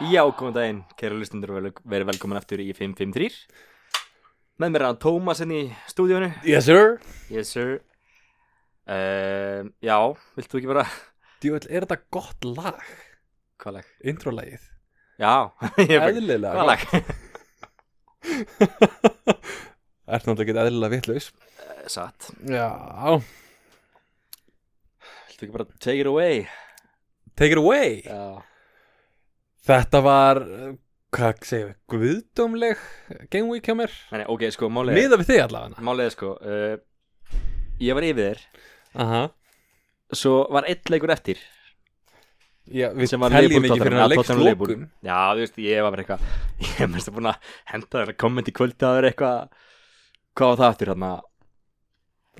Já, góðan daginn, kæra lustundur og verið velkomin aftur í 553 Með mér er að Tómas henni í stúdíónu Yes sir Yes sir uh, Já, viltu ekki bara Djúvel, er þetta gott lag? Hvað lag? Introlagið Já, ég er bara Eðlilega Hvað lag? Ert náttúrulega ekki eðlilega vitlaus Satt Já Viltu ekki bara take it away? Take it away Já Þetta var, uh, hvað segjum við, guðdómleg Game Week hjá mér Nei, nei, ok, sko, málið er Miða við þig allavega Málið er sko uh, Ég var yfir þér Aha Svo var einn leikur eftir Já, við sem var teljum Leifbúl ekki fyrir að leikst lókum Já, þú veist, ég var bara eitthvað Ég er mest að búin að henda þér kommenti kvöldi að vera eitthvað Hvað var það aftur þarna?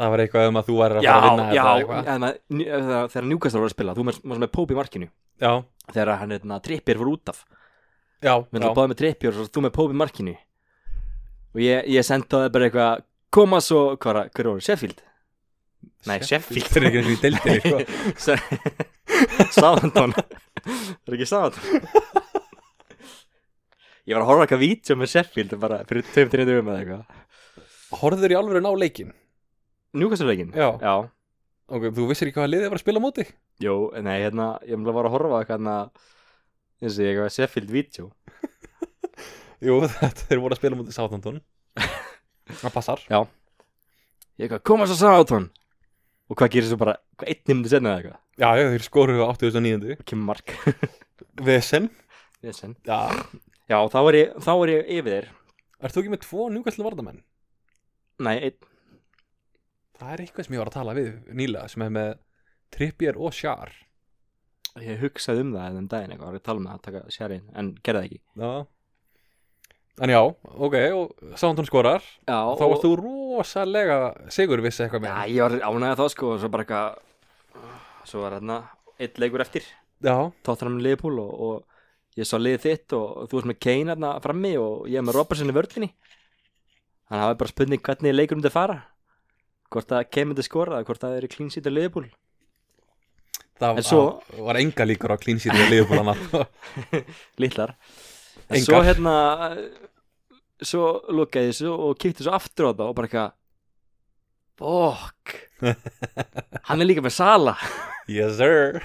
Það var eitthvað um að þú værir að já, fara að vinna já, þetta eitthvað. en að- nj- þegar þegar Newcastle voru að spila þú varst varst með Pope í markinu Já, þegar hann er trippir voru út af já, við já erum báðið með trippir og svo þú með Pope í markinu og ég, ég sendi á það bara eitthvað koma svo, hvað var það- hver voru, Sheffield nei, Sheffield Þetta er ekki eins og í deildinni sko. Sáðantón það er ekki Sáðantón ég var að horfa á eitthvað vítjum með Sheffield bara fyrir tveim tíma dögum eða eitthvað Horður í alveg ná leikin Newcastle leikin Já. já Ok, þú vissir ekki hvað liðið var að spila á móti Jó, nei, hérna, ég mjög var að horfa á eitthvað hérna, eins og ég eitthvað Sheffield Video Jú, þetta þeir voru að spila á móti Southampton Það passar Ég eitthvað, koma svo sáðan Og hvað gerir svo bara, hvað einn nýmdi senna eða eitthvað Já, já, þeir skoruðu á 89. Og kemur mark Vesen Vesen. Já, Já, þá er ég, þá er ég yfir þér ert þú ekki með tvo njúkastlega vardamenn? Nei, einn, Það er eitthvað sem ég var að tala við nýlega sem er með Trippier og Sjár ég hugsaði um það hérna um daginn eitthvað, var ég að tala um það að taka sérinn En gerði það ekki Já En já, ok, og Sándon skorar Já, Þá varst þú rosalega sigur vissi eitthvað Já, með ég var ánægði þá sko, og svo bara eitthvað Svo var hérna, einn leikur eftir Já, Tottenham Liverpool og, og ég sá liðið þitt og þú varst með Kane hérna frammi og ég er með Robertson í vörlinni þannig að það er bara spurning hvernig leikur myndi fara hvort að Kane myndi skora eða hvort að það eru clean sheet á Liverpool það En svo- að- var enga líkur á klínsýri og liðbúlana litlar en Engar. svo hérna svo lukkaði þessu og kýtti svo aftur á það og bara eitthvað bók hann er líka með Sala Yes sir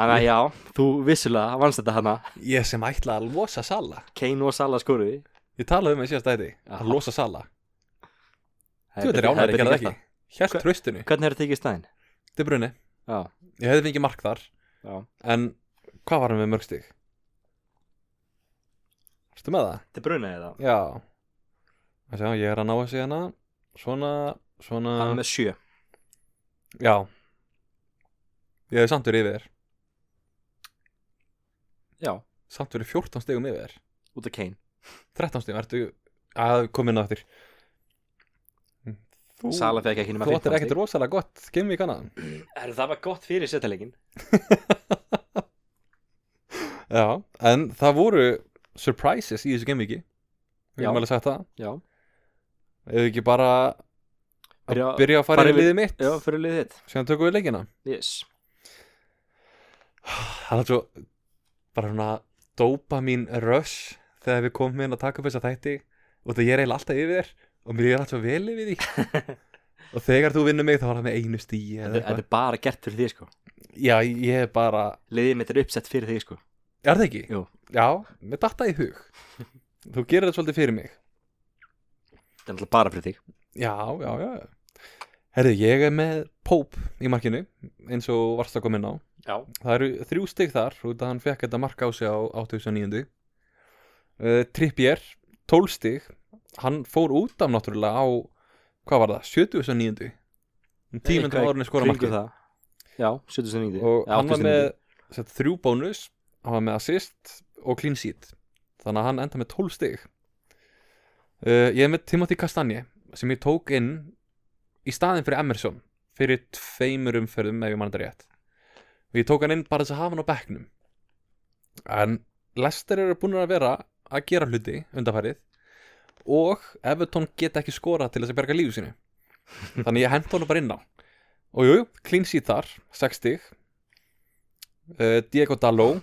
þannig að já, þú vissulega vannst þetta hana Ég sem ætla að losa Sala Kane og Sala skoruði Ég talaði um það í síðast ætti Aha. Að losa Sala Það Þú er veit er betur- það ánæri, er ég gerði betur það gert ekki Hjælt Hva- tröstinu það. hvernig hefur tekið stæðin? Þetta er brunni Já, Ég hefði fengið mark þar já En hvað var hann með mörg stig? Erstu með það? Þetta brunaði það Já Sjá, Ég er að ná þessu hérna Svona, svona Hann er með sjö Já Ég hefði samt verið yfir þér Já, Samt verið 14 stigum yfir þér út af Kane 13 stigum, ertu að koma inn á eftir Hm, Þú Sala fekk ekki nema Þú áttir 15 ekkert stig. rosalega gott Gimm í kannan Herru, Það var gott fyrir setjalegin Já, en það voru surprises í þessu gemmiki Við Já. erum alveg sagt það Já, Eða ekki bara að Byrja- byrja að fara fara í yfir- liðið mitt já fyrir liðið þitt Síðan tökum við leikina Yes Það er svo bara svona dópa mín rush þegar við komum inn að taka upp þessa þætti og það ég er eiginlega alltaf yfir þér og mér er alltaf vel yfir því og þegar þú vinnur mig þá var það með einu stíi eða Þetta þetta eitthvað er bara gert fyrir þig sko Já, ég er bara, Liðið mitt er uppsett fyrir þig sko er það ekki? Jú. Já, mér datta í hug Þú gerir þetta svolítið fyrir mig Þetta er náttúrulega bara fyrir þig Já, já, já Herðu, ég er með Pope í markinu eins og varst að koma inn á Já Það eru þrjú stig þar út að hann fekk þetta mark á sig á 89. Uh, Trippier, 12 stig hann fór út af náttúrulega á hvað var það, 79. tíminn á orðinni skora markið það Já, 79 og Já, hann var 89. með sett, þrjú bónus hann var með assist og clean sheet þannig að hann enda með 12 stig uh, ég er með Timothy Kastanje sem ég tók inn í staðin fyrir Emerson fyrir tveimur umferðum ef ég mann þetta rétt og ég tók hann inn bara þess að hafa hann á bekknum en Lester eru búin að vera að gera hluti undanfærið og Everton geta ekki skorað til þess að berga lífu sínu þannig ég hent honum bara inn á og jú, jú, clean sheet þar 60 uh, Eh, Diego Dalló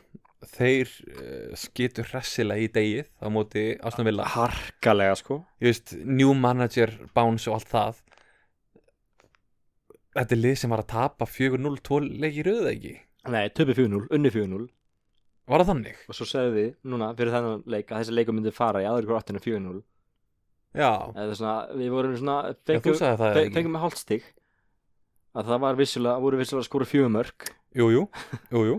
þeir uh, skitur hressilega í degið á móti Aston Villa harkalega sko ég veist, new manager, bounce og allt það þetta er lið sem var að tapa 4-0 tól leiki röðu ekki nei, töpi 4-0, unni 4-0 var það þannig? og svo segðum við núna fyrir þennan leik að þessi leiku myndi fara í aðri hver 8 4-0 já, eða svona, við vorum svona já þú fengum, sagði það fe- ekki fengum með hálfstig að það var vissulega, voru vissulega að skora fjögumörk Jú, jú, jú, jú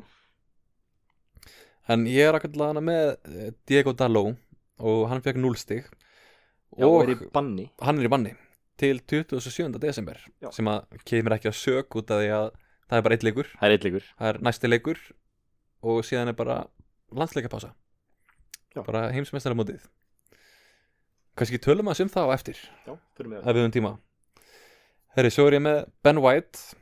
En ég er akkur hana með eh, Diego Dalló og hann fekk 0 stig já, og og er í banni hann er í banni til 27. desember Já. sem að kemur ekki að sök út af því að það er bara eitt leikur, það er eitthvað það er næsti leikur og síðan er bara landsleikapása Já. bara heimsmeistaramótið Kannski tölum að sem það á eftir já, fyrir mig ef við höfum tíma Herri, svo er ég með Ben White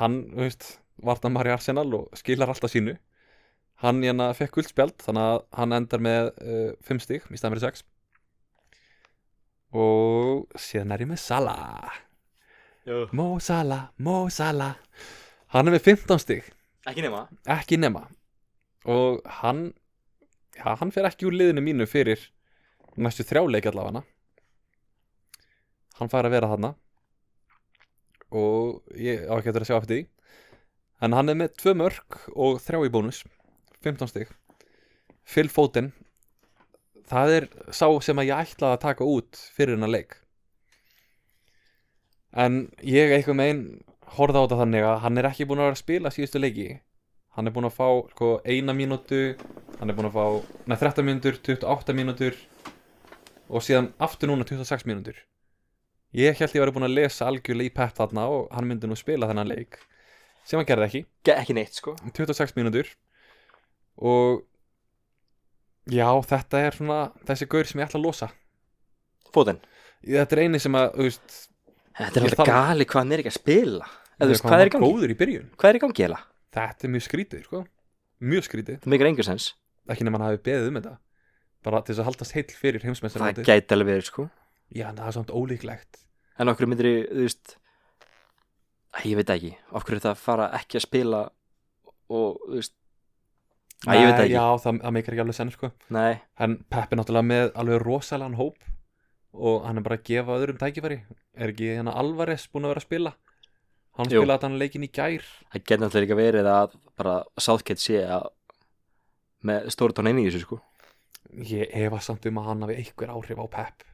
hann, þú veist, vartamar í Arsenal og skilar alltaf sínu hann hérna fekk guldspjald þannig að hann endar með 5 uh, stík í stæðan fyrir 6 og síðan er ég með Salah það Mo Salah, Mo Salah hann er með 15 stík, ekki nema ekki nema og hann já, hann fer ekki úr liðinu mínu fyrir næstu þrjáleik allavega hann fær að vera þarna og ég á ekki eftir að sjá eftir því en hann er með tvö mörk og þrjá í bónus 15 stig Phil Foden það er sá sem að ég ætlaði að taka út fyrir hennar leik en ég eitthvað megin horfði á þetta þannig að hann er ekki búin að vera að spila síðustu leiki hann er búin að fá sko, eina mínútu hann er búin að fá neð, 13 mínútur, 28 mínútur og síðan aftur núna 26 mínútur ég held ég væri búin að lesa algjörlega í pep þarna og hann myndi nú spila þennan leik sem hann gerði ekki Ge- ekki neitt sko 26 mínútur og já, þetta er svona þessi gaur sem ég ætla að losa fóðin þetta er eini sem að, þú veist þetta er Ég alltaf þarf- gali hvað hann er ekki að spila eða þú veist hvað hvað hann er í var gangi góður í byrjun hvað er í gangi eða þetta er mjög skrítið, sko mjög skrítið, það mikil engur sens ekki nema hann hafi beðið um þetta bara til þess að haldast heill fyrir það heimsmeistaramótið gæti alveg verið sko já, en það er samt ólíklegt en okkur myndir þú veist Æ, ég veit ekki okkur þetta fara ekki að spila og þú veist Æ, ég veit það Nei, ekki. já, það, það meikar ekki alveg senn, sko nei en Pep er náttúrulega með alveg rosalega hóp og hann er bara að gefa öðrum tækifæri er ekki hérna Alvarez búin að vera að spila hann Jú. spilaði þannig leikin í gær það getur náttúrulega líka verið að bara Southgate sé að með stóru tón einnig í þessu sko ég hefa samt um að hann hafi einhver áhrif á Pep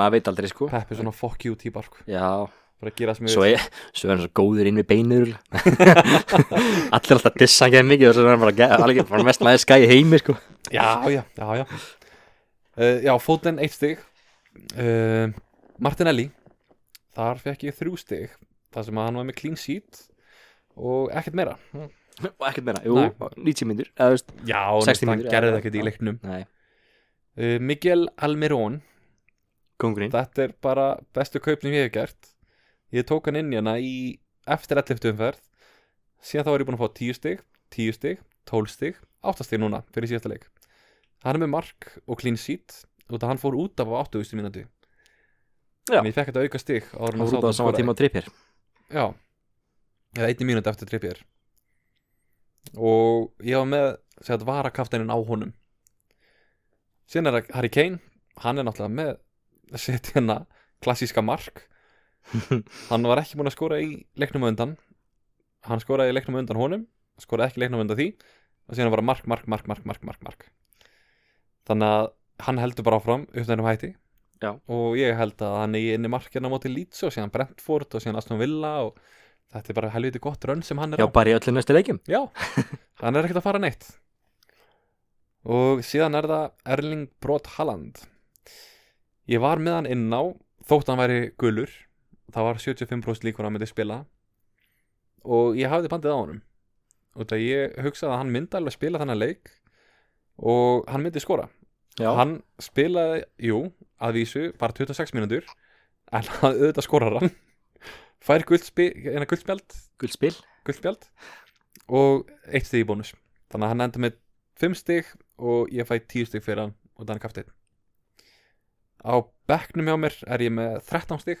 maður veit aldrei sko Pep er svona fuck you típa sko. já, bara að gera sem svo er, svo er hann svo góður inn við beinur allir alltaf dissa hann ekki mikið og svo er hann bara, ge- alveg, bara mest maður skæði heimi sko já, já, já, já uh, já, Foden eitt stig uh, Martinelli þar fekk ég þrjú stig þar sem að hann var með clean sheet og ekkert meira og ekkert meira, jú, Nei. 90 myndur eða þú veist, já, 60 hann mínútur, já, gerði já, ekkert í já. leiknum nei, uh, Miguel Almirón kongurinn Þetta er bara bestu kaup sem ég hef gert Ég tók hann inn hérna í eftir 11. umferð Síðan þá er ég búin að fá 10 stig, 10 stig, 12 stig, 8 stig núna fyrir síðasta leik Hann er með mark og clean sheet og það hann fór út af á 80. mínúti Já. En ég fekk þetta auka stig áður en og svo Southampton það saman skoraði. tíma á trippir Já, eða einni mínúti eftir trippjör Og ég var með segjað, varakaftænin á honum Síðan er það Harry Kane Hann er náttúrulega með að setja hérna klassíska mark Hann var ekki búinn að skora í leiknum á undan Hann skoraði í leiknum á undan honum Skoraði ekki í leiknum á undan því Og síðan var það mark, mark, mark, mark, mark, mark, mark Þannig að hann heldur bara áfram upp þennum hætti Já. Og ég held að hann er inn í markina á móti Leeds og síðan Brentford og síðan Aston Villa og þetta er bara helviti gott rönn sem hann er já, á bara í öllu næstu leikjum Já, hann er ekkert að fara neitt Og síðan er það Erling Brot Halland Ég var með hann inn á Þótt hann væri gulur Það var 75% líkur að hann myndi spila Og ég hafði bandið á honum Út að ég hugsaði að hann myndi alveg spila þannig leik Og hann myndi skora já, Hann spilaði, jú, að vísu Bara 26 mínútur En hann auðvitað skorar hann Fær guldspil, eina guldspjald guld spil guldspjald og eitt stig í bónus þannig að hann enda með 5 stig og ég fæ 10 stig fyrir hann og þannig kaftin á bekknum hjá mér er ég með 13 stig eh,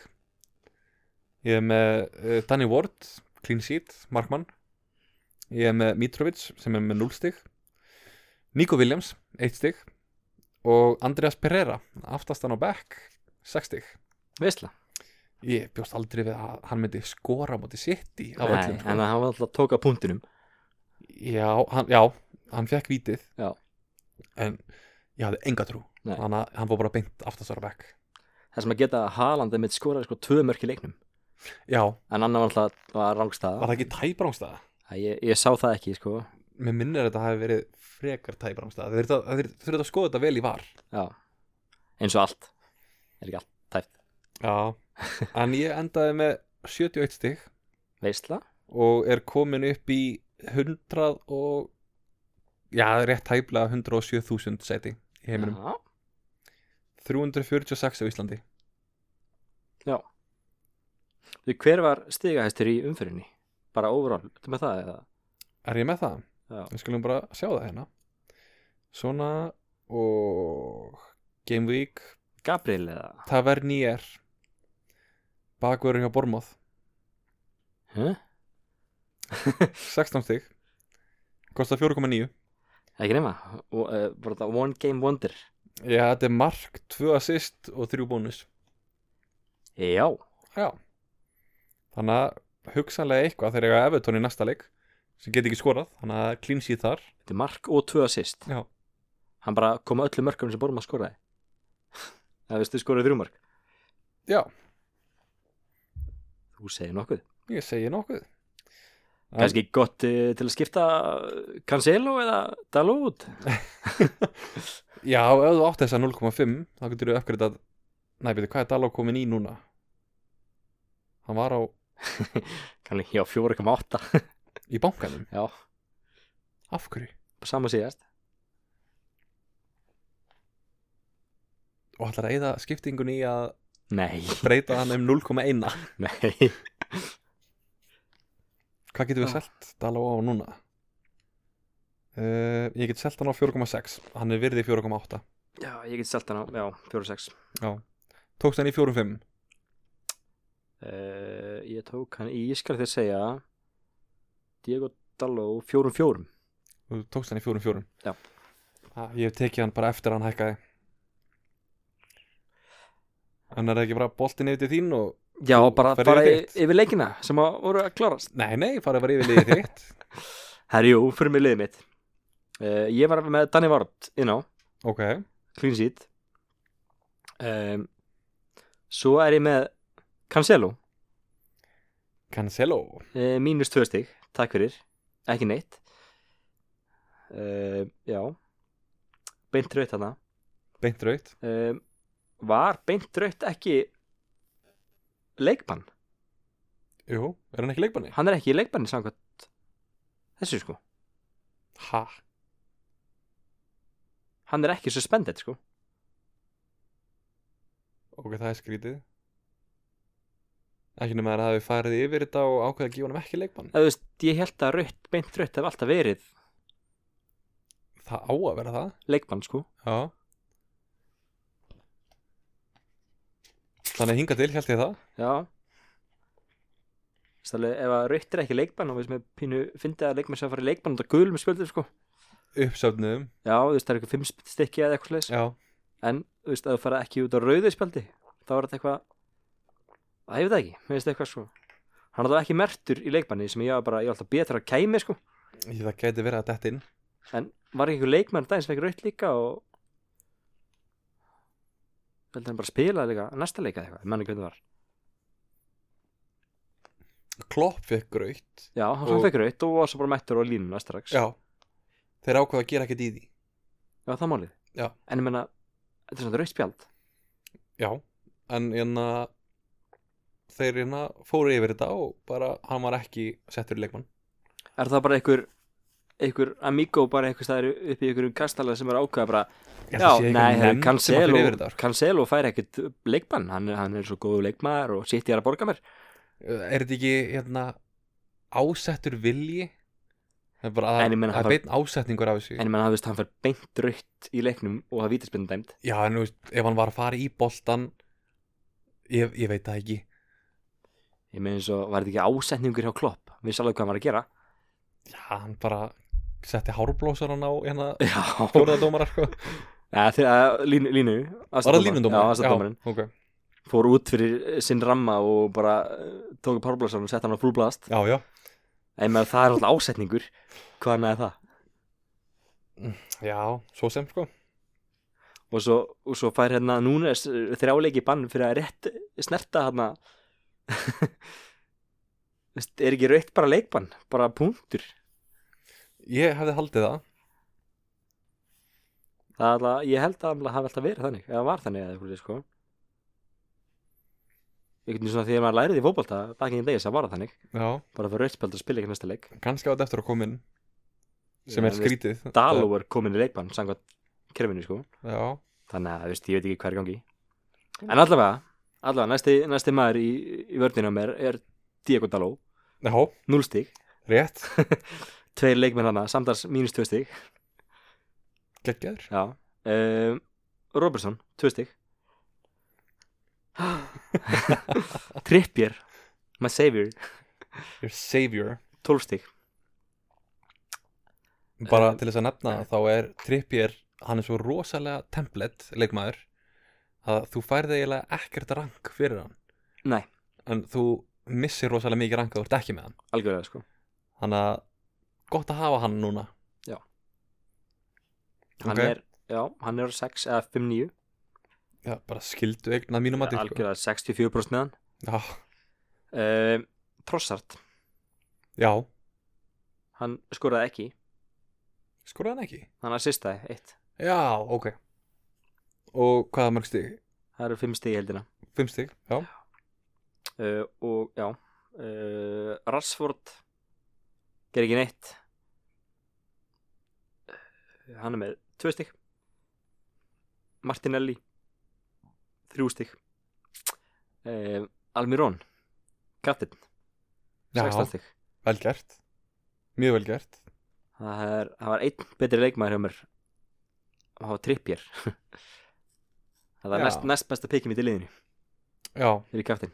ég er með uh, Danny Ward, clean sheet, markmann Ég er með Mitrovic sem er með 0 stig Nico Williams, 1 stig og Andreas Pereira aftastan á back, 6 stig Veistla Ég bjóst aldrei við að hann myndi skora á móti City á Nei, öllum en sko. hann var alltaf að tóka punktinum já, hann, já, hann fekk vítið Já. En ég hafði enga trú Nei. Þannig að hann fór bara beint aftastara back Það sem að geta að Haaland er mitt skoraði sko tvö mörk í leiknum Já, var En annar var alltaf var rángstaða það ekki tæbrángstæða? ég, ég sá það ekki sko Mér minnir að þetta hafi verið frekar tæbrángstæða Þeir þurftu að- þeir þurftu að skoða þetta vel í var Já Eins og allt Er ekki allt Já, en ég endaði með 71 stig Veistla og er komin upp í 100 og já, rétt hæfla 107.000 seti í heiminum Já 346 á Íslandi Þú, Hver var stigahæstur í umfyrinni? Bara overall Þú með það eða? Er ég með það? Já. Við skulum bara sjá það hérna Svona og Game Week Gabriel eða? Tavernier Bakverður hjá Bormóð Hæ? 16 stig Kosta 4,9 Ekki nema Og, eh, Var þetta one game wonder? Já, þetta er mark, 2 assist og 3 bónus Já Já Þannig að hugsanlega eitthvað þegar ég hafa Evertón í næsta leik sem get ekki skorað, þannig að clean sheet þar Þetta er mark og tvö assist Já. Hann bara kom að öllum mörkum sem Borma skoraði Það veistu skoraði þrjú mörk Já, Þú segir nokkuð ég segi nokkuð En- Kannski gott uh, til að skipta eh, Cancelo eða Dalot Já, ef þú átt þess að 0,5 þá getur þú uppgriðað Nei, betur, hvað er Daló komin í núna? Hann var á Kannski já 4,8 í bankanum Já, Af hverju? sama síðast Og ætlar að eyða skiptingunni í að Nei, breyta hann um 0,1 nei Hvað getum við Já. selt Daló á núna? Uh, ég get selt hann á 4,6 Hann er virði 4,8 Já, ég get selt hann á, já, 4,6 Tókst hann í 4,5 uh, Ég tók hann í, ég skal þér segja Diego Dalot 4,4 Þú tókst hann í fjórum fjórum Já. ah, Ég hef tekið hann bara eftir að hann hækkaði Hann er það ekki bara boltinn yfir til þín og Já, Þú bara, ferð bara yfir yfir, þitt. yfir leikina sem að voru að klarast Nei, nei, farið bara yfir liðið þitt Herjú, fyrir mig liðið mitt uh, Ég var með Danny Vard inn á, Ok, clean sheet um, Svo er ég með Cancelo, Cancelo uh, mínus tvö stig Takk fyrir, ekki neitt uh, Já Beint raut hana Beint raut um, Var beint raut ekki Leikbann Jú, er hann ekki í leikbanni? Hann er ekki í leikbanni samkvæmt Þessu sko, Ha? hann er ekki suspended sko Ok, það er skrítið Ekki nema að það hafi farið yfir þetta og ákveðið að gefa honum ekki leikbann Það þú veist, ég held að raut, beint raut hef alltaf verið Það á að vera það leikbann sko Já Þannig að hinga til, held ég það Já Stalið, ef að rautt er ekki leikbann og við sem er pínu fyndið að leikmenn sem að fara í leikbann út af gulum spjöldum sko Uppsöfnuðum Já, þú veist, það er eitthvað fimm sp- stykki eða eitthvað slags Já En, þú veist, að þú fara ekki út á rauðu spjöldi þá er þetta eitthvað Það hefur það ekki, mér finnst eitthvað sko Hann er þá ekki mertur í leikbanni sem ég var bara, ég var alltaf betra að kæmi sko Ég- Það gæti verið að detta inn En var ekki einhver leikmann daginn sem ekki rautt líka og Veldi hann bara spilaði líka, næsta leika eða eitthvað, menn ekki hvernig var Klopp fekk raut Já, hann Og- og... fekk rautt og var svo bara mættur á línuna strax Já Þeir ákveða að gera ekkert í því Já, það málið. Já. En ég meina, þetta er svona rautt spjald. Já En hérna Þeir hérna fóru yfir þetta og bara Hann var ekki settur í leikmann Er það bara einhver, einhver amigo bara einhver staðar upp í einhverjum kastala sem er að ákveða bara, Ég held að sé einhver nei, nefnd sem að fer Cancelo, yfir þetta, sko. Cancelo fær ekkert leikmann, hann, er- hann er svo góðu leikmaður og sitt ég er að borga mér. Er þetta ekki hérna Ásettur vilji Það er bara En að, ég meina, hann að var- beinn ásetningur af þessu En ég meina, hann veist, hann fær beint rautt í leiknum og það vítaspindu dæmt. Já en þú veist Ef hann var að fara í boltan Ég, ég veit það ekki Ég meina eins og, var þetta ekki ásetningur hjá Klopp? Við sálega hvað hann var að gera. já, hann bara setti hárblósaran á hérna Já, fjóraðadómara sko. Ja, þegar eh, línu, línu var það aðstoðardómar- línundómara? Já, aðstæðdómarinn já, ok. Fór út fyrir eh, sinn ramma og bara eh, tók upp hárblásarinn og sett hann á fullblast já, já, En maður það er alltaf ásetningur Hvað hann er það? já, svo sem sko. Og svo, og svo fær hérna núna þrjáleiki bann fyrir að rétt snerta hérna Veist, Er ekki raukt bara leikbann? Bara punktur ég hefði haldið það Það er alltaf, ég held að það hafi alltaf verið þannig eða var þannig eða eitthvað sko einhvern veginn svona því að maður lærið í fótbolta bakið í degi sem var það þannig já, bara fyrir rauðspjöld og spila ekki næsta leik kannski á þetta eftir að koma inn Já, sem er þú veist, skrítið Daló er komin í leikbann samkvæmt kerfinu sko já, þannig að þú veist, ég veit ekki hver gangi en allavega, allavega næsti, næsti maður í, í vördinu á mér er Diego Daló, já, 0 stig rétt tveir leikmenn hana, samtals mínus 2 stig geggjaður, já um, Robertson, 2 stig Trippier my savior your savior 12 stík bara Eh, til þess að nefna það, þá er Trippier, hann er svo rosalega template leikmaður að þú færði eiginlega ekkert rank fyrir hann Nei. en þú missir rosalega mikið rank að þú ert ekki með hann algjörlega sko þannig að gott að hafa hann núna hann Ok. er, já, hann er á 6 eða 5-9 já, bara skildu eign að mínum að sko. algjörlega 64% neðan já, um, Trossart, já, hann skoraði ekki skoraði hann ekki hann assistaði eitt já, ok og hvaða mörg stig? það eru 5 stík heldina Fimm stig, já uh, og já uh, Rassford ger ekki neitt Eh, hann er með 2 stík Martinelli 3 stík uh, Almirón Kattin 16 stík vel gert mjög vel gert Það, er, það var einn betri leikmaður hjá mér og það var trippjér það var Já. næst, næst besta pikið mitt í liðinu já, fyrir kaftin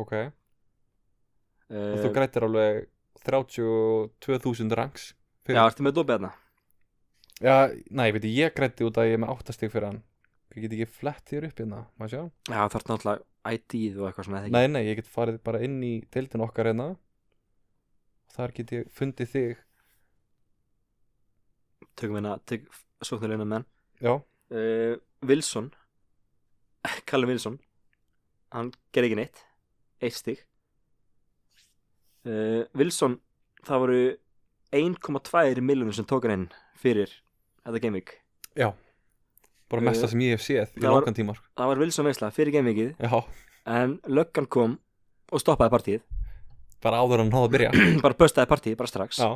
ok og þú uh, grættir alveg 32.000 ranks Já, ertu með dópið þarna? já, nei, veit ég, ég grætti út að ég er með 8 stig fyrir hann ég get ekki flett þér upp hérna, maður sjá Já, það er náttúrulega ID-ið og eitthvað svona eða ekki? nei, nei, ég get farið bara inn í deildin okkar hérna þar get ég fundið þig Tökum hérna, tök, sóknulegna menn já, uh, Wilson Callum Wilson hann gerði ekki neitt eitt stig uh, Wilson það voru 1,2 miljonir sem tók hann inn fyrir þetta gaming já bara Eh, mesta sem ég hef séð í það var- langan tíma sko. það var Wilson veisla fyrir gamingið já, en löggan kom og stoppaði partíið bara áður en hann náði að byrja bara böstaði partíið bara strax já,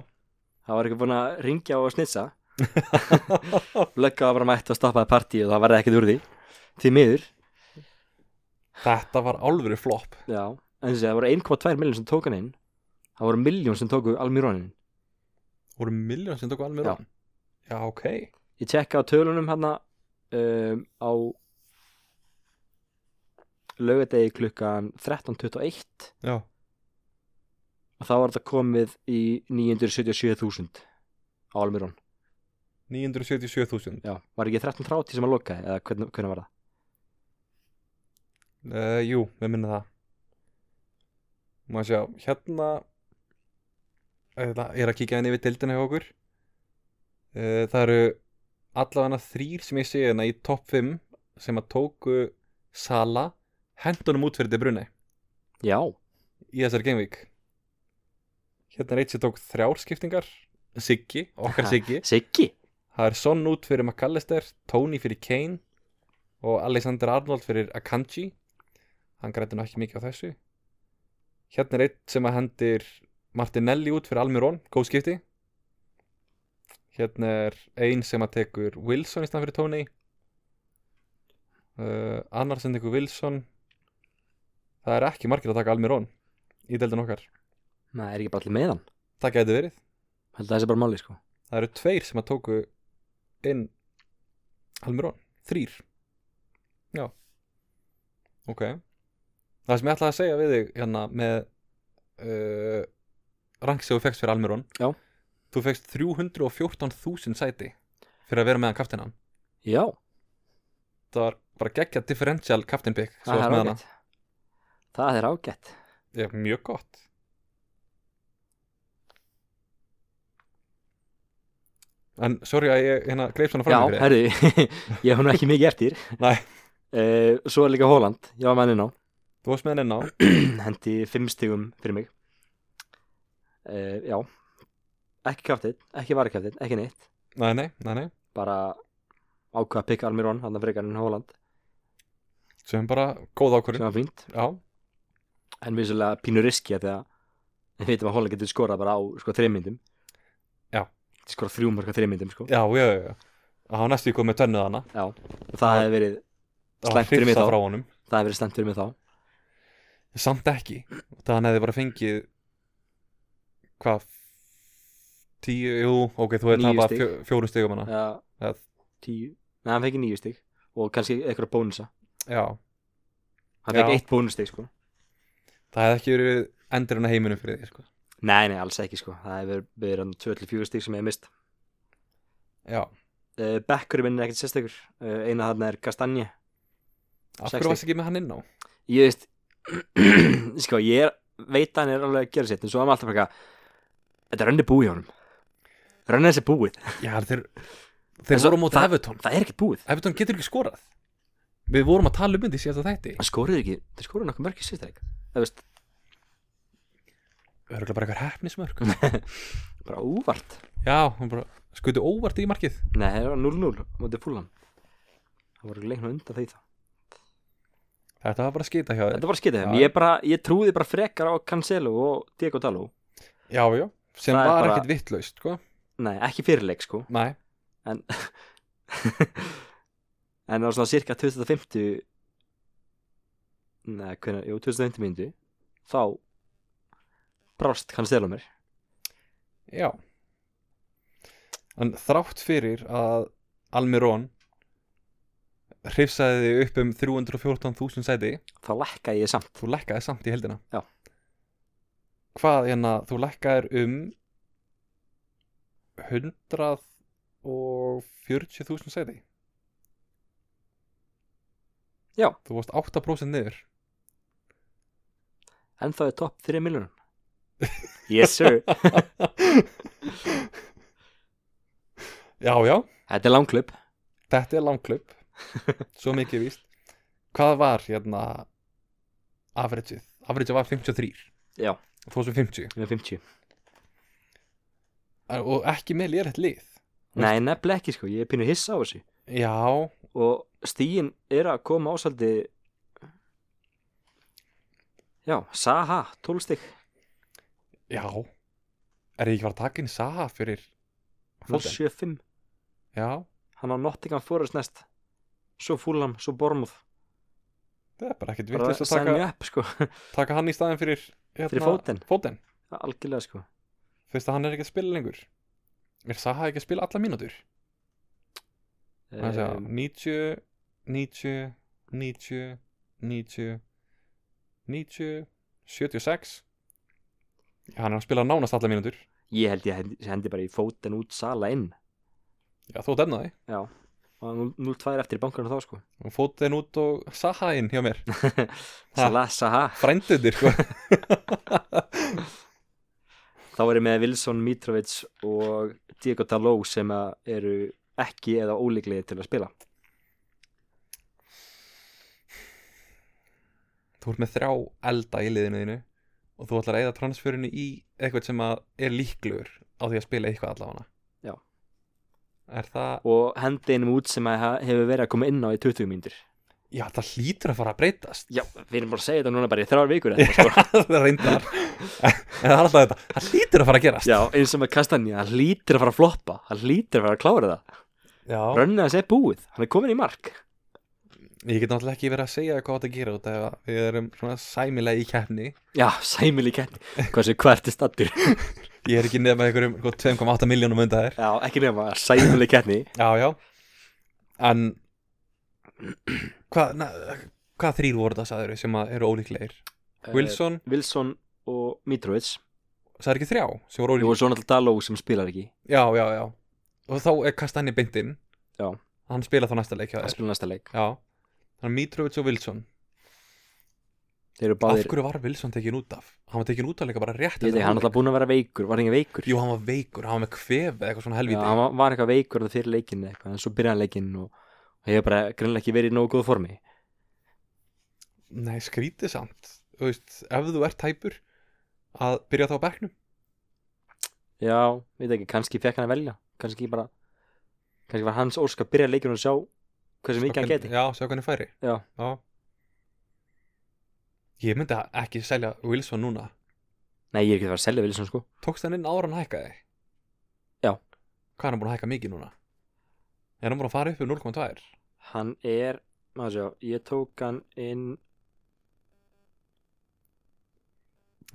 það var ekki búin að ringja og snitsa löggan var bara mætt og stoppaði partíið og það varði ekkert úr því því miður þetta var alvöru flop já en þessi það voru 1,2 miljón sem tók hann inn það voru miljón sem tóku Almirónin voru miljón sem tók alveg Já. rann já, ok, ég tjekka á tölunum hérna um, á lögadegi klukkan 13.21 já og þá var þetta komið í 977.000 á Almirón 977.000 já, var ekki 13.30 sem að lokaði eða hvernig, hvernig var það uh, Jú, við minna það Má sjá, hérna Þetta er að kíkja henni yfir deildina hjá okkur uh, Það eru allavega þrýr sem ég sé hérna í topp 5 sem að tóku Sala hendunum út fyrir De Bruyne já, í þessari gameweek Hérna er eitt sem tók þrjár skiptingar Siggi, okkar Siggi Siggi Það er Son út fyrir McAllister, Tony fyrir Kane og Alexander Arnold fyrir Akanji. Hann græti nú ekki mikið á þessu. Hérna er eitt sem að hendir Martinelli út fyrir Almirón, góð skipti. Hérna er ein sem að tekur Wilson í stand fyrir Tony. Uh, annar sem tekur Wilson. Það er ekki margir að taka Almirón í deildin okkar. maður er ekki bara allir með hann Það gæti verið. held að það sé bara máli sko Það eru tveir sem að tóku inn Almirón, þrýr Já Ok Það sem ég ætlaði að segja við þig hérna með uh, rank sem þú fegst fyrir Almirón Já. þú fegst 314.000 sæti fyrir að vera meðan kaftinan Já, það var bara geggja differential captain pick sem það varst er með hana. ágætt Það er ágætt Já, mjög gott En sorry að ég hérna greip svona Já, fram í fyrir þér. herri, ég hef nú ekki mikið eftir Nei. Eh, Svo er líka Holland, já maður inn á Þú varst með henni ná Hendi fimm stigum fyrir mig uh, Já Ekki kaftið, ekki varakaftið, ekki neitt Nei, nei, nei, nei Bara ákvað að pikka Almirón Þannig frekar en Holland, Sem bara góð sem ákvörðin var fínt Já, En vissulega pínur riski að því að Við veitum að Holland getur skorað bara á sko þreymyndum Já. Skorað þrjúmarka þreymyndum sko já, já, já, já Það var næstu ykkur með tönnuð hana Og það hefði verið, Það Slæmt fyrir mig hrifsað þá. frá honum það hefði verið stemt fyrir mig þá Samt ekki Það hann hefði bara fengið Hvað Tíu, jú, ok, þú hefði Níu tapað stig. fjó, fjórum stigum hana Já, Það- tíu Nei, hann fekk níu stig Og kannski eitthvað bónusa Já, Hann Já. fekk eitt bónustig sko það hefði ekki verið endurinn á heiminum fyrir því, sko Nei, nei, alls ekki sko Það hefur verið hann 24 stig sem ég hef mist Já, uh, Bekkurinn minn er ekkert sérstakur uh, Eina þarna er Kastanje af Sex hverju stig. varst ekki með hann inn á? Ég veist Sko, ég er, veit að hann er alveg að gera sitt En svo er maður alltaf bara eitthvað Þetta er rönni búið hjá honum Rönni þessi búið Já, þeir, þeir En svo- voru á móti það- Evertón Það er ekkert búið Evertón getur ekki skorað Við vorum að tala um þetta í síðasta þætti Það skoruðu ekki Það skoruðu nokkuð mörg í síðasta leik. Það veist, Örgulega bara eitthvað hefnismörk bara úvart Já, hún bara skutu óvart í markið Nei, það er 0-0 Mótið fúlan Það voru leiknum undan því þá Þetta var bara að skita hjá þér Þetta var skitið þeim, Já. ég, bara, ég trúði bara frekar á Cancelo og Diego Dalú Já, já, sem Það er var bara- ekkit vittlaust, sko Nei, ekki fyrirleik sko Nei, En á svona cirka 2050 Nei, hvernig, jú, 2050 myndu Þá Brást Cancelo mér já En þrátt fyrir að Almirón hrifsaði þig upp um 314.000 sæti Þá lækkaði ég samt Þú lækkaði samt í heldina Já. Hvað hérna, þú lækkaðir um 140.000 sæti Já. Þú varst 8% niður En þá er topp 3 miljonum Yes sir Já, já, Þetta er langklub þetta er langklubb Svo mikið víst Hvað var hérna Averageið? Averageið var 53 Já. Þú varst með 50 Með 50 En- Og ekki með lérett lið Nei, nefnilega ekki sko, ég er pínu hissa á þessu Já, Og stíin er að koma ásaldi Já, Saha, 12 stig Já Er ég ekki var að taka inn Saha fyrir Hann á Foden? 7-5 Já, hann á Nottingham Forest næst svo Fulham, svo Bormuth það er bara ekkert bara vittlust að sign me taka, up sko taka hann í staðin fyrir hérna, Fyrir Foden. Fóten algjörlega sko Fyrst að hann er ekki að spila lengur Er Saha ekki að spila alla mínútur? Um, um, 90 90 90 90 90 76 Já, hann er að spila nánast alla mínútur ég held ég hendi, hendi bara í Foden út Sala inn Já, þú demnaði já og 0-2 eftir í bankarna þá sko Fóten út og Saha inn hjá mér Sala, Saha Frænduðir, sko þá er ég með Wilson, Mitrovic og Diego Daló sem að eru ekki eða ólíklegir til að spila þú ert með þrjá elda í liðinu þínu og þú ætlar að eða transferinu í eitthvað sem að er líklegur á því að spila eitthvað allavega Já. Er það, og hendi einum út sem að ha- hefur verið að koma inn á í 20 mínútur já það hlýtur að fara að breytast já, við erum bara að segja þetta núna bara í þrjár vikur eða eitthvað, sko. Það er reyndar En það er alltaf þetta, það hlýtur að fara að gerast já, eins og með Kastanja, hann lítir að fara að floppa hann lítir að fara að klára það Já. Rönnið hans er búið, hann er komin í mark Ég get náttúrulega ekki verið að segja hvað þetta gera út af að við erum svona sæmilega í keppni Já, sæmil í kenni Hvað sem hvert er stattur Ég er ekki nefn með einhverjum sko, 2,8 miljónum undan þér Já, ekki nema, sæmil í kenni Já, já En hvað, na- hvað Eh, Eh, þrýr voru það sagður sem að eru ólíklegir? Wilson Wilson og Mitrovic það er ekki þrjá sem Jú, voru ónýtt og svo náttúrulega Daló sem spilar ekki já, já, já, og þá er Kastanji beintinn Já. hann spila þá næsta leik hjá að þér spila næsta leik já, þannig að Mitrovic og Wilson Þeir eru af báðir, hverju var Wilson tekin út af hann var tekin út af leika bara rétt ég veit eftir ekki, hann er hálfleik. alltaf búin að vera veikur Var hann ekki veikur? jú, hann var veikur, hann var með kvef eða eitthvað svona Já, helviti hann var, var eitthvað veikur þarna fyrir leikinn eða eitthvað En svo byrjaði hann leikinn og og hefur bara greinlega ekki verið í nógu góð formi Nei, skrítið samt Þú veist, Ef þú ert tæpur að byrja þá á bekknum Já, veit ekki, kannski fekk hann að velja Kannski bara Kannski var hans ósk að byrja leikinn og sjá Hversu mikið hann Sjá geti hvern- Já, sjá hvernig færi Já. Ég myndi ekki selja Wilson núna Nei, ég er ekki að fara að selja Wilson sko Tókst hann inn ára hann hækkaði? Já. Hvað er hann búin að hækka mikið núna? Er hann búin að fara upp um 0,2? Hann er, maður sjá, ég tók hann inn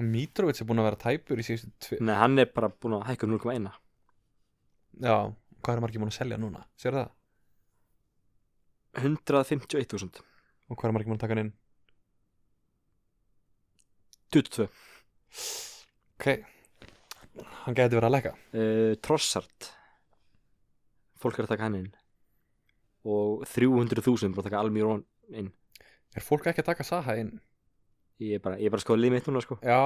Mitrovic er búin að vera tæpur í síðustu tve... Nei, hann er bara búin að hækka um 0,1 Já, hvað er margir búin að selja núna? Sér það? 151.000 Og hvað er margir búin að taka hann inn? 22 Ok Hann gæti verið að lækka uh, Trossart Fólk er að taka hann inn Og 300.000 búin að taka Almirón inn Er fólk ekki að taka Saha inn? Ég er bara, ég er bara að skoða liðið mitt núna sko Já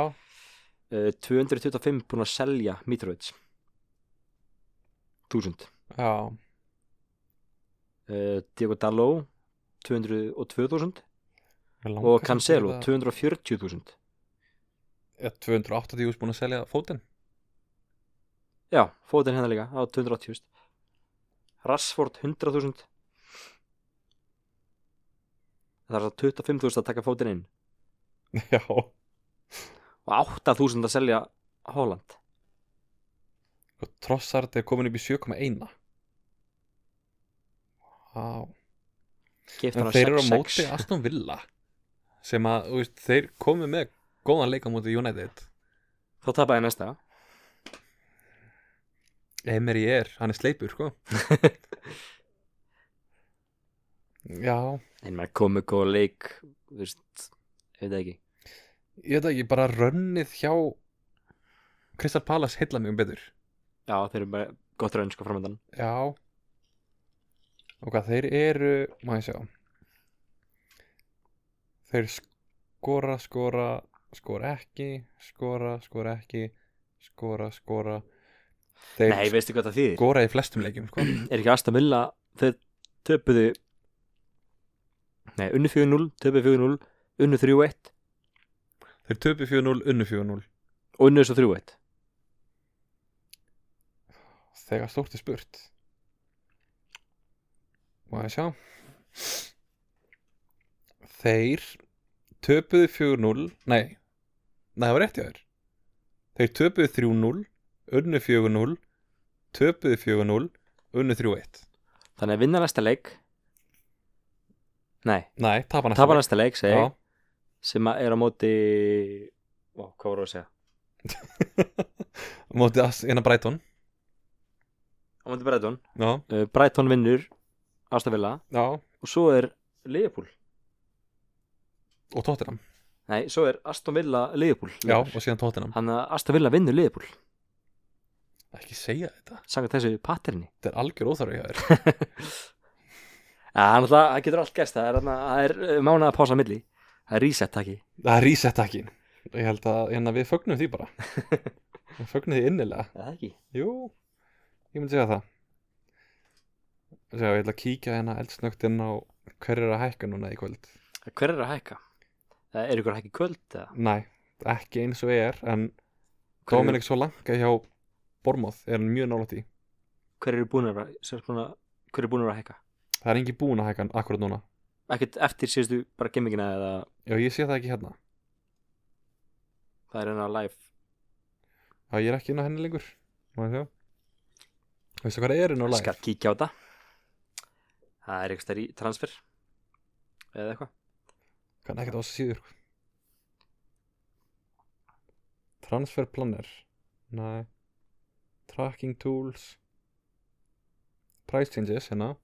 uh, 225 búin að selja Mitrovic 1000 Já, uh, Diego Dalló 202.000 Mig langar Og samt Cancelo til að- 240.000 Er 280 úrs búin að selja fótinn Já, fótinn hérna líka á 280.000 Rashford 100.000 Það er það 25.000 að taka fótinn inn Já og 8.000 að selja Holland Og Trossard er komin upp í 7,1 Vá Gifta En hann á þeir eru á 6-6 móti Aston Villa Sem að, þú veist, þeir komu með góðan leik á móti United Þá tapaði næsta Emery er, hann er sleipur, sko Já En maður komið góð leik Þú veist, ég veit það ekki Ég veit ekki, bara rönnið hjá Crystal Palace heilla mjög betur Já, þeir eru bara gott raun sko framöndan Já Og hvað þeir eru Má ég sjá Þeir skora, skora Skora ekki Skora, skora ekki Skora, skora Þeir Nei, veistu hvað það þýðir? skora í flestum leikjum sko. Er ekki Asta Milla Þeir töpuðu Nei, unnu 4-0, töpuðu 4-0 Unnu 3-1 Þeir töpu 4-0, unnu 4-0 og unnu þessu 3-1 Þegar stórt er spurt Má ég sjá Þeir töpuðu 4-0 Nei, nei það var rétt hjá þér Þeir töpuðu 3-0 Unnu 4-0 Töpuðu 4-0 Unnu 3-1 Þannig að vinna næsta leik Nei, Nei, tapa næsta tapa leik. næsta leik segi, Já, ég, sem að er á móti Ó, hvað voru að segja? á móti As- innan Brighton Á móti Breitón Já, uh, Brighton vinnur Asta Milla já og svo er Leopold Og Tottenham Nei, svo er Aston Villa Liverpool Já, og síðan Tottenham Þannig að Aston Villa vinnur Liverpool Ekki segja þetta Sangat þessu patterni Þetta er algjör óþarfi hjá þér Það ja, getur allt gerst Það er, þarna- það er uh, mánaða pása á milli Það er reset takki Það er reset ekki Ég held að hérna, við fögnum því bara Við fögnum því innilega Það ekki Jú, ég myndi segja það Sjá, Ég ætla að kíkja hérna eldsnögt inn á Hver er að hækka núna í kvöld Eh, Hver er að hækka? Það er ykkur að hækka í kvöld eða? Næ, ekki eins og er En Hver eru- Dominik svo langa hjá Bormóð er hann mjög nálætt í Hver eru búin að vera sem svona, Hver eru búin að vera að hækka? Það er engin búin að hækka hann akkurat núna Ekkert eftir síðustu bara gemmingina eða Já, ég sé það ekki hérna það er enn að live Já, ég er ekki inn á henni lengur Má ég sjá Veistu hvað það er inn á live? Skal kíkja á þetta Það er ykkur stær í transfer Eða eitthvað kann ekkert á þessu síður transfer planner nei tracking tools price changes hérna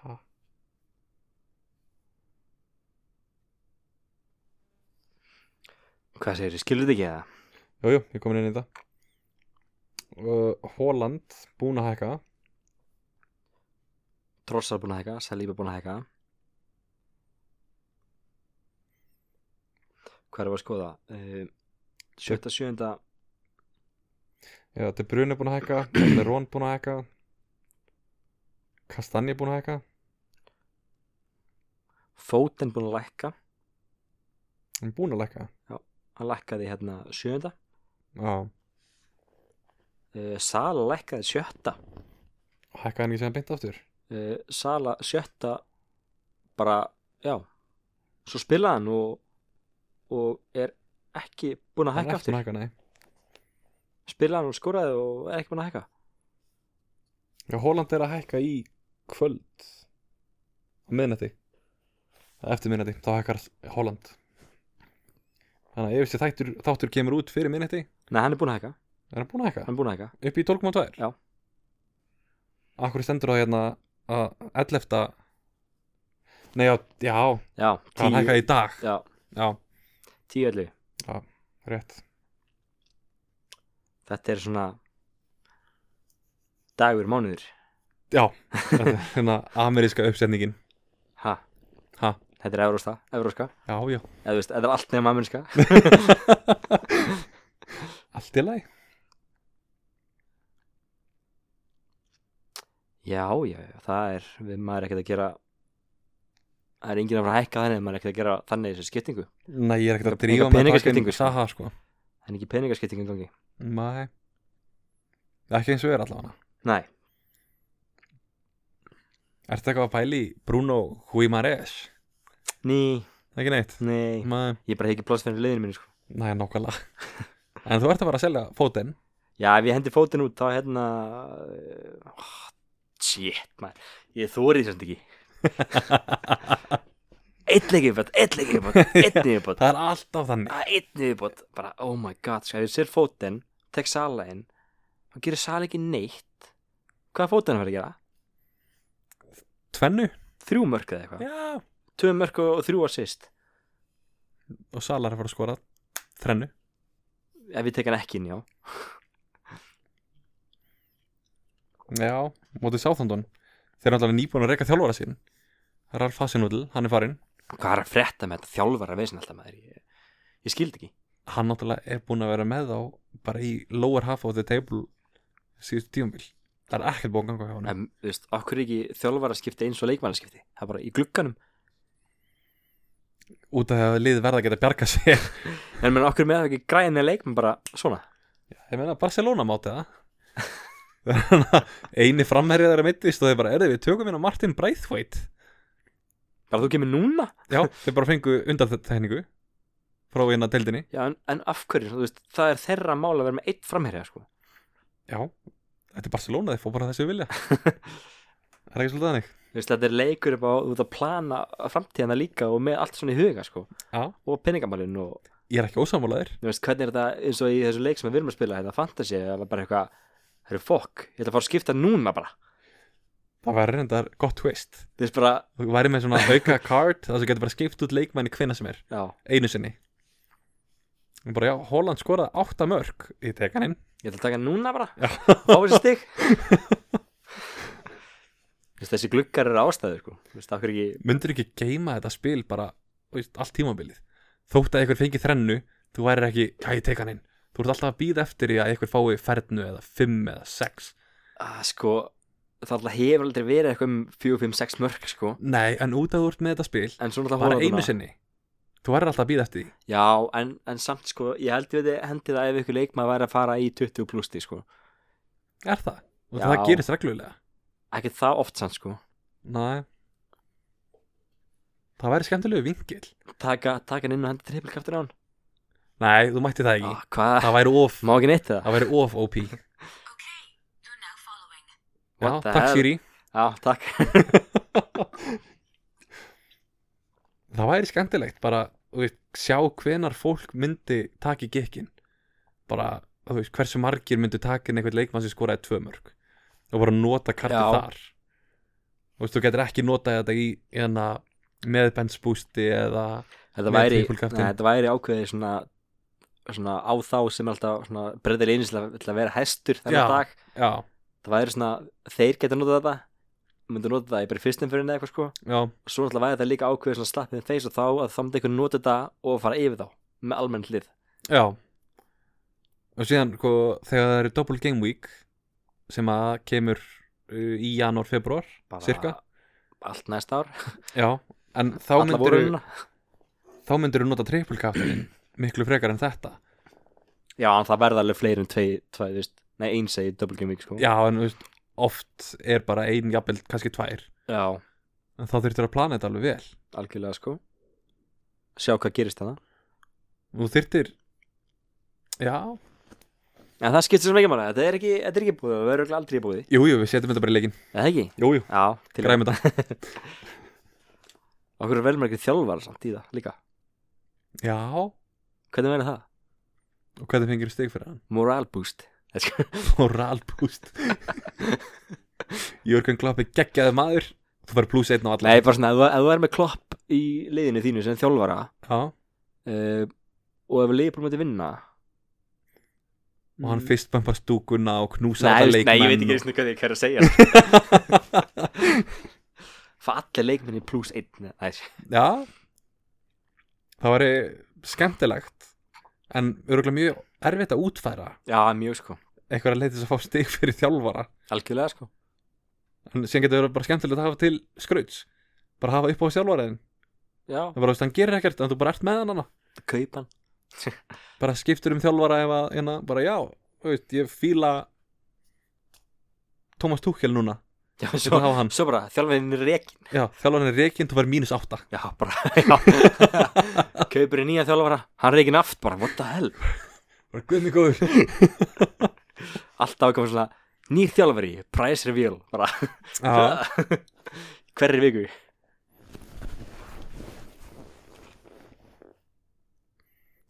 ha Hvað segir þið? Skilur þið ekki það? Jújú, ég er komin inn í þetta uh, Holland, búin að hækka Trossar búin að hækka, Saliba búin að hækka Hvað er að skoða? Uh, 7. 7. Já, De Bruyne er búin að hækka Lerón búin að hækka Kastanje búin að hækka Fóten búin að lækka Hann er búin að hækka Hann lækkaði hérna 7. Já, Uh, Sala lækkaði 7. hækka hann ekki sem beint aftur Uh, Sala 7. Bara, já Svo spilaði hann og, og er ekki búin að Hann er hækka ekki búinn aftur að hækka, nei Spilaði hann og skoraði og er ekki búin að hækka Já, Holland er að hækka í kvöld á miðnætti Eða eftir miðnætti, þá hækkar Holland þannig að ef þessi þættur, þáttur kemur út fyrir miðnætti Nei, hann er búin að hækka, er hann búin að hækka, hann er búin að hækka upp í 12.2 Já. Akkur stendur það hérna að 11. Nei, já, já, Já, hann 10, hækka í dag já, Já, 10 11 rétt þetta er svona dagur, mánuður Já, þetta er hérna ameríska uppsetningin ha, Ha, þetta er evrósta, evróska já, já, eða þú veist, þetta er allt nefn ameríska allt í lagi já, já, já, það er við, maður er ekkert að gera það er enginn að fara að hækka þannig maður er ekkert að gera þannig í þessu skiptingu Nei, ég er ekkert að Enga drífa með að taka peningaskiptingu, inn sko. Saha, sko það er ekki peningaskiptingu í gangi Nei Ekki eins og er allavega nei, Ertu eitthvað að pæli Bruno Guimares? ný, Ekki neitt? nei Nei, ég bara hef ekki pláss fyrir liðinu mínu sko Nei nákvæmlega En þú ert að fara að selja fótinn já, ef ég hendi fótinn út, þá hérna oh, shit, maður ég þórið sem ekki einn leikir viðbót, einn leikir viðbót, einn viðbót Það er alltaf þannig að einn viðbót bara oh my god, sko, ef ég sér fótinn tek sala inn, þá gerir sala ekki neitt hvað er fótinn að vera að gera? Tvennu? þrjú mörk eða eitthvað, Já tvö mörk og, og þrjú assist Og Salar er að fara að skora Þrennu ef ég tek hann ekki inn, já Já Mótið Sáþondon Þeir eru alltaf nýbúin að reyka þjálfara sín Ralf Hasenudl, hann er farinn hvað er að frétta með þetta þjálfara veginn alltaf maður ég, ég skildi ekki, Hann náttúrulega er búin að vera með þá Bara í lower half of the table Síðust tíumil Það er ekkert búin að ganga hjá hann en þú veist, okkur ekki þjálfara skipti eins og leikmanna skipti það er bara í glugganum, Út af því að liðið verða að geta bjarga sér en menn okkur með það ekki græna leikmann bara svona Ég meina Barcelona máti það Einu framherrið þeirra meittist og þeir bara, erðu við tökum hérna Martin Braithwaite bara þú kemur núna, Já, þeir bara fengu undanþekningu frá hérna deildinni já, en, en af hverju þú veist, það er þeirra mál að vera með eitt framherja sko. Já, þetta er Barcelona, þeir fór bara þessi vilja Það er ekki svolítið þannig Þú veist, þetta er leikur upp á, þú ert að plana framtíðana líka og með allt svona í huga, sko, Já, og peningamálin og, ég er ekki ósammálaður þú veist, hvernig er þetta eins og í þessu leik sem við erum að spila, þetta fantasy, það var bara eitthvað, það eru fokk, ég ætla að fara að skipta núna bara, Það væri reyndar gott twist þú veist, bara, Þú væri með svona auka card þar sem getur bara skipt út leikmæni hvenna sem er já, einu sinni Og bara já, Holland skoraði átta mörg í tekaninn ég ætla að taka núna bara, Já. fá þessi stig. Þú veist, þessi gluggar eru ástæður, sko, þú veist, okkur ekki, myndir ekki geima þetta spil bara þú veist, allt tímabilið þótt að einhver fengi þrennu þú værir ekki, já ég tek hann inn þú ert alltaf að býða eftir í að einhver fái fernu eða fimm eða sex að, sko, það alltaf hefur aldrei verið eitthvað um 4, 5, 6 mörg, sko, nei, en út að þú ert með þetta spil en svona alltaf bara einu sinni þú værir alltaf að býða eftir því Já, en, en samt sko, ég held ég veit hendi það ef ykkur leikmaður væri að fara í 20 plusti sko er það? og Já. það gerist reglulega ekki það oft samt sko nei það væri skemmtilegu vingil taka, taka hann inn og henda trippelkraftur á hann nei, þú mætti það ekki ah, hvað, það væri of, má ekki neitt það það væri of OP já, What the takk hell? Siri já, takk það væri skemmtilegt bara þú veist, sjá hvenar fólk myndi taki gekkin bara þú veist, hversu margir myndu taka inn einhvern leikmann sem skoraði tvö mörg og bara nota kartið Já. þar þú veist, þú getur ekki notað þetta í hérna meðbensbústi eða þetta Með væri, triple captain. neð, þetta væri ákveðið svona svona á þá sem er alltaf svona breyðir einnig til að, til að vera hestur Já. þennan dag já, það væri svona, þeir geta notað þetta myndu nota það, ég bara fyrstum fyrir neða eitthvað sko já, og svo náttúrulega væri það líka ákveðið svona slappið þeim face og þá að þá myndi einhvern nota þetta og fara yfir þá með almenn hlið já og síðan hva, þegar það eru double game week sem að kemur uh, í janúar, februar bara Sirka? allt næsta ár, já, en þá alla myndir vorunna þá myndir þú nota triple captain miklu frekar en þetta já, en það verða alveg fleiri en tvei, tvei þú veist, nei, eins eigi double game week sko já, en þú veist, oft er bara ein, jafnvel, kannski tvær Já, en þá þurftir að plana þetta alveg vel algjörlega sko sjá hvað gerist þarna þú þurftir já, en það skiptir sem ekki manna, þetta er ekki, þetta er ekki búið það verður örugglega aldrei búið, jú, jú, við setjum þetta bara í leikin er það ekki? jú, jú, Já, til græmum þetta okkur er velmerkið þjálfar samt í það líka já, og hvernig verður það? hvað þið fengir stig fyrir hann Morale boost Nei, sko, moral boost Jörgen Klopp er geggjaði maður þú fær pluss einn á alla Nei, bara svona, ef þú- ef þú er með klopp í liðinu þínu sem þjálfara já, uh, og ef liðbúl mætti vinna og hann fyrst bæmpar stúkuna og knúsar Mm. Nei, alla veist, nei, ég veit leikmenn ekki og- einu sinni hvað ég hver að segja sko. Fá allir leikmenni pluss einn Nei, Já Það væri skemmtilegt En örgulega mjög erfitt að útfæra já, mjög sko einhverja leið til þess að fá stig fyrir þjálfara Algjörlega sko En síðan getur það bara skemmtilegt að hafa til skrauts Bara hafa upp á þjálfaraðin Já, Það bara, veist, hann gerir ekkert en þú bara ert með hann hana kaupan Bara skiptur um þjálfara ef að hérna, bara já, þú veist, ég fíla Thomas Tuchel núna Já, Ég vil svo, hafa hann svo bara, þjálfarinn er rekin Já, þjálfarinn er reikind og var mínus átta Já, bara, já Kaupir í nýja þjálfara, hann reygin aft bara, what the hell Bara guðmi góður Alltaf komið svona, nýr þjálfari, price reveal bara, Já, hverri viku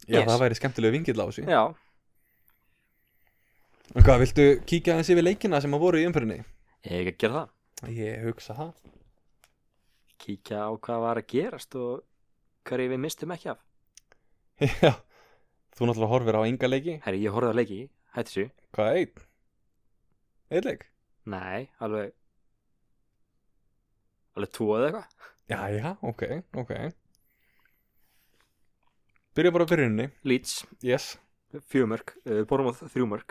já Yes. það væri skemmtilegu vingill á þessu Já, En hvað, viltu kíkja aðeins yfir leikina sem að voru í umfyrinni? ég hef ekki að gera það Ég hugsa það Kíkja á hvað var að gerast og hverju við mistum ekki af Já, þú náttúrulega horfir á enga leiki Herri, ég horfði á leiki, hætti þessu Hvað, einn? Einn leik? Nei, alveg Alveg tvo eða eitthvað Já, já, ok, ok Byrja bara á byrjuninni Leeds, Yes fjögumörk, uh, Bormóð þrjúmörk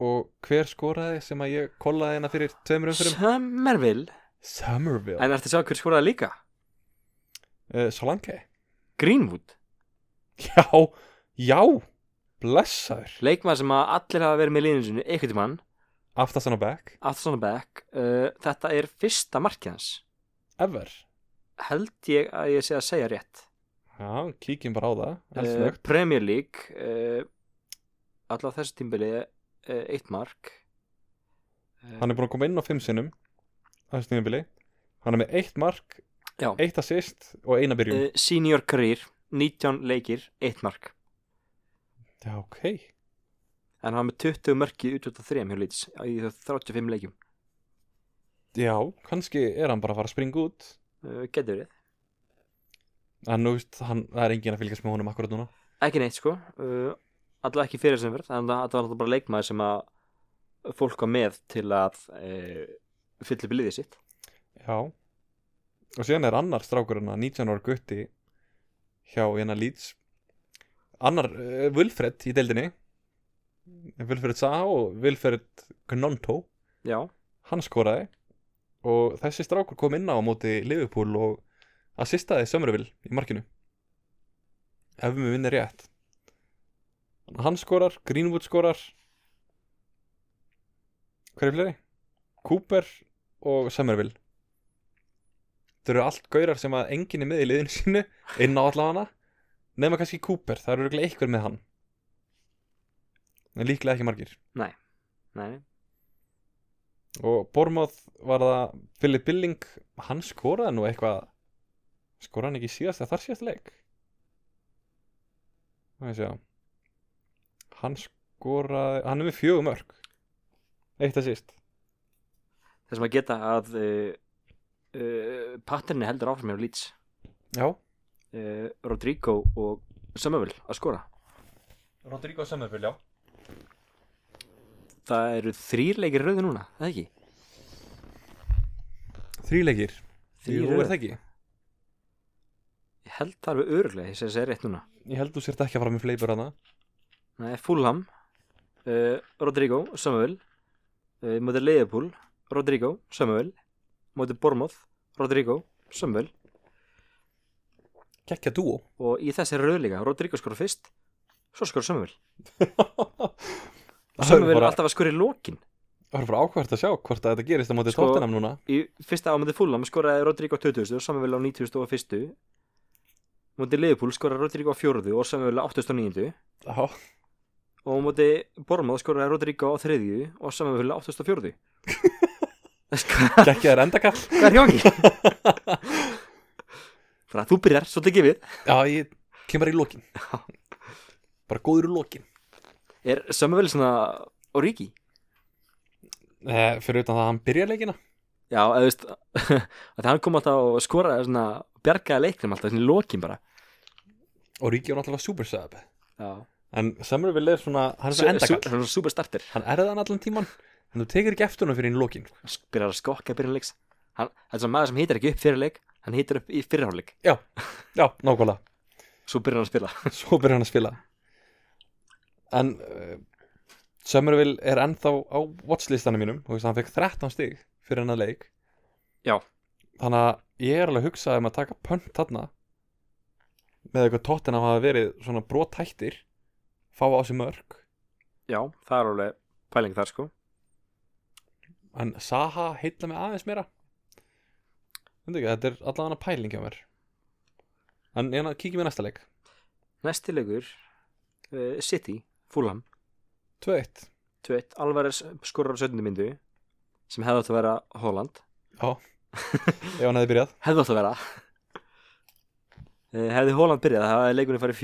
Og hver skoraði sem að ég kollaði hérna fyrir tveimur umfyrum? Summerville, Summerville en ertu að sjá hver skoraði líka? uh, Solanke Greenwood, Já, já, blessaður leikmaður sem að allir hafa verið með líðinsinu, einhvern tímann Aftastan á back, Aftarsson og Beck uh, þetta er fyrsta markið hans ever held ég að ég sé að segja rétt Já, kíkjum bara á það uh, uh, Premier League uh, allavega þessu tímbili uh, eitt mark Hann er búin að koma inn á fimm sinnum Það er sniðanbili Hann er með eitt mark, Já. eitt assist og eina byrjun uh, senior career, 19 leikir eitt mark, Já, ok en hann var með 20 mörkið út út af þrejum hjá Leeds í 35 leikjum, Já, kannski er hann bara að fara að springa út uh, getur við En þú veist, hann, það er enginn að fylgjast með honum akkurat núna ekki neitt sko uh, allavega ekki fyrir sem verð en það þetta var alltaf bara leikmaður sem að fólk var með til að uh, fylla upp í liðið sitt Já Og síðan er annar strákurinn að 19 ára gutti hjá hérna Leeds Annar, uh, Wilfred í deildinni Wilfred Saha og Wilfred Gnonto já, Hann skoraði Og þessi strákur kom inn á á móti Liverpool og assistaði Sömruville í markinu Ef við vinnir rétt Hann skorar, Greenwood skorar Hver er fleiri? Cooper og Somerville Þau eru allt gaurar sem að enginn er með í liðinu sínu inn á allafana nema kannski Cooper, það eru örugglega einhver með hann en líklega ekki margir nei, nei. og Bormáð var það Philip Billing, hann skoraði nú eitthvað skoraði hann ekki síðast eða þar síðast leik það sé að hann skoraði hann er með fjögum örk eitt að síst þess að geta að uh, uh, patterni heldur áfram hjá Leeds Eh, já, uh, Rodrigo og Samuel að skora Rodrigo Summerfield, já Það eru þrýr leikir rauði núna, er það ekki? Þríleikir, Þrír Jú, er rauðir. það ekki? Ég held það alveg öruglega, ég sé að það er rétt núna Ég held þú sért ekki að fara með fleipur hana Nei, Fulham uh, Rodrigo, Samuel uh, Mótið Leifupúl, Rodrigo, Samuel Mótið Bormoth, Rodrigo, Samuel Kekja dúo Og í þessi rauðleika, Rodrigo skor fyrst Svo skor Samuel Það verður Samuel bara, alltaf að skori lókin það verður bara ákvært að sjá hvort að þetta gerist á móti Sko- sko... Tottenham núna Í fyrsta á mótið Fulham skoraði Rodrigo á 20. og Samuel á 90. og 1. Mótið Leifupúl skoraði Rodrigo á 4. og Samuel á 89. Já, og á móti Bormoth skoraði Rodrigo á 3. og Samuel á 84. Sko Kekja er endakall Hvað er hjóngi? Bara þú byrjar, svo tekið við Já, ég kem bara í lokin Bara góður í lokin Er Samuel svona Origi? eh, Fyrir utan það að hann byrja leikina Já, eða þú veist að hann kom alltaf og skoraði svona bjargaði leiknum alltaf, svona í lokin bara og Ríki var náttúrulega super sub Já, En Summerville er svona, hann er svona endakall Svona super starter Hann erði hann allan tíman En þú tekir ekki eftir hann fyrir hinn í lokin Hann byrjar að skokka byrjan leiks Hann, þetta er svona maður sem hýtar ekki upp fyrir leik Hann hýtar upp í fyrirháleik Já, nákvæmlega Svo byrjar hann að spila svo byrjar hann að spila en uh, Summerville er ennþá á watchlistanum mínum og hann fekk 13 stig fyrir hennar leik Já. þannig að ég er alveg að hugsa um að taka pönt þarna með eitthvað tóttin að hafa verið svona brotættir fá á sig mörg Já, það er alveg pæling þar sko en Saha heilla mig aðeins meira Veit ekki, þetta er allavega hana pæling hjá mér en ég kíkjum í næsta leik Næsti leikur uh, City, Fulham 2-1 2-1 Alvarez skorar á 17. myndu sem hefði átt að vera Holland ef hann hefði byrjað hefði átt að vera Eh, hefði Holland byrjað það hefði leikunni farið 4-1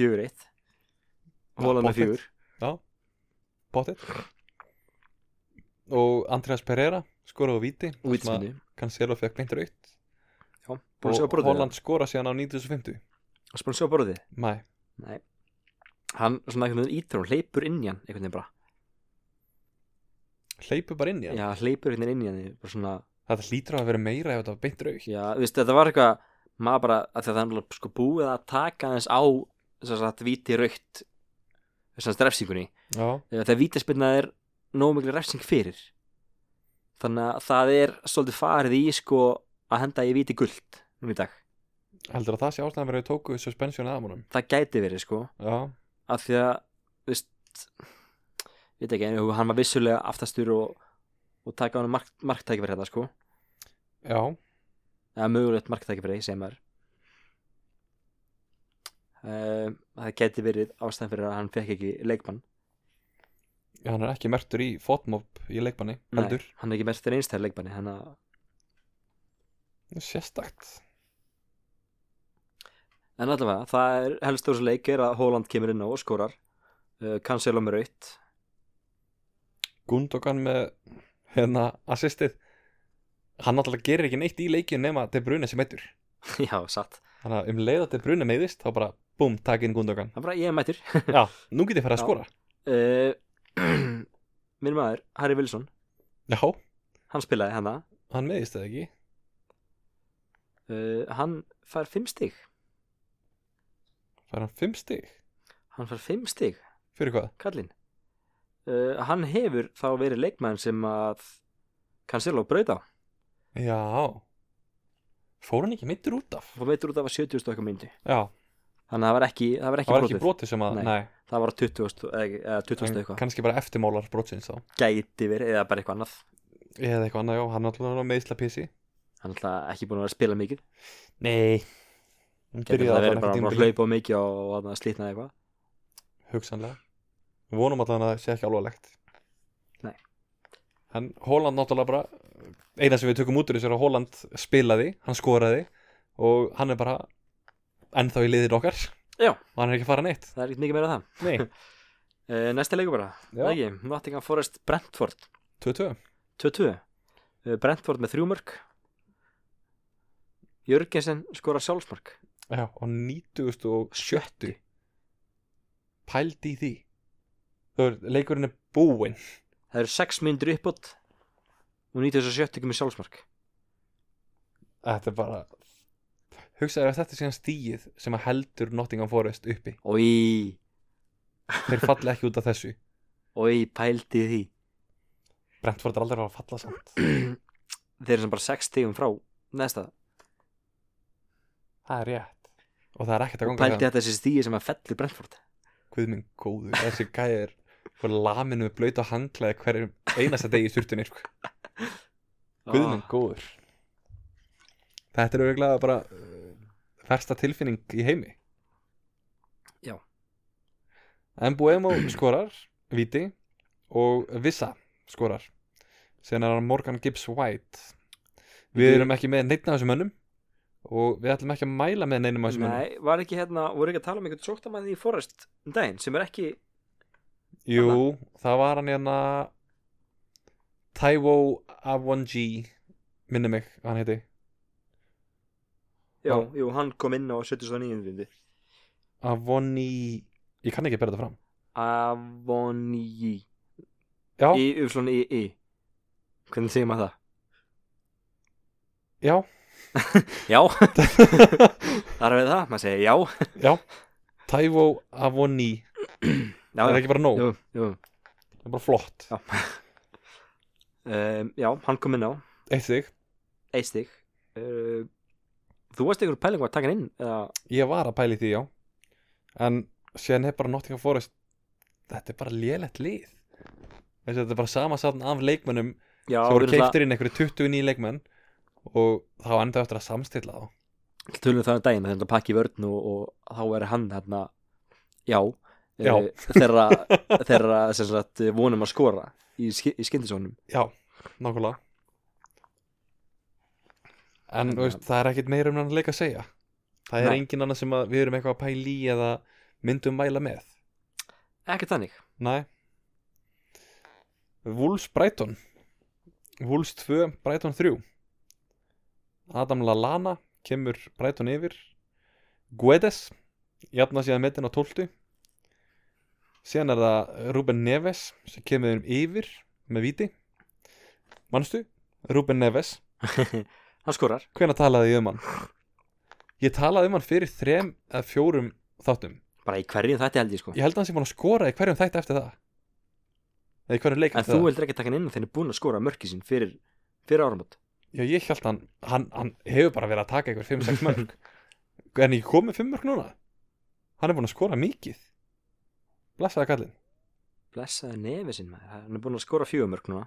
Holland með pottþétt. 4 bóttið og Andreas Pereira skoraði á víti og vítismyndu Cancelo fekk beint rautt búin að sjá og borðið Holland skora síðan á 1950 og búin að sjá borðið mæ, hann svona einhvern veginn ítur hún hleypur inn í hann einhvern veginn bara hleypu bara inn í hann já hleypur einhvern veginn inn í hann bara svona þetta hlýtur að vera meira ef þetta var beint rautt já þú veist þetta var eitthvað maður bara að því að það er náttúrulega sko búið að taka aðeins á þess að þetta víti raukt þess að strefsingunni já, Eh, þegar vítaspilna er nógu miklu refsing fyrir þannig að það er svolítið farið í sko að henda ég víti guld um í dag, heldur að það sé ástæðan verið að þau tóku suspension að múnum það gæti verið sko já, af því að þú veist, við ekki, en hann var vissulega aftastur og, og taka hann mark, marktækifæri þetta sko já, eða mögulegt marktækifæri sem er um, það gæti verið ástæðan fyrir að hann fekk ekki leikmann Já, hann er ekki mertur í fotmob í leikmanni heldur, Nei, hann er ekki mest fyrir einstæðar leikmanni þannig að sérstakt En allavega, það er helst á þessu leik er að Holland kemur inn á og skorar uh, Cancelo með raut Gundogan með hérna assistið hann náttúrulega gerir ekki neitt í leikinu nema De Bruyne sem eittur Já, satt Þannig að um leið að De Bruyne meiðist þá bara búm, takk inn Gundogan Það er bara, ég er mættur Já, nú get ég farið að Já. skora uh, Minn maður, Harry Wilson Já, Hann spilaði hérna hann meiðist eða ekki uh, Hann fær fimm stig Fær hann fimm stig Hann fær fimm stig, Fyrir hvað? kallinn uh, Hann hefur þá verið leikmann sem að Cancelo braut á Já Fór hann ekki meittur út af? og veitur út af að 70 stökkum myndi Já, Þannig að það var ekki, það var ekki, það var ekki brotið. brotið sem að Nei, Nei, Það var 20 stu- eða eða 20 en stökkum eitthvað kannski bara eftirmálar brotsins þá Gæti verið, eða bara eitthvað annað Eða eitthvað annað, já, hann er náttúrulega meðisla písi Hann er alltaf ekki búin að vera að spila mikið Nei Getur það að verið bara að hlaupa á mikið og og þarna slitnaði eitthvað Hugsanlega Við vonum allan að það sé ekki alvarlegt Nei. En Holland náttúrulega bara eina sem við tökum út úr þessu er að Holland spilaði, hann skoraði og hann er bara ennþá í liðin okkar Já. og hann er ekki að fara neitt Það er ekkert mikið meira en það Nei, uh, Næsta leikur bara, það ekki, Nottingham Forest Brentford 22 2-2 uh, Brentford með þrjúmörk Jörgensen skora sjálfsmark Já, og 90 og 70 Pældi í því þú veist, leikurinn er búinn Það eru 6 myndir uppbót og 97 ekki með sjálfsmark þetta er bara hugsaður að þetta sé hann stíið sem að heldur Nottingham Forest uppi Ói, þeir falla ekki út af þessu ói, pældi því Brentford er aldrei að fara að falla samt Þeir eru sem bara 6 stigum frá næsta það er rétt og það er ekkert að ganga Pældi þetta þessi stíi sem að fellir Brentford hvað minn góður, þessi gæðir fyrir laminu með blöyt og handklæði hverjum einasta degi í styrtunni sko. hvað minn góður þetta er auðvitað bara uh, versta tilfinning í heimi Já. en Buemo skorar viti og Vissa skorar sen er hann Morgan Gibbs White við Bíddu. erum ekki með neitt af þessum mönnum og við ætlum ekki að mæla með neinum af þessum mönnum Nei, var ekki hérna, voru ekki að tala um einhvern sóttamann í Forrest um daginn sem er ekki Jú, það var hann hérna Taiwo A1G minni mig, hvað hann heiti Já, Já. jú, hann kom inn á 79. myndi Avoni, ég kann ekki bera þetta fram Avonji Já, Í, umslun, í, í Hvernig segir maður það? já, Já, það er við það, maður segir já já Taiwo Avoni, það já, er ekki bara nóg jú, jú. það er bara flott, Já. Um, já, hann kom inn á eitt þig eitt stig uh, Þú varst ykkur pæling var að taka hann inn eða, Ég var að pæli því, já En síðan er bara Nottingham Forest Þetta er bara lélegt lið Þessi, Þetta er bara sama saman af leikmönnum Já, sem voru við erum keiftir inn einhverju 29 leikmenn og þá enda eftir að samstilla þá það tölum það um daginn þannig að pakki vörn og, og þá er hann hérna já, Já. eh, þeirra, þeirra sem sagt eh, vonum að skora í, ski- í skyndisónum Já, nákvæmlega En Þannig þú veist, það er ekkit meira um hann leik að segja Það er Nei. engin annað sem að við erum eitthvað að pæla í eða myndum mæla með Ekkert þannig Nei Wolves Brighton Wolves 2, Brighton 3 Adam Lallana kemur Brighton yfir Guedes jafna síðan metin á 12 síðan er það Ruben Neves sem kemur þeim yfir með viti manstu? Ruben Neves Hann skorar hvenær talaði ég um hann? ég talaði um hann fyrir þrem eða fjórum þáttum bara í hverjum þetta held ég sko ég held að hann sé búin að skora í hverjum þætti eftir það eða í hverjum leik en eftir þú það. vildir ekki taka hann inn þegar hann er búin að skora mörki sín fyrir, fyrir áramót Já, ég held hann, hann, hann hefur bara verið að taka ykkur 5-6 mörg En ég kom með 5 mörg núna Hann er búin að skora mikið Blessaði kallinn, blessaði nefið sinn maður hann er búin að skora fjögur mörk núna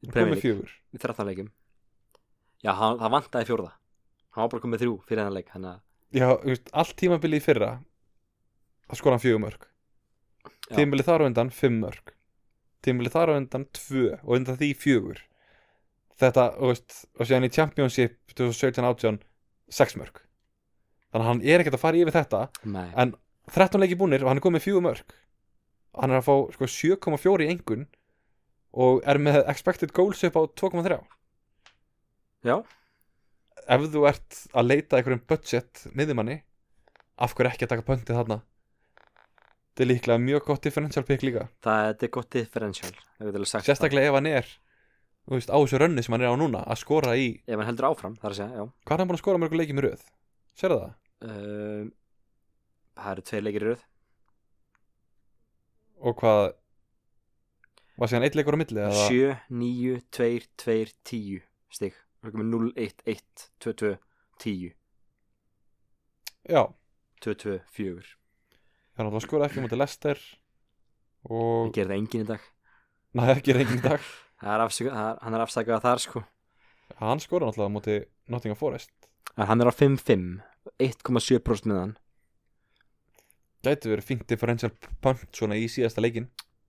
Í hann kom Premier með League, 4 í 13 leikum já, hann, það vantaði fjórða hann var bara komið þrjú fyrir hennar leik þannig að Já, þú veist, allt tímabilið í fyrra Það skora hann 4 mörg Já. Tímabilið þar á undan 5 mörg Tímabilið þar á undan 2 Og undan því 4 Þetta, þú veist, og síðan í Championship 2017-18 6 mörg Þannig að hann er ekkert að fara yfir þetta nei, En 13 leiki búnir og hann er komið fjögur mörg Hann er að fá sko, 7,4 í engun Og er með expected goals upp á 2,3 Já. Ef þú ert að leita einhverjum budget miðjumanni Af hverju ekki að taka pöntið þarna Þetta er líklega mjög gott differential pick líka það þetta er gott differential ef ég get alveg sagt það. Sérstaklega ef hann er þú veist, á þessu rönni sem hann er á núna Að skora í, ef hann heldur áfram, þar að segja, já hvað er hann búin að skora mörgu leiki með röð? Sérðu það? uh, það eru tveir leikir í röð Og hvað Var síðan eitt leikur á milli? eða- 7, 9, 2, 2, 10 stig, það er komið 0, 1, 1 2, 2, 10 Já 2, 2, 4 Það er náttúrulega skora ekki mútið Lester og það gerði enginn í dag næ, ekki reyngin í dag Það er afsaka, það er, hann er afsakað þar sko hann skora náttúrulega mútið Nottingham Forest en hann er á 5-5 1,7% með hann gæti verið fínt differential punt svona í síðasta leikin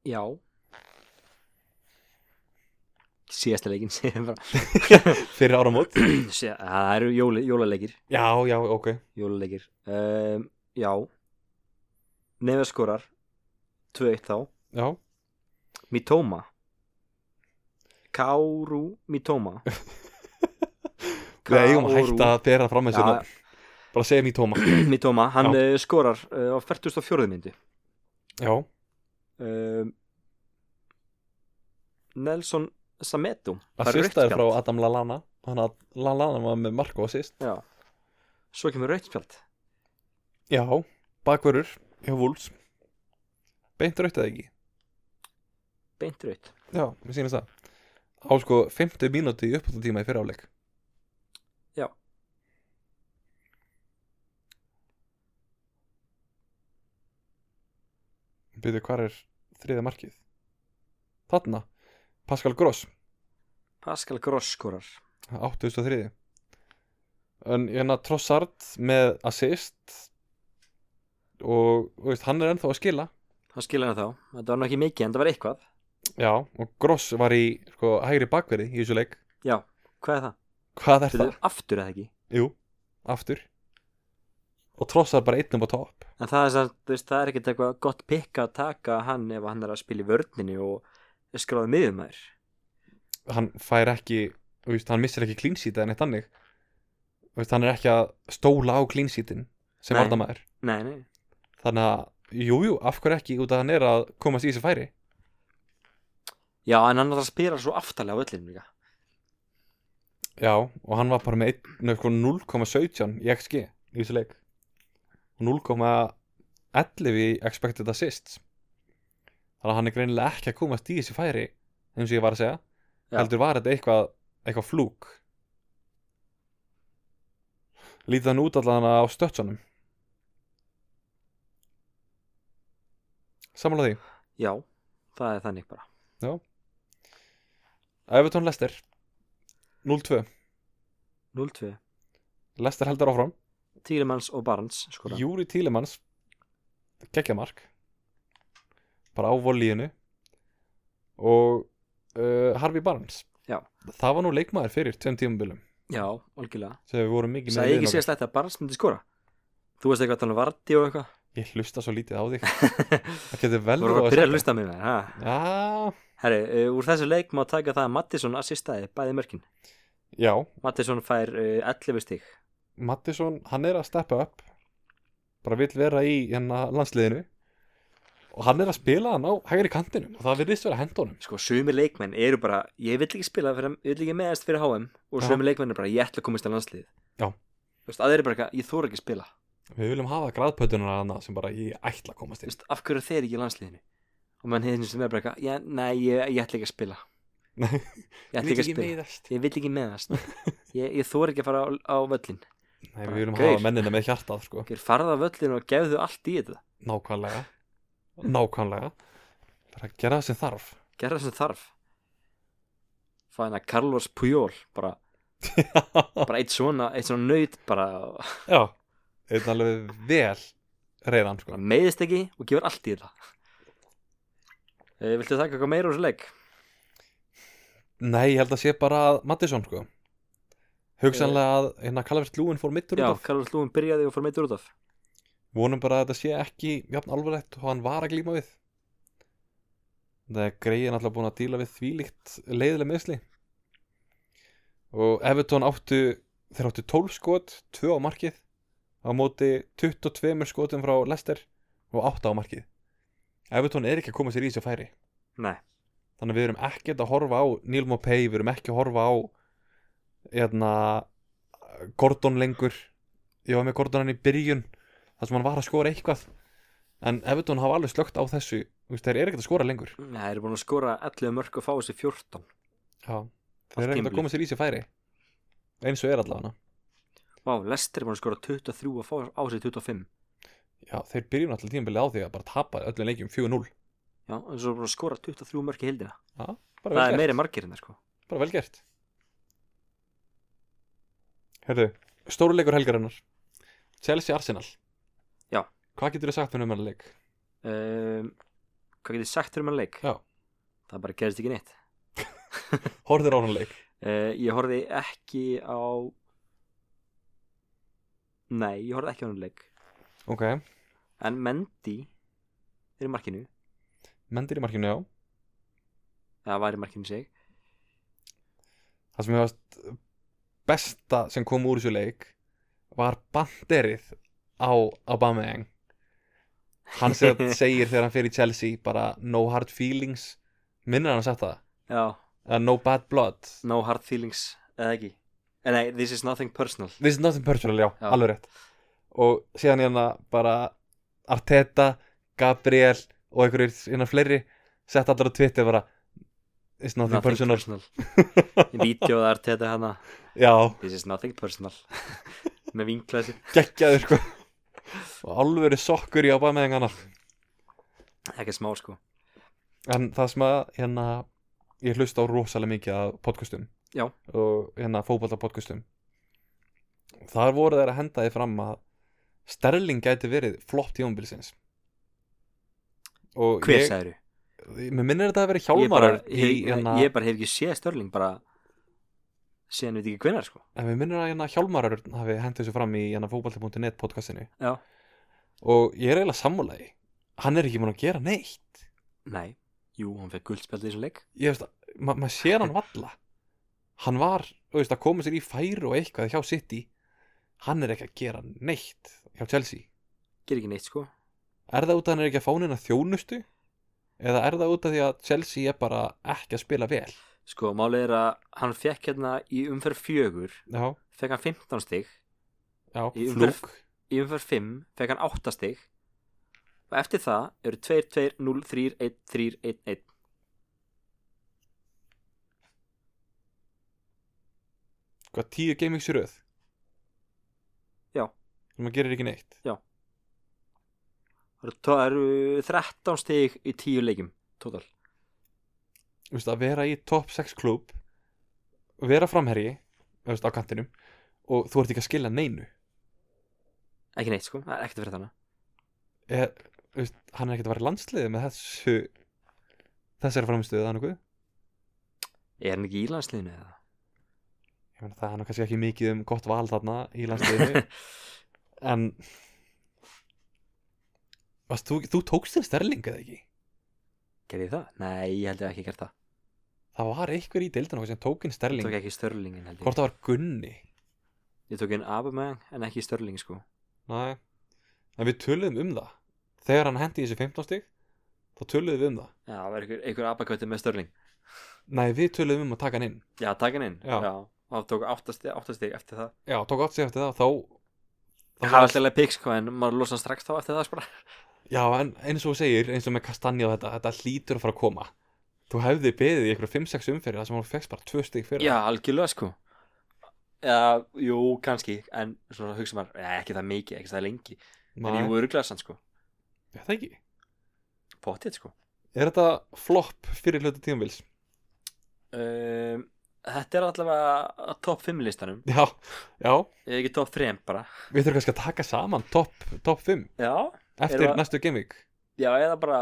Já Síðasta leikinn segi ég bara. fyrir áramót Sé- Það eru jóli, jólaleikir já, já, ok Jólaleikir um, Já Nefið skorar 2-1 þá já, Mitoma Káru Mitoma við eigum að hætta að bera fram þessu Já. nafn. bara segja mér Tóma Mitoma, hann eh, Já. já. skorar uh, á 44. myndi já, um, Nelson Sametu fær rautt Assista er spjald. frá Adam Lallana Þannig að Lallana var með Marko assist Já. Svo kemur rautspjald Já, bakverur hjá Wolves Beint raut eða ekki Beint raut Já, mér sýnast það Á sko 50 mínúti í uppbúttatíma í fyrir áleik Já. Býðu, hvar er þriða markið? Þarna Pascal Gross Pascal Gross skorar 83 en hérna Trossard með assist og þú veist, hann er ennþá að skila þá skilja hann þá, þetta var nú ekki mikið en það var eitthvað já, og Gross var í sko, hægri bakverði í þessu leik Já, hvað er það? hvað er Þetta það? er aftur eða ekki Jú, aftur og Trossard bara einnum á topp En það er, samt, þú veist, það er ekkert eitthvað gott pikka að taka hann ef hann er að spila í vörninni og er skráði miðjumæður hann fær ekki, þú veist, hann missir ekki klínsítið en eitt annig veist, hann er ekki að stóla á klínsítin sem Nei. vartamæður Nei, nei, þannig að, jú, jú, af hverju ekki út að hann er að komast í þessu færi já en hann er að spila svo aftarlega á öllum líka Já, og hann var bara með einn- nei, sko, 0,17 í XG í þessu leik og 0,11 í expected assists þannig að hann er greinilega ekki að komast í þessi færi eins og ég var að segja Já. heldur var þetta eitthvað, eitthvað flúk lítið hann út allan á stötsunum Samanlega því Já, það er þannig bara Evertón Lester 0-2 0-2, Lester heldur áfram Týrimanns og Barnes skora Júri Tílemans geggja mark bara á volíinu og uh, Harvey Barnes Já. það var nú leikmaður fyrir tveim tímabilum Já, algjörlega sem við vorum mikið Sæði liðin ekki okkar. síðast þetta að Barnes myndi skora Þú veist eitthvað þannig varti og eitthvað ég hlusta svo lítið á þig það getur vel Þú voru að byrja að hlusta á mig með það já, Herri, uh, úr þessu leik má taka það að Mattisson assistaði bæði mörkin já, Mattisson fær uh, 11 stík Mattisson hann er að steppa upp bara vill vera í hérna landsliðinu og hann er að spila hann á hægri kantinum og það virðist vera hendunum Sko, sumir leikmenn eru bara Ég vill ekki spila, fyrir, ég vill ekki meðast fyrir HM Og Já. sumir leikmenn eru bara, ég ætla að komast á landslið Já. Þú veist, aðeir eru bara eitthvað, ég þóra ekki að spila Þú við viljum hafa græðpötunar hann sem bara ég ætla að komast inn veist, af hverju eru þeir ekki í landsliðinu Og mann hefðin sem er bara eitthvað, já, nei, ég, ég ætla ekki að spila Nei. Ég ætla ekki að spila meðast Ég vill ekki meðast Ég, ég þóra ekki að fara á, á völlin Nei, Bara við viljum gaur. hafa mennina með hjartað, sko. Þeir farða á völlin og gefðu allt í þetta Nákvæmlega. Nákvæmlega. Bara gera það sem þarf. Gerða sem þarf Fæna Carlos Puyol Bara, bara eitt svona Eitt svona nöyt, bara Já. Einn alveg vel reyðan, sko. hann meiðist ekki og gefur allt í þetta e, Viltu taka eitthvað meira úr þessu leik? Nei, ég held að sé bara að Mattisson, sko. Hugsanlega að hérna Kalvert Lúin fór mittur Já, út af. Karol Lúin byrjaði og fór meittur út af Vonum bara að þetta sé ekki jafn alvarlegt og hann var að glíma við. Það er greiðin alltaf búin að díla við þvílíkt leiðileg meðsli. Og Everton áttu, þeir áttu 12 skot, 2 á markið á móti 22 skotum frá Leicester og 8 á markið. Everton er ekki að koma sér í þessu færi. Nei, Þannig að við erum ekkert að horfa á Neil Mopay, við erum ekki að horfa á hérna, Gordon lengur ég var með Gordon hann í byrjun þar sem hann var að skora eitthvað en Everton hafa alveg slögt á þessu þú veist, þeir eru ekkert að skora lengur Nei, þeir eru búin að skora 11 mörg og fá þessi 14 Já. þeir eru ekkert tímabilið. að koma sér í sér færi eins og er allavega Vá, Lester er búin að skora 23 og fá á sig 25 Já, þeir byrjun alltaf tímabilið á því að bara tapa öllum leikjum 4-0 Já, en svo er búin að skora 23 mörg í hildina bara, Það vel er gert. meiri margir en það sko bara vel gert Herðu, stóru leikur helgarinnar Chelsea Arsenal Já. Hvað getur þið sagt mér um hennar leik? um, Hvað getið sagt þér um hann leik? Já. Það bara gerist ekki neitt Horður á hennar leik Uh, ég horfði ekki á Nei, ég horfði ekki á hann leik Ok, En Mendy er í markinu mendir í markinu, já eða var í markinu sig það sem ég varst besta sem kom úr þessu leik var banderið á Aubameyang hann sem sagt segir þegar hann fer í Chelsea bara no hard feelings minnir hann að setja það Já, Uh, no bad blood no hard feelings eða ekki Eh, Nei, this is nothing personal this is nothing personal, já, Já. alveg rétt og síðan hérna bara Arteta, Gabriel og einhverjir hérna fleiri sett allar á Twitter bara it's nothing, personal, personal. Vídeóð Arteta hana já, This is nothing personal Með vinklasi geggjaður sko og alveg sokkur í ábæð með hengarnar Ekki smá sko en það sem að hérna ég hlusta á rosalega mikið af podcastum Já. og hérna fótbolta podcastum þar voru þeir að henda því fram að Sterling gæti verið flott tjónbilsins og Hver ég, sagður? mér minnir þetta að vera Ég bara, hjálmarar í, ég, hérna, ég bara hef ekki séð Störling bara síðan við ekki hvenær sko en mér minnir að hérna, hjálmarar hafi hendið þessu fram í hérna, fótbolti.net podcastinu Já. og ég er eiginlega sammúlagi hann er ekki múin að gera neitt Nei, jú, hann fekk guldspjald í þessum leik ég veist að ma maður sér hann valla hann var þú veist, að koma sér í færi og eitthvað hjá City hann er ekki að gera neitt hjá Chelsea Ger ekki neitt sko er það út að hann er ekki að fá neina þjónustu eða er það út af því að Chelsea er bara ekki að spila vel Sko, málið er að hann fekk hérna í umferð fjögur já, fekk hann 15 stig já, Í umferð- flúk í umferð 5 fekk hann 8 stig og eftir það eru 2, 2, 0, 3, 1, 3, 1, 1 hvað tíu gamings í röð Já. sem að gerir ekki neitt Það eru- það eru 13 stig í 10 leikim total Þú veist, að vera í top 6 klub vera framherji þú veist, á kantinum og þú ert ekki að skila neinu ekki neitt sko, það er ekkert að fyrir þannig er, þú veist, hann er ekkert að vera í landsliði með þessu þessari framstöðu þannig ég er hann ekki í landsliðinu eða? meina það er nú kannski ekki mikið um gott val þarna í landsliðinu en Vast, þú, þú tókst þér sterling eða ekki gerði ég það? Nei, ég held ég ekki gert það það var einhver í deildinu sem tók inn ég sterling tók ekki störlingin held ég hvort það var Gunni ég tók einn abamæg en ekki störling sko Nei. en við töluðum um það þegar hann hendi í þessi 15 stig þá töluðum við um það já, það var einhver, einhver abakvætti með störling nei við töluðum um að taka hann inn já, taka hann inn Já. það tók 8 stig, 8 stig eftir það já tók átt sig eftir það þá, þá það var alltaf leið pikk sko en maður losa hann strax þá eftir það sko Já, en eins og þú segir, eins og með Kastanja og þetta, þetta hlýtur að fara að koma. Þú hefði beðið í ykkur 5-6 umferðir þar sem hún fegst bara 2 stig fyrir. Já, algjörlega sko Já, jú, kannski En svona hugsa maður, ja, ekki það mikið, ekki það lengi En jú, Nei, öruglega sann sko er það ekki. Pottið sko Er þetta flopp fyrir hluti tíumvils? um, Þetta er allavega á topp 5 listanum Já, já, Ef ekki topp 3 bara við þurfum kannski að taka saman topp top 5 Já, eftir Erum við- næstu gameweek. já, eða bara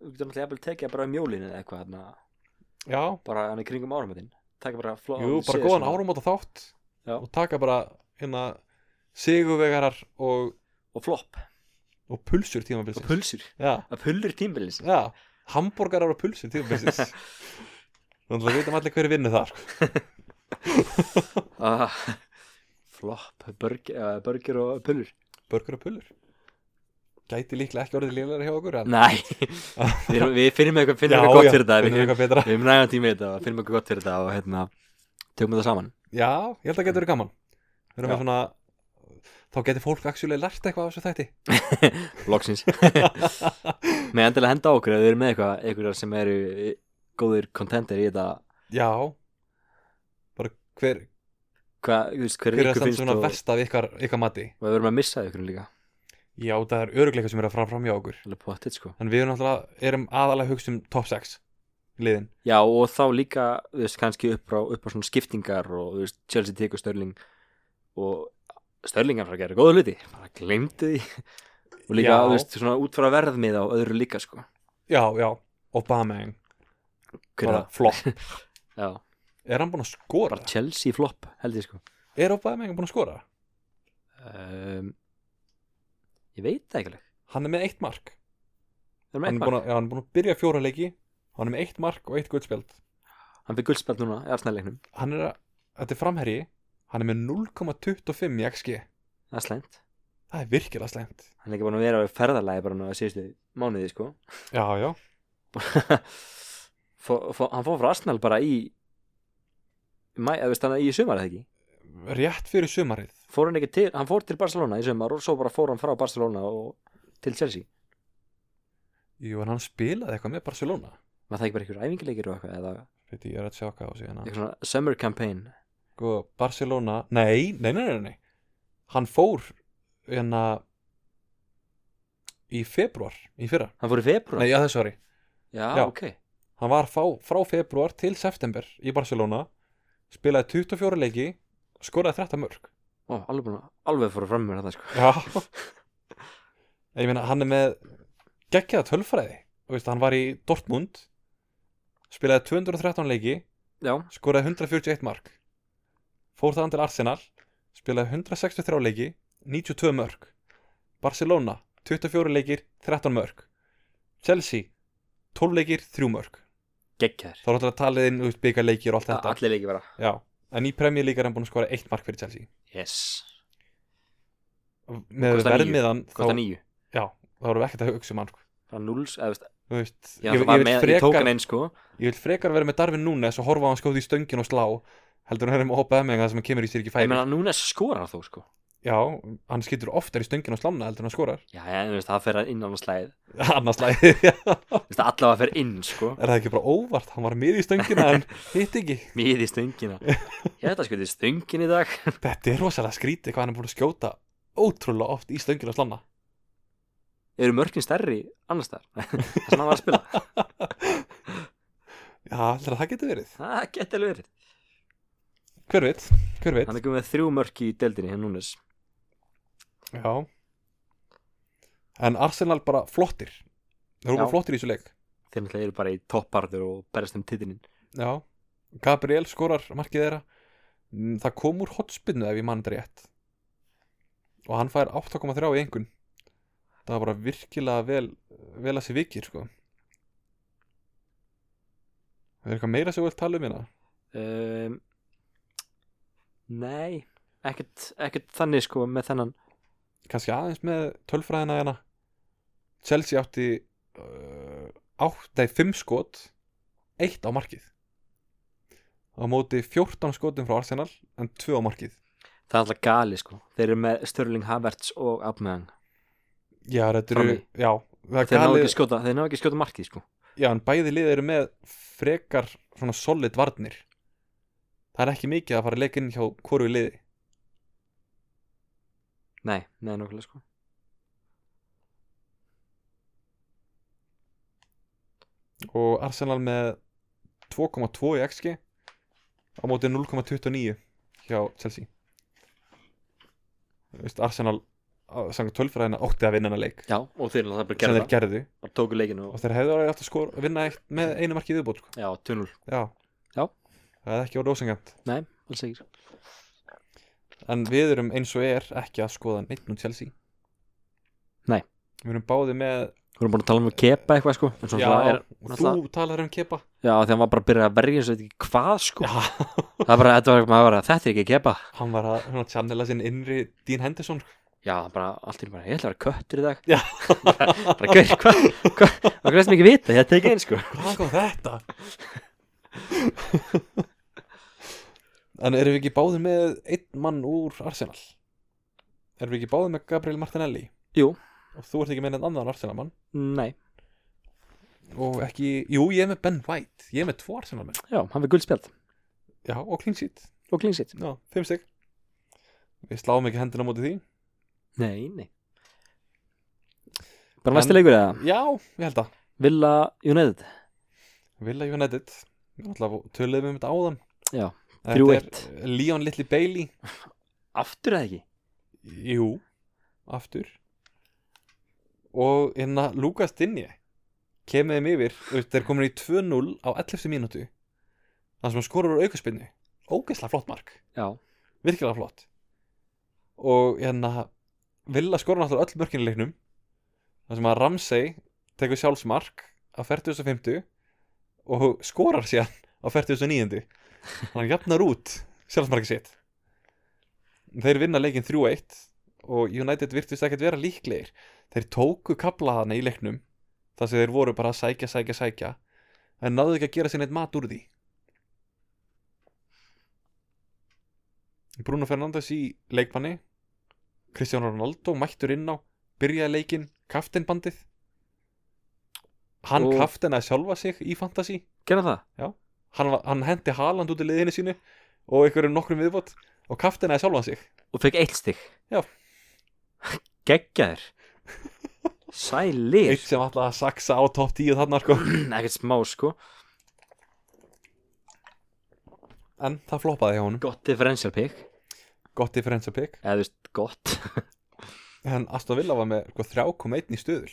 Þú getur náttúrulega jafnvel tekið bara um jólinu eða eitthvað þarna, Já, Bara hann í kringum áramöðin Takk bara fló jú, bara góðan áramóta þátt Já. og taka bara hérna sigurvegarar og, Og flopp, og pulsur og tíumvilsins. pulsur Já, Að pulur tímbilins já, hambúrgarar og pulsur tíumvilsins. Þannig að við veitum allir hverju vinnu þar. sko. ah, Flopp, burger, uh, burger og pulur Börgur og pullur Gæti líklega ekki orðið lélæri hjá okkur en... Nei, við, erum- við finnum eitthvað, finnum eitthvað gott fyrir þetta finnum Við, eitthvað betra við erum nægan tími í þetta og finnum eitthvað gott fyrir þetta og hérna, tökum þetta saman Já, ég held að það getur verið gaman Við erum Já. með svona Þá getur fólk actually lært eitthvað af þessu þætti Loksins Með endilega henda á okkur ef þið eru með eitthvað einhverjar sem eru eh, góðir kontender í þetta Já Bara hver, Hvað, þú veist, hver, hver hver er ykkur það finnst svona og, verst af ykkar, ykkar mati og við verum að missa ykkur líka Já, það er örugleika sem er að fara fram hjá okkur Alveg pottitt sko En við erum náttúrulega, erum aðalega hugst um top 6 Liðin Já og þá líka, þú veist, kannski upp á, upp á svona skiptingar og þú veist, Chelsea tekur Störling og Störling er að gera góða hluti bara glemdi því og líka, Já. þú veist, svona út frá verðmið á öðru líka sko Já, já, Obameng Hver er Bara það? flop Já Er hann búin að skora? bara Chelsea flop held ég sko Er Obameng búin að skora? um, ég veit það ekki alveg. Hann er með eitt mark Þeir eru með hann eitt er, búin mark. að, já, hann er búin að byrja fjóra leiki hann er með eitt mark og eitt guldspjald hann fyrir guldspjald núna í arsnæðleiknum hann er að, þetta er framherji hann er með 0,25 í XG það er slæmt það er virkilega slemt hann er ekki búin að vera á ferðalagi bara nú að síðustu mánuði sko já, já, fó, fó, hann fór frá Arsenal bara í mæ, eða veist hann í sumar eða ekki rétt fyrir sumarið fór hann ekki til, hann fór til Barcelona í sumar og svo bara fór hann frá Barcelona og til Chelsea jú, en hann spilaði eitthvað með Barcelona var það ekki bara einhver æfingileikir og eitthvað eða veit ég, ég er að sjá hvað á sig hérna eitthvað svona summer campaign sko, Barcelona, nei, nei, nei, nei, nei hann fór hérna í februar, í fyrra hann fór í februar nei, já, þessu ári, já, já. ok hann var frá, frá februar til september í Barcelona spilaði 24 leiki skoraði 13 mörg Ó, alveg, búin, að- alveg fór að fram með þetta sko já en ég meina, hann er með geggjaða tölfræði, þú veist, hann var í Dortmund spilaði 213 leiki já, skoraði 141 mark fór þaðan til Arsenal spilaði 163 leiki 92 mörg Barcelona 24 leikir 13 mörg Chelsea 12 leikir 3 mörg geggjær þá er alltaf talið inn út byggja leikir og allt þetta allir leikir vera Já. en í Premier League er hann búin að skora 1 mark fyrir Chelsea yes, með Kostar níu. verðmiðan þá, hvort að nýju já, þá erum við ekkert að hugsa um hann sko. frá núls, eða veist Þú veist, já, ég, ég, vil- ég, var vil með, ég tók frekar, hann einn sko ég vil frekar vera með Darvin Núnes og horfa á hann skóti í stöngin og slá heldur en að höfum að hoppa að með það sem hann kemur í sér ekki ég færi meina núna skorar hann þó sko Já, hann skýtur oftar í stöngin og slána heldur en hann skorar já, en þú veist, það fer inn á slæðið Annars lagi, já Er Þú veist, allavega fer inn, sko það ekki bara óvart, hann var með í stöngina en hitt ekki Mýði stöngina Ég þetta sko, þetta er stöngin í dag Þetta er rosalega skrítið hvað hann er búin að skjóta ótrúlega oft í stöngina og slána Eru mörkin stærri annars þar Það sem hann var að spila Já, heldur að það geti verið Það geti alveg verið Hver veit, hver veit Hann er komið með þrjú mörk í deildinni hérna núnes Já En Arsenal bara flottir Þeir eru Já. bara flottir í þessu leik Þeir náttúrulega eru bara í topparður og berjast um titinin Já, Gabriel skorar markið þeirra Mm, Það kom úr hotspinnu ef ég mann þetta rétt Og hann fær 8,3 í engun Það var bara virkilega vel, vel að sér vikir sko Er eitthvað meira sem þú vilt tala um hérna? um, Nei ekkert, ekkert þannig sko með þennan Kannski aðeins með tölfræðina hérna Chelsea átti uh, átt, nei, 5 skot eitt á markið á móti 14 skotum frá Arsenal en 2 á markið Það er alltaf gali sko Þeir eru með Störling Havertz og Abmeðan Já, þetta eru, Frammi. já það er Þeir ná galið- ekki að skjóta, þeir ná ekki að skjóta markið sko Já, en bæði lið eru með frekar svona solid varnir Það er ekki mikið að fara að leika inn hjá hvoru liði Nei, nei nokkulega sko og Arsenal með 2,2 í XG á móti 0,29 hjá Chelsea Þú veist, Arsenal sanga tölfræðina átti að vinna hana leik Já, og þeir náttúrulega bara sem gerðu þeir það gerðu Bara tóku leikinu og og þeir hefðu alveg átt að skor, vinna eitt, með einu marki viðbót sko. Já, 2-0 Já. Já. Það er ekki orðið ósengjant Nei, alls ekki En við erum eins og er ekki að skoða neitt nú Chelsea Nei. Við erum báði með Við erum búin að tala um að kepa eitthvað sko En svona Já, það er þú náttúrulega- Sko. talar um kepa Já, því hann var bara að byrja að verja eins og veit ekki hvað sko Já, Það er bara, þetta var, maður var að þetta er ekki að kepa hann var að svona, channela sinn innri Dean Henderson Já, bara, allt er bara, ég ætla að vera köttur í dag Já. Bara, hver, hvað, hvað Það greiðst mikið vita, ég teki einn sko Hvað kom þetta? en erum við ekki báði með einn mann úr Arsenal? Erum við ekki báði með Gabriel Martinelli? Jú. Og þú ert ekki með einn annan Arsenal mann Nei, Og ekki, jú ég er með Ben White Ég er með tvo Arsenal menn já, hann við guldspjald Já, og clean sheet og klingsitt Já, fimm stygg Við sláum ekki hendina á móti því Nei, nei Bara En- næsti leikur eða Já, ég held að Villa United Villa United Alltaf töluðum við um þetta áðan Já, Þetta 3-1. er Leon Little Bailey Aftur eða ekki Jú, aftur Og hérna Lukas Dinje kemur þeim yfir, þú veist, þeir komin í 2-0 á 11. mínútu þannig sem hann skorur úr aukaspinnu ógeðslega flott mark, Já, virkilega flott og hérna Villa skorur náttúrulega öll mörkin í leiknum þannig sem að Ramsey tekur sjálfsmark á 40.50 og skorar síðan á 40.90 hann jafnar út sjálfsmarkið sitt þeir vinna leikinn 3-1 og United virtist ekkert vera líklegir þeir tóku kapla hana í leiknum þar sem þeir voru bara að sækja, sækja, sækja en náðu ekki að gera sér neitt mat úr því Bruno Fernandes í leikmanni Kristján Ronaldo mættur inn á byrjaði leikinn kaftinbandið hann Og- og... sjálfa sig í fantasy Gerða það? hann, var- hann hendi Haaland út í liðinu sínu og einhverjum nokkrum viðbót og kaftinaði sjálfan sig Og fekk eitt stig Já. Geggjaður Sælir eitt sem alltaf að saksa á topp 10 þarna sko Ekkert smá sko en það floppaði hjá honum Gott differential pick gott differential pick Eða þú veist, gott en Aston Villa var með sko, 3,1 í stuðul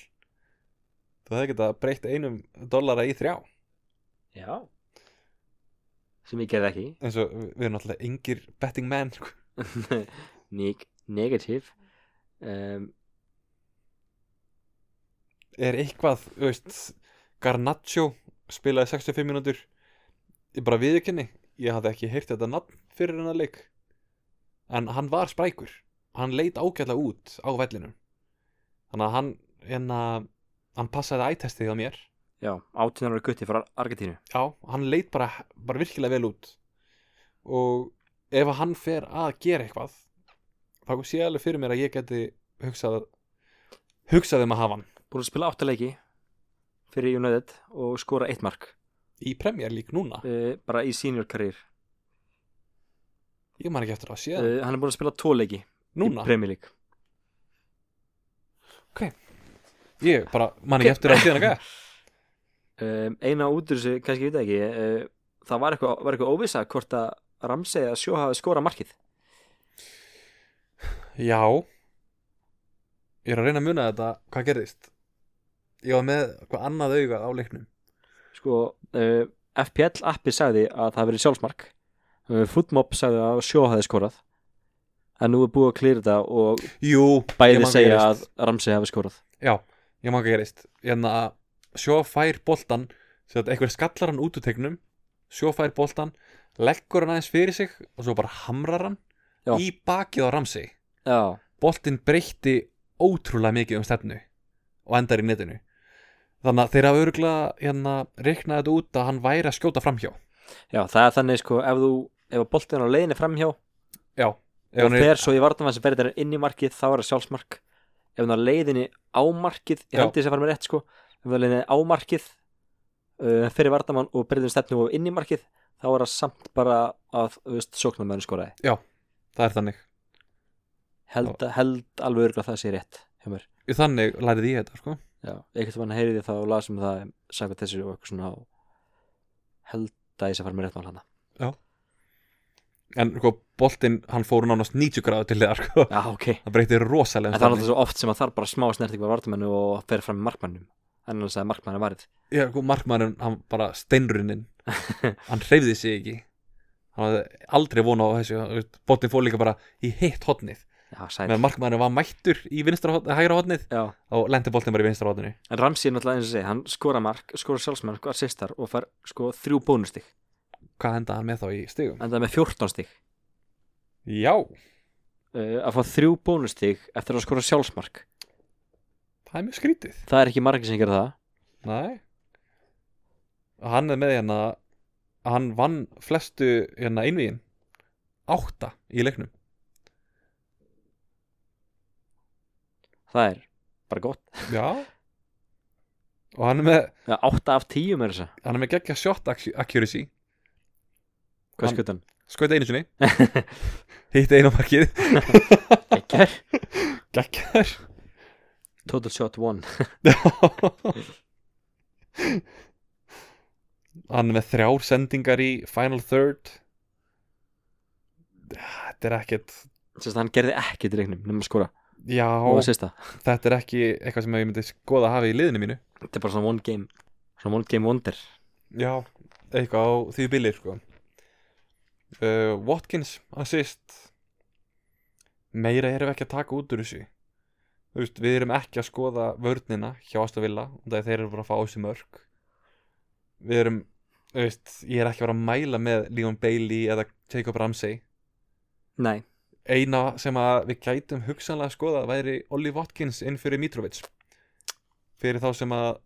þú hefði getað breytt einum dollara í þrjá Já Sem ég gerði ekki eins og við við erum alltaf engir betting menn sko. Neg Negativ um, er eitthvað þú veist, Garnaccio spilaði 65 mínútur ég bara viðurkenni ég hafði ekki heyrt þetta nafn fyrir hennar leik en hann var sprækur hann leit ágætlega út á vellinu þannig að hann hérna, hann passaði ætestið á mér Já, 18 ára gutti frá Argentínu já, hann leit bara, bara virkilega vel út og ef að hann fer að gera eitthvað þá sé ég alveg fyrir mér að ég geti hugsað hugsað um að hafa hann Búin að spila 8 leiki Fyrir United Og skora 1 mark í Premier League núna uh, Bara í senior karriér ég man ekki eftir að sé það uh, Hann er búin að spila 2 leiki núna Í Premier League ég bara man ekki eftir að sé það gæja um, Eina út úr þessu, kannski ég veit það ekki uh, Það var eitthvað, var eitthvað óvisa Hvort að Ramsey eða Sjó hafi skorað markið já ég er að reyna að muna þetta hvað gerðist ég var með hvað annað auga á leiknum Sko, uh, FPL appi sagði að það hafi verið sjálfsmark uh, Footmob sagði að Sjó hafi skorað En nú er búið að klýra þetta og jú, ég bæði man hvað segja gerðist. að Ramsey hafi skorað Já, ég man ekki gerist Hérna, sjó fær boltan sem að einhver skallar hann út úr tegnum sjó fær boltan, leggur hann aðeins fyrir sig og svo bara hamrar hann Já. í bakið á ramsi Já, boltin breytti ótrúlega mikið um stefnu og endar í netinu þannig að þeir hafa örgulega hérna, reiknaði þetta út að hann væri að skjóta framhjá já það er þannig sko ef þú, ef að boltinn er á leiðinni framhjá Já, ef og hann er, fer svo í vartanvann sem verður inn í markið þá er það sjálfsmark ef hann er á leiðinni á markið ég Já. held þess að fara með rétt sko ef hann er á leiðinni á markið uh, fyrir vartanvann og breyðum stefnu og inn í markið þá er það samt bara að þú veist, sóknarmenn skoraði það er þannig held, held alveg örgulega það sé rétt hjá mér þannig lærið ég þetta sko já, einhvern veginn heyriði þá og lasum það sagði þessu og eitthvað svona og held að ég sé að fara með rétt mál hana en sko, boltin, hann fór nánast 90 gráðu til þegar sko já, ok það breytti rosalega um En það er náttúrulega svo oft sem að það er bara smá snerting með vartamennu og fer fram með markmannum annars að markmann er varð Já, sko, markmaðurinn, hann bara steinrunnin Hann hreyfði sig ekki Hann hafði aldrei vona á þessu Bóttin fór líka bara í hitt hotnið Já, sæl Meðan markmaðurinn var mættur í vinstra hotnið, hægra hotnið Já. Og lendi bóttin bara í vinstra hotninu En Ramsey er náttúrulega eins og segja, hann skora mark, skora sjálfsmark og assistar og fær sko þrjú bónustig Hvað hendaði hann með þá í stigum? en það er með 14 stig Já, uh, að fá þrjú bónustig eftir að skora sjálfsmark það er mjög skrítið Það er ekki margir sem gera það Nei Og Hann er með hérna Hann vann flestu hérna einvíin Átta í leiknum Það er bara gott Já Og hann er með, Já, 8 af 10 með þessa hann er með geggja shot accu- accuracy Hvað Hann- skutt hann? skoði einu sinni hitt einu á markið Ekkert geggar Total shot 1 hann er með þrjár sendingar í final third þetta er ekkert Sérst að hann gerði ekki til reiknum nema að skora já, og assista þetta er ekki eitthvað sem ég myndi skoða að hafa í liðinu mínu Þetta er bara svona one game Svona one game wonder já, eitthvað á því bilir sko. uh, Watkins assist meira erum við ekki að taka út úr þessu Þú veist, við erum ekki að skoða vörnina hjá Aston Villa og það er þeir eru bara að fá á þessu mörg við erum þú veist, ég er ekki að vera að mæla með Leon Bailey eða Jacob Ramsey Nei, eina sem að við gætum hugsanlega að skoða væri Olli Watkins inn fyrir Mitrovic fyrir þá sem að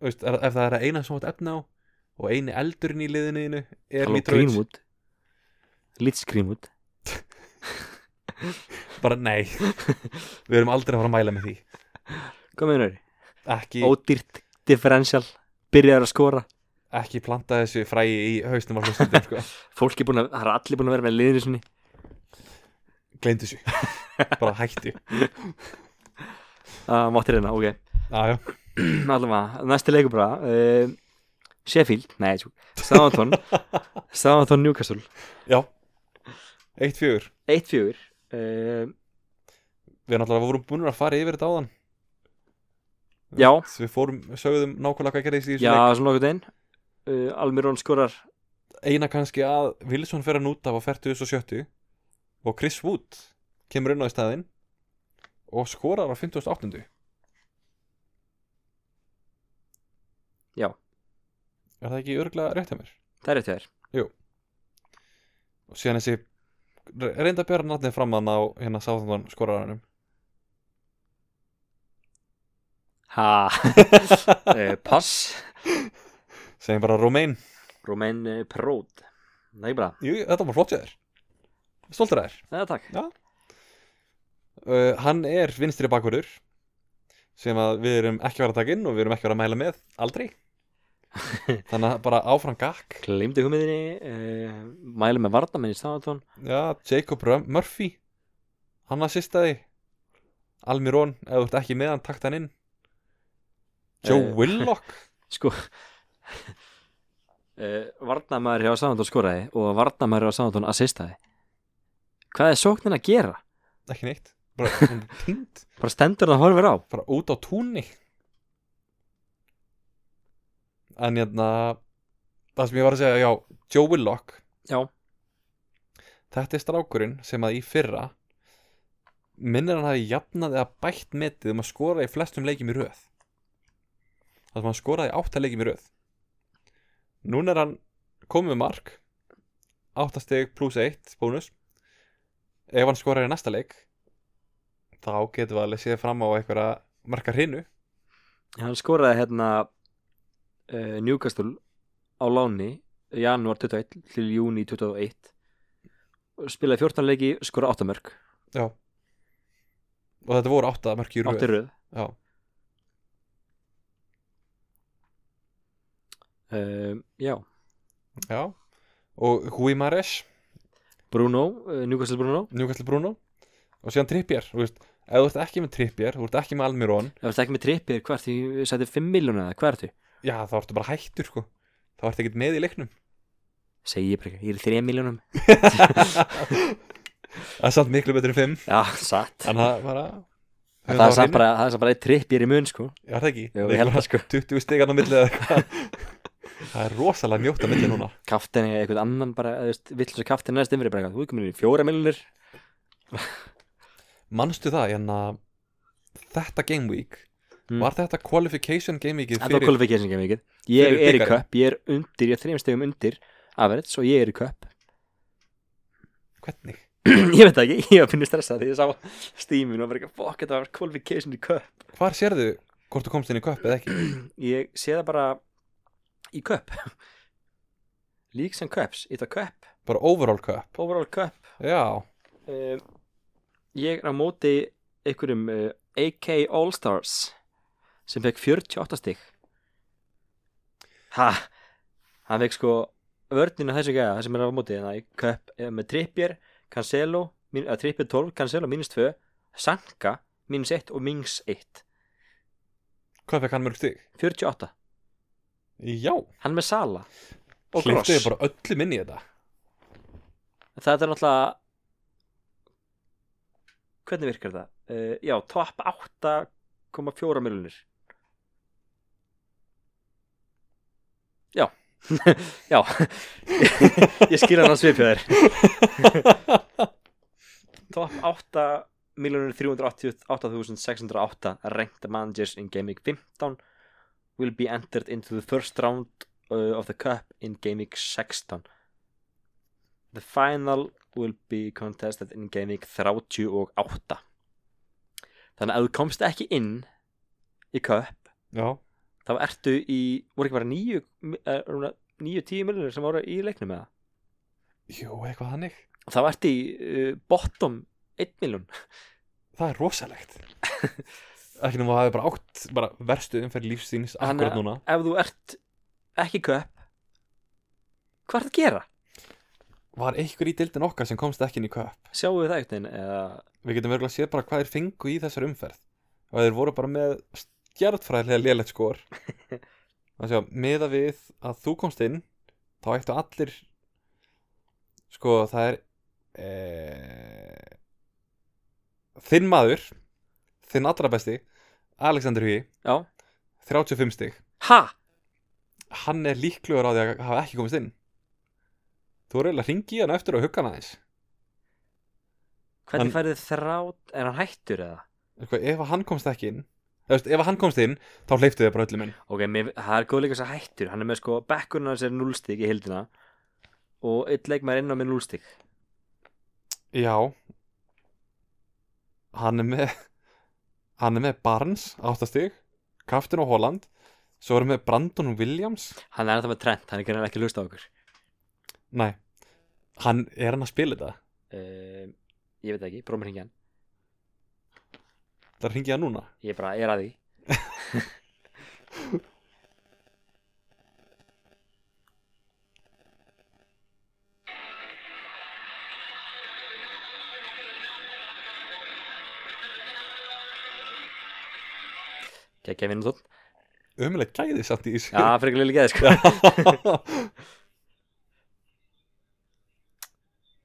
þú veist, ef ef það er að eina sem átt efna á og eini eldurinn í liðinu er Halló, Mitrovic Greenwood Leeds Greenwood bara nei, við erum aldrei að fara að mæla með því Hvað meinar? ekki, Ódýrt, differential Byrjar að skora ekki planta þessu fræi í haustum á hlustundum sko. Fólk er búin að, það er allir búin að vera með liðinu sinni gleyndu þessu, bara hættu Það Máttir hérna, ok aðjá, allavega, næsti leikur bara uh, Sheffield, nei, Sáðantón Sáðantón Newcastle já 1-4, 1-4 uh, við náttúrulega vorum búin að fara yfir þetta áðan Já, við fórum, sögðum nákvæmlega hvað gerðist í þessu já, svona nokkuð einn uh, Almirón skorar leik eina kannski að Wilson fer að núta á 40.70 og Chris Wood kemur inn á í staðinn og skorar á 50.80 Já. er það ekki örglega rétt hjá mér? Það er rétt hjá þér og síðan þessi reynda að bera náttúrulega fram að ná hérna sáþandan skorarunum Ha, uh, pass segjum bara Rómein, Romain uh, Perrault Það er ekki bara, jú, þetta var flott sér stoltur að þér það er takk uh, hann er vinstri bakverður sem að við erum ekki að vera að taka inn og við erum ekki að vera að mæla með, aldrei þannig að bara áfram gakk Glimdi hugmiðinni, uh, mæli með Vardamenn í Sáðantón já, Jacob Rum- Murphy hann að sýstaði Almirón, ef þú ert ekki með hann, takt hann inn Joe Eh. Willock Sko uh, Varnamæður hjá Sáðantón skoraði og Varnamæður hjá Sáðantón assistaði Hvað er sóknin að gera? ekki neitt, bara hún er týnd Bara stendur það horfir á bara út á túnni en hérna það sem ég var að segja, já, Joe Willock Já, Þetta er strákurinn sem að í fyrra minnir hann hafi jafnað eða bætt metið um að skora í flestum leikjum í röð Það sem hann skoraði í átta leikjum í röð Núna er hann komið með mark átta stig pluss eitt bónus Ef hann skorar í næsta leik þá getum við alveg séð fram á einhverja marka hrinnu hann skoraði hérna uh, Newcastle á láni janúar 21 til júni 21 Og spilaði 14 leiki, skoraði 8 mörg Já Og þetta voru átta mark í 8 röð röð Já, uh, Já, já Og Hui Mares Bruno, uh, Newcastle Bruno Newcastle Bruno og síðan Trippier þú veist, ef þú ert ekki með Trippier, þú ert ekki með Almiron Ef það ekki með trippir, hvert því við sætti 5 miljónu eða hvert því já þá ertu bara hættur sko þá ertu ekkert með í leiknum Segji ég bara ekki, ég er 3 miljónum það er samt miklu betur en 5 Já, satt en það bara En Það er samt bara, það er samt bara eitt trippir í mun sko já það ekki, Jú, Það ég er held það sko 20 stegan á milli eða eitthvað það er rosalega mjótt á milli núna Kaftin eða einhvern annan bara, þú veist, vill svo kaftin næst yfir bara, eitthvað, þú er komin í 4 miljónir manstu það, en að þetta game week Mm. var þetta qualification game weekið Þetta var fyrir kvalifikation game vikið Ég er fyrir í bikarinn. köpp, ég er undir, ég er þrejum stegum undir Average og ég er í köpp hvernig, Ég veit það ekki, ég var að finna stressað Því ég sá stímin og bara ekki Fuck, þetta var kvalifikation í köpp hvar sérðu hvort þú komst inn í köpp eða ekki Ég sé það bara í köpp Líks and cups, it's a cup bara overall köpp, Overall cup já uh, Ég er á móti einhverjum uh, AK All-Stars sem fekk 48 stig Ha Hann fekk sko vörnina þessu gæða sem er á móti þannig að í köp eh, með Trippier, Cancelo mín, að Trippier 12, Cancelo mínus 2 Sanka mínus 1 og Mings 1 hvað fekk hann mörg stig? 48, Já, hann með Sala og hlýttu ég Gross bara öllum inn í þetta Það er náttúrulega Hvernig virkar það? Uh, já, top 8,4 miljonir Já Já Ég skil hann að svipja þér Top 8 miljonir 388.608 Ranked managers in Game Week 15 Will be eh, entered into the first round uh, of the cup in Game Week 16 The final will be contested in game week 38 Þannig að ef þú komst ekki inn í köp Já, þá ertu í, voru ekki bara níu eh, rúmlega níu, tíu miljonir sem voru í leiknum með jú, eitthvað hannig það þá ertu í uh, bottom 1 miljón Það er rosalegt Ekki nema að það er bara átt bara verstu umferð lífsins Hann akkurat er- núna ef þú ert ekki í köp hvað er það að gera? Var einhver í dildin okkar sem komst ekki inn í köp Sjáum við það eitthvað eða Við getum verið að sé bara hvað þeir fengu í þessar umferð og þeir voru bara með stjartfræðilega lélegt skor að sjá, miða við að þú komst inn þá ættu allir sko, það er e... þinn maður þinn allra besti Alexander Hugi, Já. 35 stig ha? hann er líklegur á því að hafa ekki komist inn þú voru eiginlega að ringi í hann eftir og hugga hann aðeins hvernig Hann- færið þrátt er hann hættur eða? Sko, ef að hann komst ekki inn eða, veist, ef að hann komst inn, þá hleyftu þið bara öllum inn ok, mér, það er góð leik þess að hættur hann er með sko, bekkurinn hans er 0 stík í hildina og eitt leik maður inn á með 0 stík já hann er með hann er með Barnes, áttastig Kaftin og Holland svo erum við Brandon Williams hann er ennþá með trend, hann er greinilega ekki að hlusta á okkur nei, hann er hann að spila þetta uh, ég veit það ekki, prófum að hringja hann það ringi hann núna ég bara er að því Kekja vinnu tótt umlega gæði samt í þessu Já, frekar lili geði sko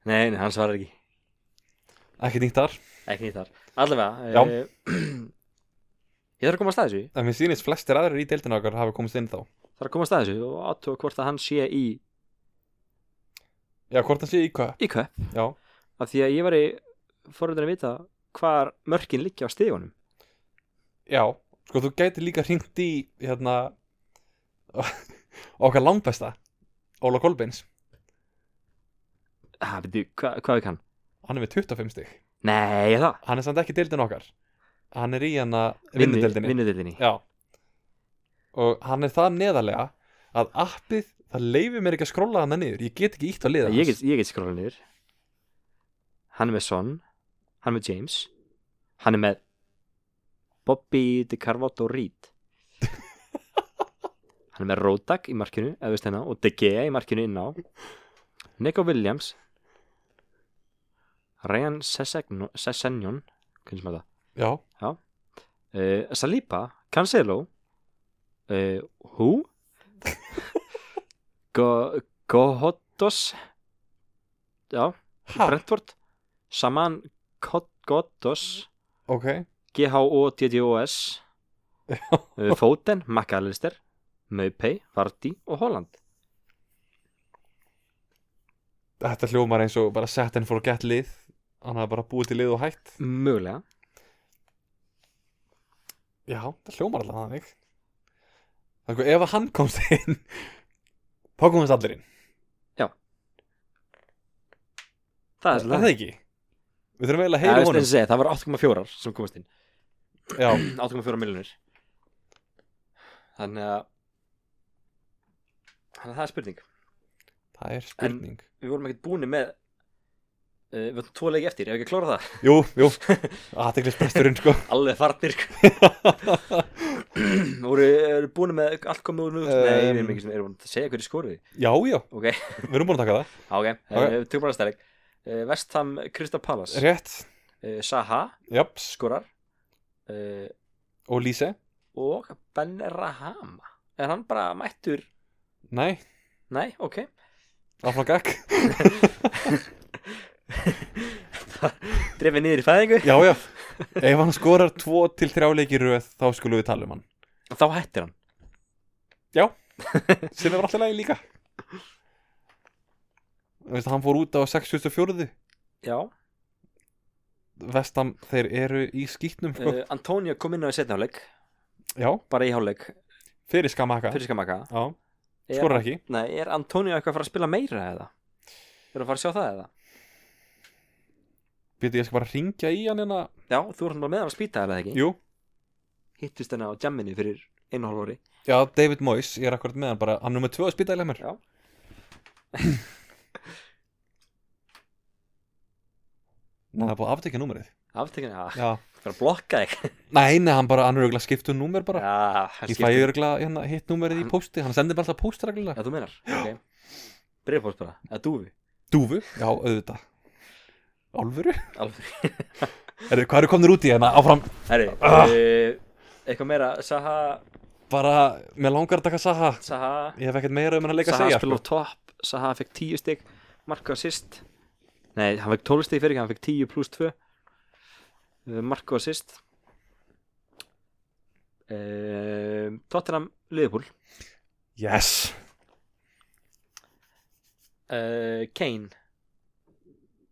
Nei, nei, hann svarar ekki ekki nýtt þar Ekki nýtt þar Allavega Já. eh, Ég þarf að koma að staði þessu en mér sýnist flestir aðrir í deildina okkar hafa komist inn þá Þarf að koma að staði þessu og aðtóa hvort að hann sé í já, hvort hann sé í hvað Í köp já, Af því að ég var í forröndin að vita hvar mörkin liggja á stigunum já, sko þú gæti líka ringt í hérna okkar langbesta Óla Kolbeins, Ah, byrju, hva, hvað er kann? hann er með 25 stig Nei, er það hann er samt ekki í deildin okkar hann er í hana vinnudeldinni Vinnudeldinni já og hann er það neðarlega að appið, það leifir mér ekki að skrolla hann niður, ég get ekki ítt á liða ég get, ég get skróla niður Hann er með Son Hann er með James Hann er með Bobby de Carvato Reed Hann er með Rodak í markinu efist hennar, hérna, og De Gea í markinu inná Nico Williams Ryan Sessegno- Sessegnon hvernig sem er það já, uh, Saliba, Cancelo uh, Who Go, Gohotos Já, ha, Brentford Saman Gohotos ok G-H-O-T-T-O-S uh, Foden, McAllister Maupay, Vardy og Holland þetta hljómar eins og bara set and forget lið hann hafa bara búið til lið og hætt Mögulega Já, það hljómar alltaf þannig Það er sko, ef að hann komst inn þá komast allir inn Það Er er það svolítið ekki? Við þurfum eiginlega að Það, er heyra honum eins og segja, það var 8,4 sem komast inn Já, 8,4 miljonir Þannig að Þannig að það er spurning það er spurning við vorum ekkert búinir með uh, við varum tvo leiki eftir, ef ekki að klóra það Jú, jú, aðteklisbresturinn sko alveg farnir sko. voru eru búinir með allt komið úr nú Um, nei, við erum ekki sem erum búin að segja hverju skorið Já, já, ok, við erum búin að taka það ok, Eh, Ok. okay. tökum bara að stærleik uh, Vestham Krista Pallas uh, Rétt, Saha japs, skorar uh, og Lise og Ben Rahama er hann bara mættur Nei, nei, ok áfram gakk drefið niður í fæðingu Já, já, ef hann skorar tvo til þrjá leiki í röð þá skulum við tala um hann þá hættir hann sem er alltaf lægi líka Þú veist, Hann fór út á 64. já, Vestam, þeir eru í skýtnum sko. uh, Antonio kom inn á í setnáleik Já, bara í hálfleik, Eh. fyrir skamaka fyrir skamaka Já, Er- skorar ekki Nei, er Antonio eitthvað að fara að spila meira eða? Eru að fara að sjá það eða? Býtu, ég skal bara ringja í hann hérna Já, þú erum bara með hann að spýta eða ekki? Jú, Hittust henni á jamminu fyrir einu hálf ári já, David Moyes, ég er akkurat með hann bara Hann er nummer tvö að spýta í lemur Já. Nei, það er búið að aftekja númerið Aftekinu, já, Já fyrir að blokka ah, þig Nei, nei, hann bara, hann er auðvitað skiptu um númer bara Já, það Ég fæ skiptir- auðvitað hérna, hitt númerið í Hann- pósti Hann sendir bara alltaf póst reglulega Já, þú meinar, ok Breiðpóst bara, eða dúfi Dúfu, já, auðvitað Álfuru Alveg Erðu, hvað eru komnir út í hérna áfram? Herri, Ah. uh, eitthvað meira Saha, Bara, mér langar að taka Saha Saha Ég hef ekkert meira um hann að leika að Saha segja spilur á topp Saha fekk 10 stygg Marka assist Nei, hann fekk 12 stygg fyrir ekki Hann fekk 10 pluss 2 Marka Eh, assist uh, Tottenham Liverpool Yes uh, Kane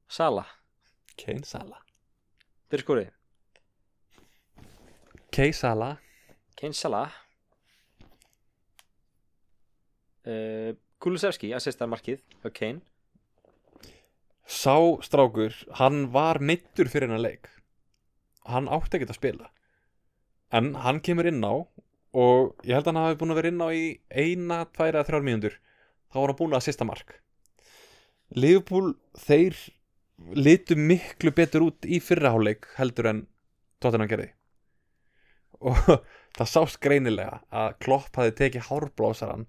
Sala Kane Sala Fyrir skórið Kane Sala Kane Sala uh, Kulusevski Assistar markið hjá Kane Sá strákur, hann var meittur fyrir hennar leik Hann átti ekkert að spila En hann kemur inn á Og ég held að hann hafi búin að vera inn á í eina, tværa, þrjár mínútur Þá var hann búin að sista mark Liverpool, þeir litu miklu betur út í fyrraháleik heldur en Tottenham gerði Og það sást greinilega að Klopp hafi tekið hárblásaran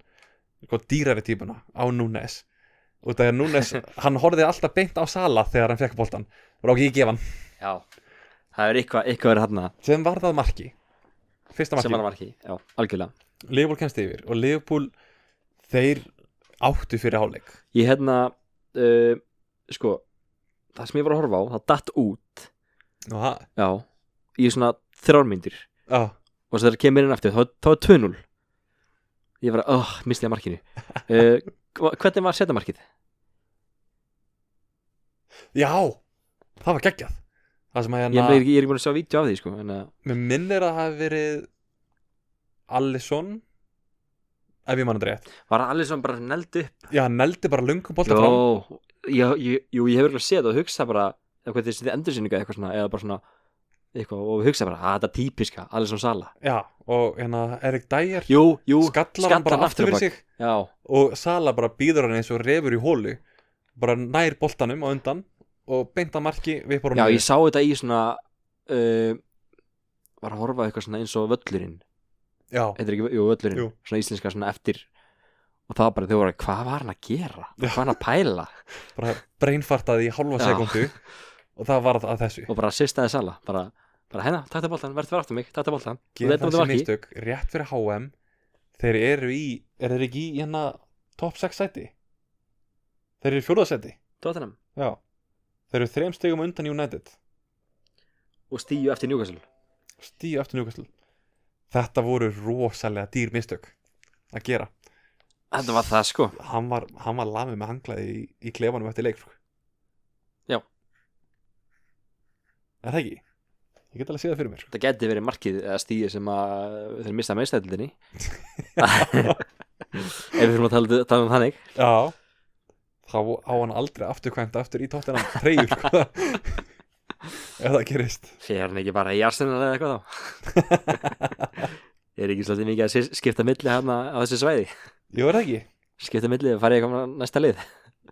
Sko dýrari típuna á Núnes út af því að Núnes, hann horfði alltaf beint á Sala þegar hann fekk boltan og ráki í gefan, Já Það er eitthvað, eitthvað verið hann sem var það marki fyrsta sem marki, hann marki, já, algjörlega Liverpool kemst yfir og Liverpool, þeir áttu fyrir hálfleik Ég hérna, uh, sko það sem ég var að horfa á, það datt út og það, já, í svona þrjármyndir á, og svo þegar það kemur inn aftur, þá, þá er 2-0 Ég var að, oh, misti ég að markinu uh, Hvernig var setamarkið? já það var geggjað það sem að Ég, hérna, ég, er ekki- ég er ekki búin að sjá vídeo af því, sko en, að- mér minnir að það hafi verið Alisson ef ég mann að rétt Var það allir svona bara neld upp? já, hann neldi bara lungum bolta fram Jó, ég, ég, jú, ég hefur alveg séð og hugsa bara eitthvað þessi endursynninga eitthvað svona, eða bara svona eitthvað, og hugsa bara, að þetta er típiska, allir svona sala já, og hérna Erik Dyer Jú, jú, skallar hann bara aftur fyrir bak. sig Já, og Sala bara býður hann eins og refur í hólu bara nær boltanum á undan og beint að marki við bara já, ég sá þetta í svona uh, var að horfa á eitthvað svona eins og völlurinn já, heitir ekki, jú, völlurinn, Jú. svona íslenska svona eftir og það var bara, þau voru að, hvað var hann að gera? Já. Hvað var hann að pæla? bara breinfartaði í hálfa Já. sekundu og það varð að þessu Og bara sýstaði sala, bara, bara hérna, takta boltan, verður fyrir aftur mig, takta boltan gera um þessi mistök rétt fyrir HM þeir eru í, er þeir ekki í hérna top 6 sæti þeir eru í fjóðasæti Tottenham já, þeir eru þreim stegum undan United og stíu eftir Newcastle stíu eftir njúkastl þetta voru rosalega dýr mistök að gera Þetta var það sko hann var, hann var lamið með hanglaði í, í klefanum eftir leik sko. Já. Er það ekki? Ég get alveg að sé það fyrir mér sko. Þetta geti verið markið eða stíu sem að þeir mista meðstældinni Ef við fyrir að tala, tala um þannig Já Þá á hann aldrei afturkvæmt aftur í tóttina treyjur sko. Ef það gerist Sér hann ekki bara í Arsenal eða eitthvað þá Er ekki svolítið mikið að sis- skipta milli hérna á þessu svæði Jú, er það ekki? Skipta milli, farið ég að koma næsta lið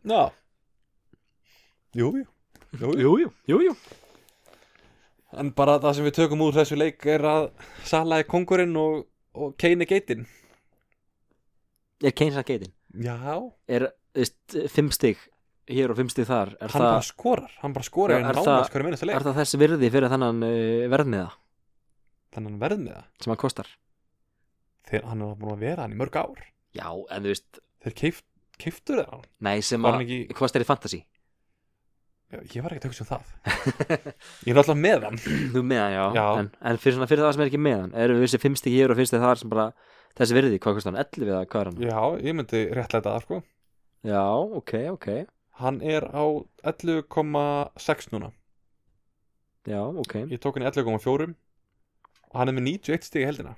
Já Jú, jú Jú, jú. jú, jú, jú En bara það sem við tökum úr þessu leik er að Sala er kongurinn og, og Kane er geitin Er Keynes að geitin? Já, hann Er, veist, fimm stig hér og fimm stig þar Er, bara það, skorar Hann bara skorar Já, en er það- nánast hverju minnast að leik er það þess virði fyrir þannan uh, verðmiða Þannig hann verð með það sem hann kostar? þegar hann er búin að vera hann í mörg ár Já, en þú veist, þeir keift, keiftur þeir hann nei sem Var að hann ekki- kostar í fantasy Já, ég var ekkert að hugsa um það ég er alltaf með hann Þú meðan, já, Já. En, en fyrir, svona, fyrir það sem er ekki meðan Erum við þessi fimm stig hér og fimm stig þar sem bara Þessi virði, hvað kostar hann? 11 eða hvað er hann? já, ég myndi réttlega það sko. Já, ok, ok hann er á 11,6 núna Já, ok ég tók hann í 11,4 og hann er með 91 stig í heldina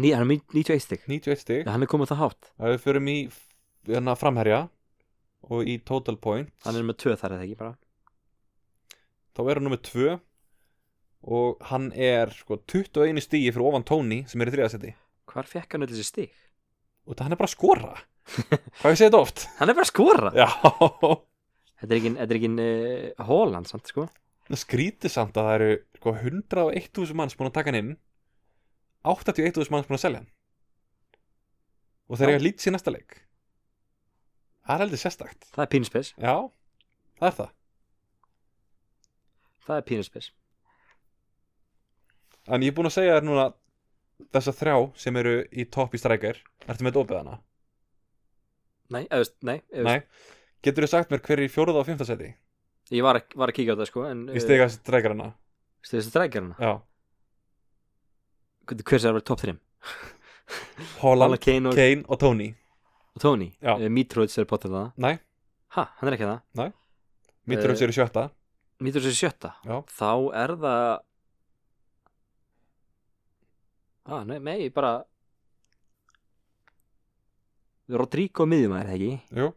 Ný, hann er með 91 stig 91 stig, Já, hann er komið það hátt ef við förum í hérna, framherja og í total points hann er með tvö þar eða ekki bara þá er hann nummið 2 og hann er sko 21 stíi fyrir ofan Tony sem er í þriðasetti hvar fekk hann öll þessi stig? og það hann er bara að skora hvað ég segi þetta oft hann er bara að skora já, þetta er ekki, þetta er ekki uh, Holland samt sko það skrítið samt að það eru sko 101.000 manns búin að taka hann inn 81.000 manns búin að selja hann og Já. þeir eiga lítið sér næsta leik það er heldur sérstakt það er pínuspes já, það er það það er pínuspes en ég er búin að segja þér núna þessa þrjá sem eru í topp í strækjar ertu með dópið hana? nei, eða, þú veist, nei, eða, þú veist, Nei, getur þið sagt mér hver er í fjóruða og fymta seti ég var að, var að kíkja á það sko en í stiga strækjarana? stegast að drækja hana Já, hver sem er top 3 Holland, Kane og, Kane og Tony og Tony Já. Eh, Mitrovic er potið það Nei, ha, hann er ekki það Mitrovic Eh, eru sjötta Mitrovic er sjötta Já. þá er það ah, nei, nei, ég bara Rodrigo miðjumæður, það ekki? Jú,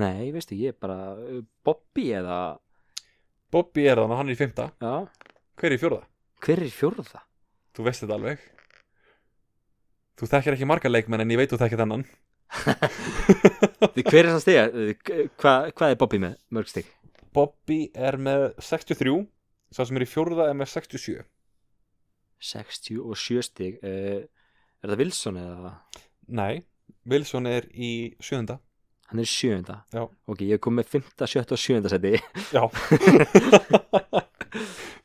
Nei, veistu, ég er bara eh, Bobby eða Bobby er þannig, hann er í fymta Já, Hver er í fjóruða? hver er í fjórða? Þú veist þetta alveg Þú þekkir ekki marga leikmenn en ég veit þú þekkir þennan Því Hver er það stiga? Hva, hvað er Bobby með mörg stig? Bobby er með 63 Sá sem er í fjóruða er með 67 67 stig uh, Er það Wilson eða? Nei, Wilson er í sjöunda Hann er í sjöunda Já. Ok, ég kom með 5. 7. og 7. seti Já,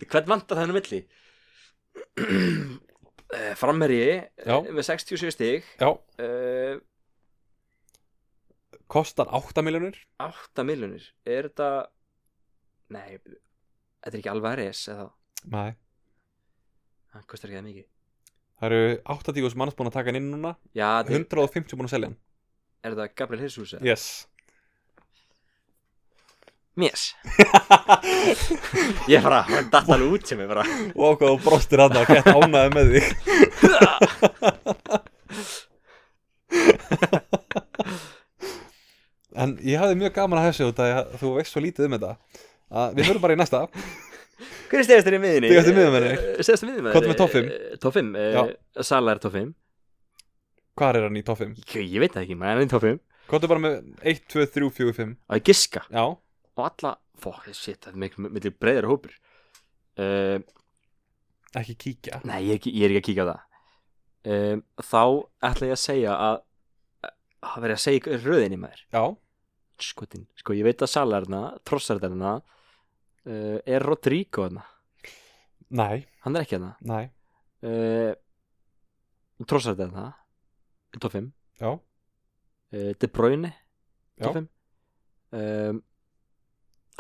Hvern vantar það henni milli? Eh, Framherji Já. eh, með 67 stig já uh, Kostar 8 miljonir 8 miljonir Er þetta Nei, þetta er ekki Alvarez eða Nei Hann kostar ekki það mikið Það eru 80 manns búin að taka hann inn núna Já, þetta er, 150 búin að selja hann er þetta Gabriel Jesus eða? Yes Mér Ég bara, hann datt alveg út sem ég bara Og hvað þú brostir hann að gett ánæði með þig En ég hafði mjög gaman að þessu út af því að þú veist svo lítið um þetta að Við höfum bara í næsta Hver er stegast þér í miðinni? Stigastinn í miðjumennir? Stegast þér í miðinni Hvað er með topp fimm? Eh, Top 5 Sala er top 5 Hvar er hann í toffum? ég, ég veit það ekki, maður er í top 5 Hvað er bara með 1, 2, 3, 4, 5 Á ég giska Já, Og alla Fokk, shit, það er miklu miklu breyðar hópur uh, ekki kíkja Nei, ég er, ekki, ég er ekki að kíka á það um, Þá ætla ég að segja að Það verið að segja röðinni maður Já, Skotin Sko, ég veit að Sala er þarna Trossar er þarna uh, Er Rodrigo þarna? nei, Hann er ekki þarna nei, uh, Trossard er það top 5 já uh, De Bruyne top Já. 5 um,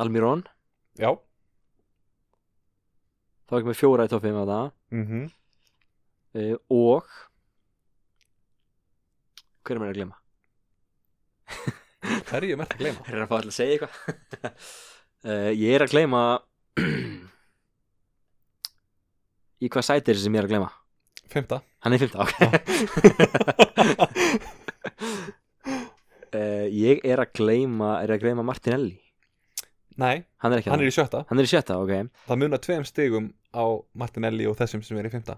Almirón Já, þá ekki með fjóra í top 5 á það mhm uh, og hver er mér að glema? það er ég mert að gleyma Hver er að fá allir að segja eitthvað? uh, ég er að glema í hvað sæti er þessi sem ég er að glema? Fymta Hann er 15, ok uh, Ég er að gleyma er að gleyma Martinelli Nei, Hann er ekki hann er í sjötta Hann er í sjötta, ok Það munar tveim stigum á Martinelli og þessum sem er í fymta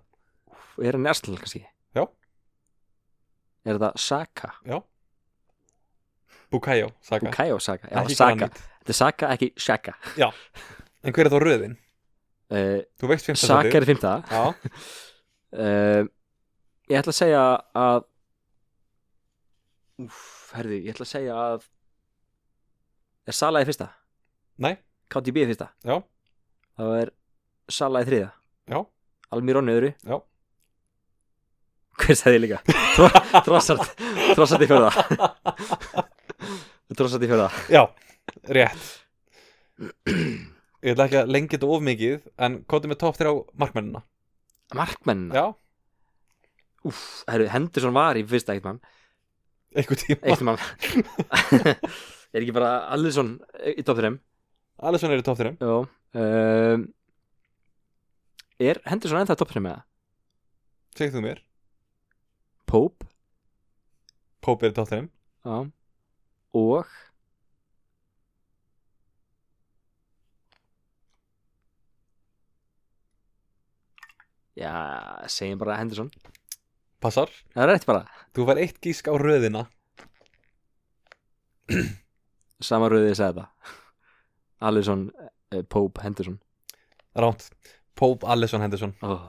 Er hann í Arsenal kannski? Já. Er það Saka? Já Bukayo, Saka Bukayo Saka Já, Ekki Saka Granit. Þetta er Saka, ekki Shaka En hver er þá röðin? uh, Þú veist fymta Saka er fymta Já, uh, Ég ætla að segja að Úf, herði, ég ætla að segja að Er Sala í fyrsta? Nei. KTB í fyrsta? Já. Þá er Sala í þriða? Já. Almirón í öðru? Já. Hver sagði ég líka? Tro, trossart, trossart í fjörða Trossart í fjörða já, rétt Ég ætla ekki að lengja þetta of mikið En kóti með topp þér á markmennina Markmennina? Já, Úf, herru, Henderson var í fyrsta eitt mann einhver tíma Eitt mann Er ekki bara Allison í top 3 Alisson er í topp þér Já um, Er Henderson ennþá top 3 með það? Segðu þú mér Pope Pope er í topp þér Já. Og Já, segjum bara Henderson Passar, Það er rétt bara þú fær eitt gísk á röðina Sama rauðið ég sagði það Alisson, eh, Pope, Henderson Ránt, Pope Allison Henderson oh.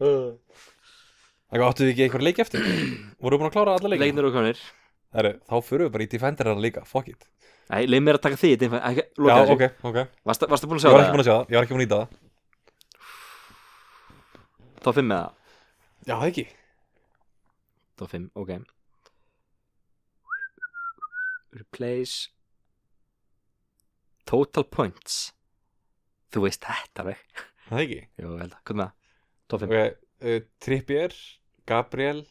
Það áttu þið ekki einhver leik eftir Voru búin að klára alla leikina Leiknir og konir Heru, Þá fyrir við bara í defenderana líka, fuck it Nei, leið mér að taka því þetta er- ekki- loka Já, þessu. ok, ok Varstu, varstu búin að Ég sjá var ekki það? búin að sjá það, ég var ekki búin að nýta það Tó 5 með það Já, það ekki Tó 5, ok Replace Total points Þú veist þetta veg Það ekki Jó, ég held að, hvað með það? Tó 5 Ok, uh, Trippier, Gabriel,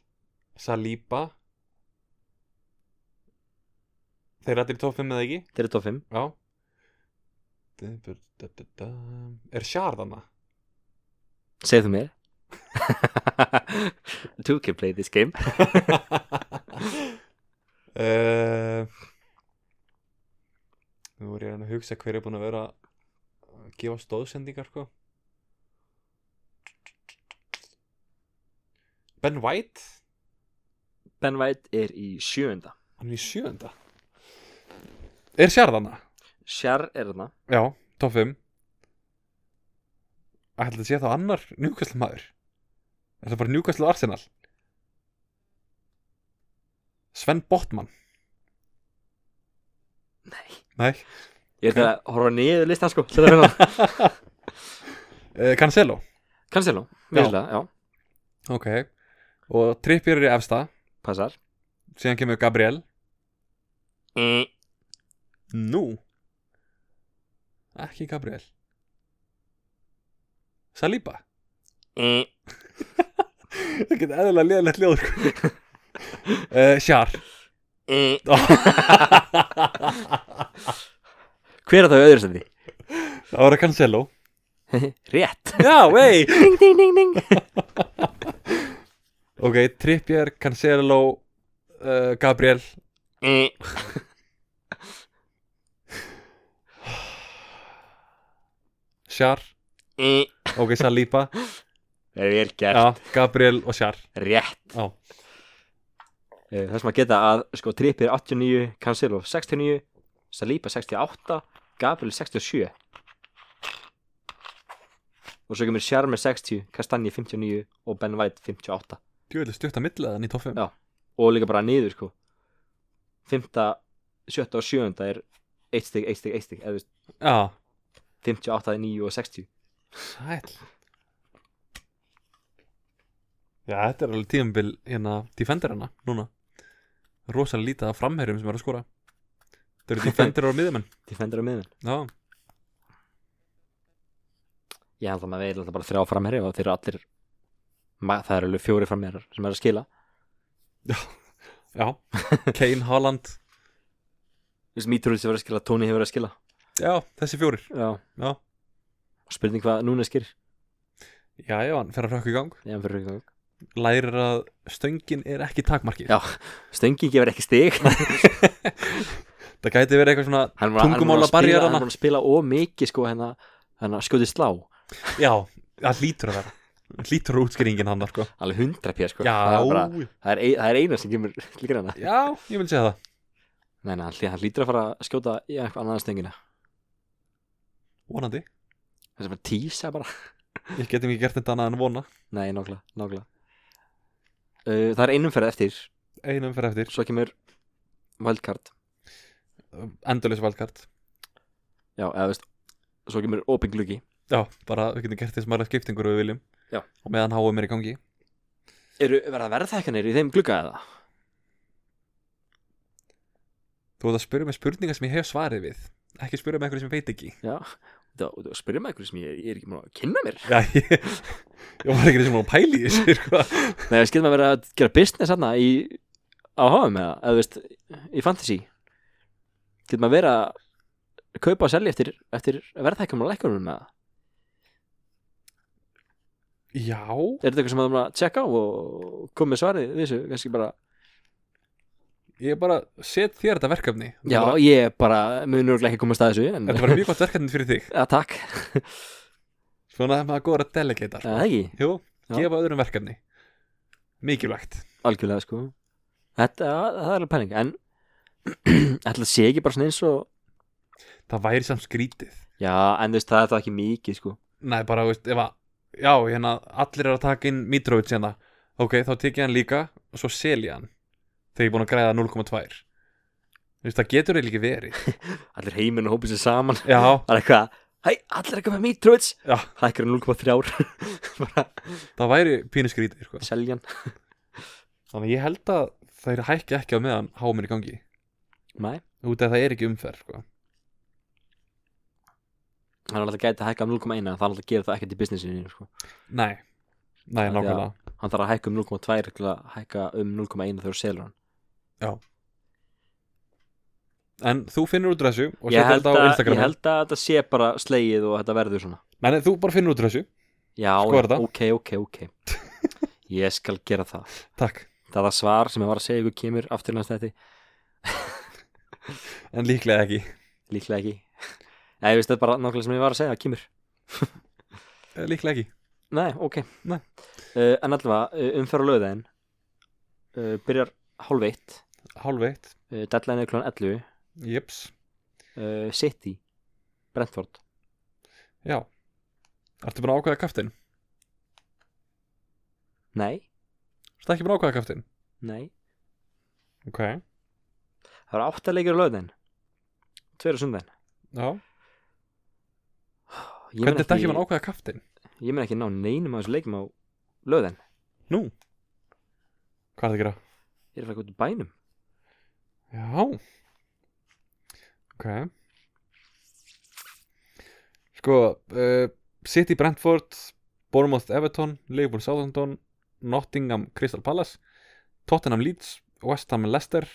Saliba Þeir rættir í top 5 eða ekki? Þeir eru tó 5 Já Du- bu- du- bu- du. Er Sjár þarna? Segðu mér Two can play this game Eh, Nú voru ég að reyna að hugsa hver er búin að vera að gefa stóðsendingar sko Ben White Ben White er í sjöunda Hann er í sjöunda Er sjarðana? Sjar er þarna Já, top 5 Ætli þetta sé þá annar njúkastlega maður Er það bara njúkastlega Arsenal? Sven Botman Nei Nei Ég er það að horfa niður listan sko til að finna það. Eh, Cancelo Cancelo, vissulega, já, Ok Og Trippier er í efsta passar Síðan kemur Gabriel mm. Nú Ekki Gabriel Saliba Mm. Það geta eðlilega sko. liðalegt ljóður uh, Sjar Mm. Hver er það í öðru stendi? Það var að Cancelo Rétt Já, vei Ding, ding, ding, ding Ok, Trippier, Cancelo uh, Gabriel Mm. Sjar Mm. Ok, Saliba Það er vel gert Já, Gabriel og Sjar Rétt Já. Eh, Það sem að geta að sko Trippi er 89, Cancelo 69 Saliba 68 Gabriel 67 og svo kemur Sjar með 60 Kastanje 59 og Ben White 58 Djöðlega stutt að milla þannig í toffum Já. og líka bara niður sko 5, 7 og 7 er 1 stig, 1 stig, 1 stig eða þú veist, Já 58, 9 og 60 Sæl Já, þetta er alveg tíðanbíl hérna defenderana núna Rosalega lítið af framherjum sem er að skora Það eru defenderar og miðjumenn defender á miðun Já, ég held að maður veið alltaf bara þrjá framherri og þeir eru allir ma- það eru alveg fjóri framherrar sem er að skila já Kane, Haaland þú veist, Mítrúlis hefur verið að skila, Tóni hefur verið að skila Já, þessi fjórir já, Já, spurning hvað núna skil já, já, hann fer að rökk í gang ég hann fyrir ekki gang Lærir að stöngin er ekki takmarkið Já. stöngi gefur ekki stig hann Það gæti verið eitthvað svona var, hann var Tungumála að spila, barrierana. hann var að spila ómikið sko hérna, hérna skjóti slá Já, það hlýtur að vera Það Hlýtur að útskýringin hann sko. alveg hundra pér sko Já, það, er bara, það, er, ein- það er eina sem kemur til greina já, ég vil segja það nei, nei, hann, hlý- hann lítur að fara að skjóta í eitthvað annan stöngina Vonandi, þess að bara tísa bara ég getum ekki gert þetta annað en vona nei, nákvæmlega, nákvæmlega uh, það er einum ferð eftir Einum fyrir eftir, svo kemur wildcard endurleis valkart já, eða þú veist svo kemur open gluggi Já, bara við getum gert því smarra skiptingur ef við viljum Já. Og meðan háum er í gangi eru verða verðhækkanir í þeim glugga eða? Þú ert að spyrja mig spurningar sem ég hef svarið við Ekki spyrja mig eitthvað sem ég veit ekki Já, þú þú spyrir mig eitthvað sem ég, ég er ekki múin að kynna mér Já, ég, ég var ekki þessum að pæla í þessu sko. Nei, ég skilð maður verið að gera business hann í á hafum eða, eða þú veist, í fantasy Getur maður verið að kaupa og selja eftir, eftir verðhækkum og lækkunum með það Já, Er þetta eitthvað sem maður maður að checka á og komið svarið við þessu, kannski bara ég bara set þér þetta verkefni Já, bara, ég bara munur ekki komast að þessu en Þetta var mjög gott verkefni fyrir þig að takk, Svona að maður góður að delegata að það ekki, Jú, Já. gefa öðrum verkefni Mikilvægt algjörlega sko Þetta, það er alveg pæling en ætla sé ekki bara svona eins og Það væri samt skrítið já, en þú veist, það er það ekki mikið sko Nei, bara, veist, ef að Já, hérna, allir eru að taka inn Mitrovic hérna Ok, þá tek ég hann líka og svo sel ég hann þegar ég er búin að græða 0,2 Þú veist, það getur eiginlega ekki verið allir heiminn og hópið sér saman Já, það er eitthvað, hei, allir eitthvað með Mitrovic Já. hækkar um 0,3 bara það væri pínu skrítið sko. seljan Þannig að ég held að þeir hækki ekki á meðan háminn í gangi Nei, út af það er ekki umferð sko. hann er alltaf gæti að hækka um 0,1 en það er alltaf að gera það ekkert í businessinu sko. Nei, Af nei, því að- nákvæmlega hann þarf að hækka um 0,2 til að hækka um 0,1 þegar þú selur hann En þú finnur út úr þessu og ég setur held, þetta á að, ég Instagram held að þetta sé bara slegið og þetta verður svona Nei, nei, þú bara finnur út úr þessu já, Skoðar þetta? ok, ok, ok ég skal gera það Takk það er svar sem ég var að segja ykkur kemur aftur næst þetta, En líklega ekki líklega ekki Nei, ég veist þetta er bara nákvæmlega sem ég var að segja, það kemur Eh, Líklega ekki Nei, ok Nei. Uh, En allavega, umferð á löðin uh, byrjar hálf eitt Hálf eitt uh, deadline er klón 11 uh, Jeps City, Brentford Já Ertu búin að ákvæða kaftin? Nei, Ertu ekki búin að ákvæða kaftin? nei Ok Já Það eru átta leikir á löðin Tveir á sundin ég mun Hvernig ertu ekki ekki, búin að ákvæða kaftin? ég mun ekki ná neinum af þessu leikum á löðin Nú Hvað er það að gera? Ég er að fara eitthvað út í bænum Já Ok Sko uh, City Brentford Bournemouth Everton Liverpool Southampton Nottingham Crystal Palace Tottenham Leeds West Ham Leicester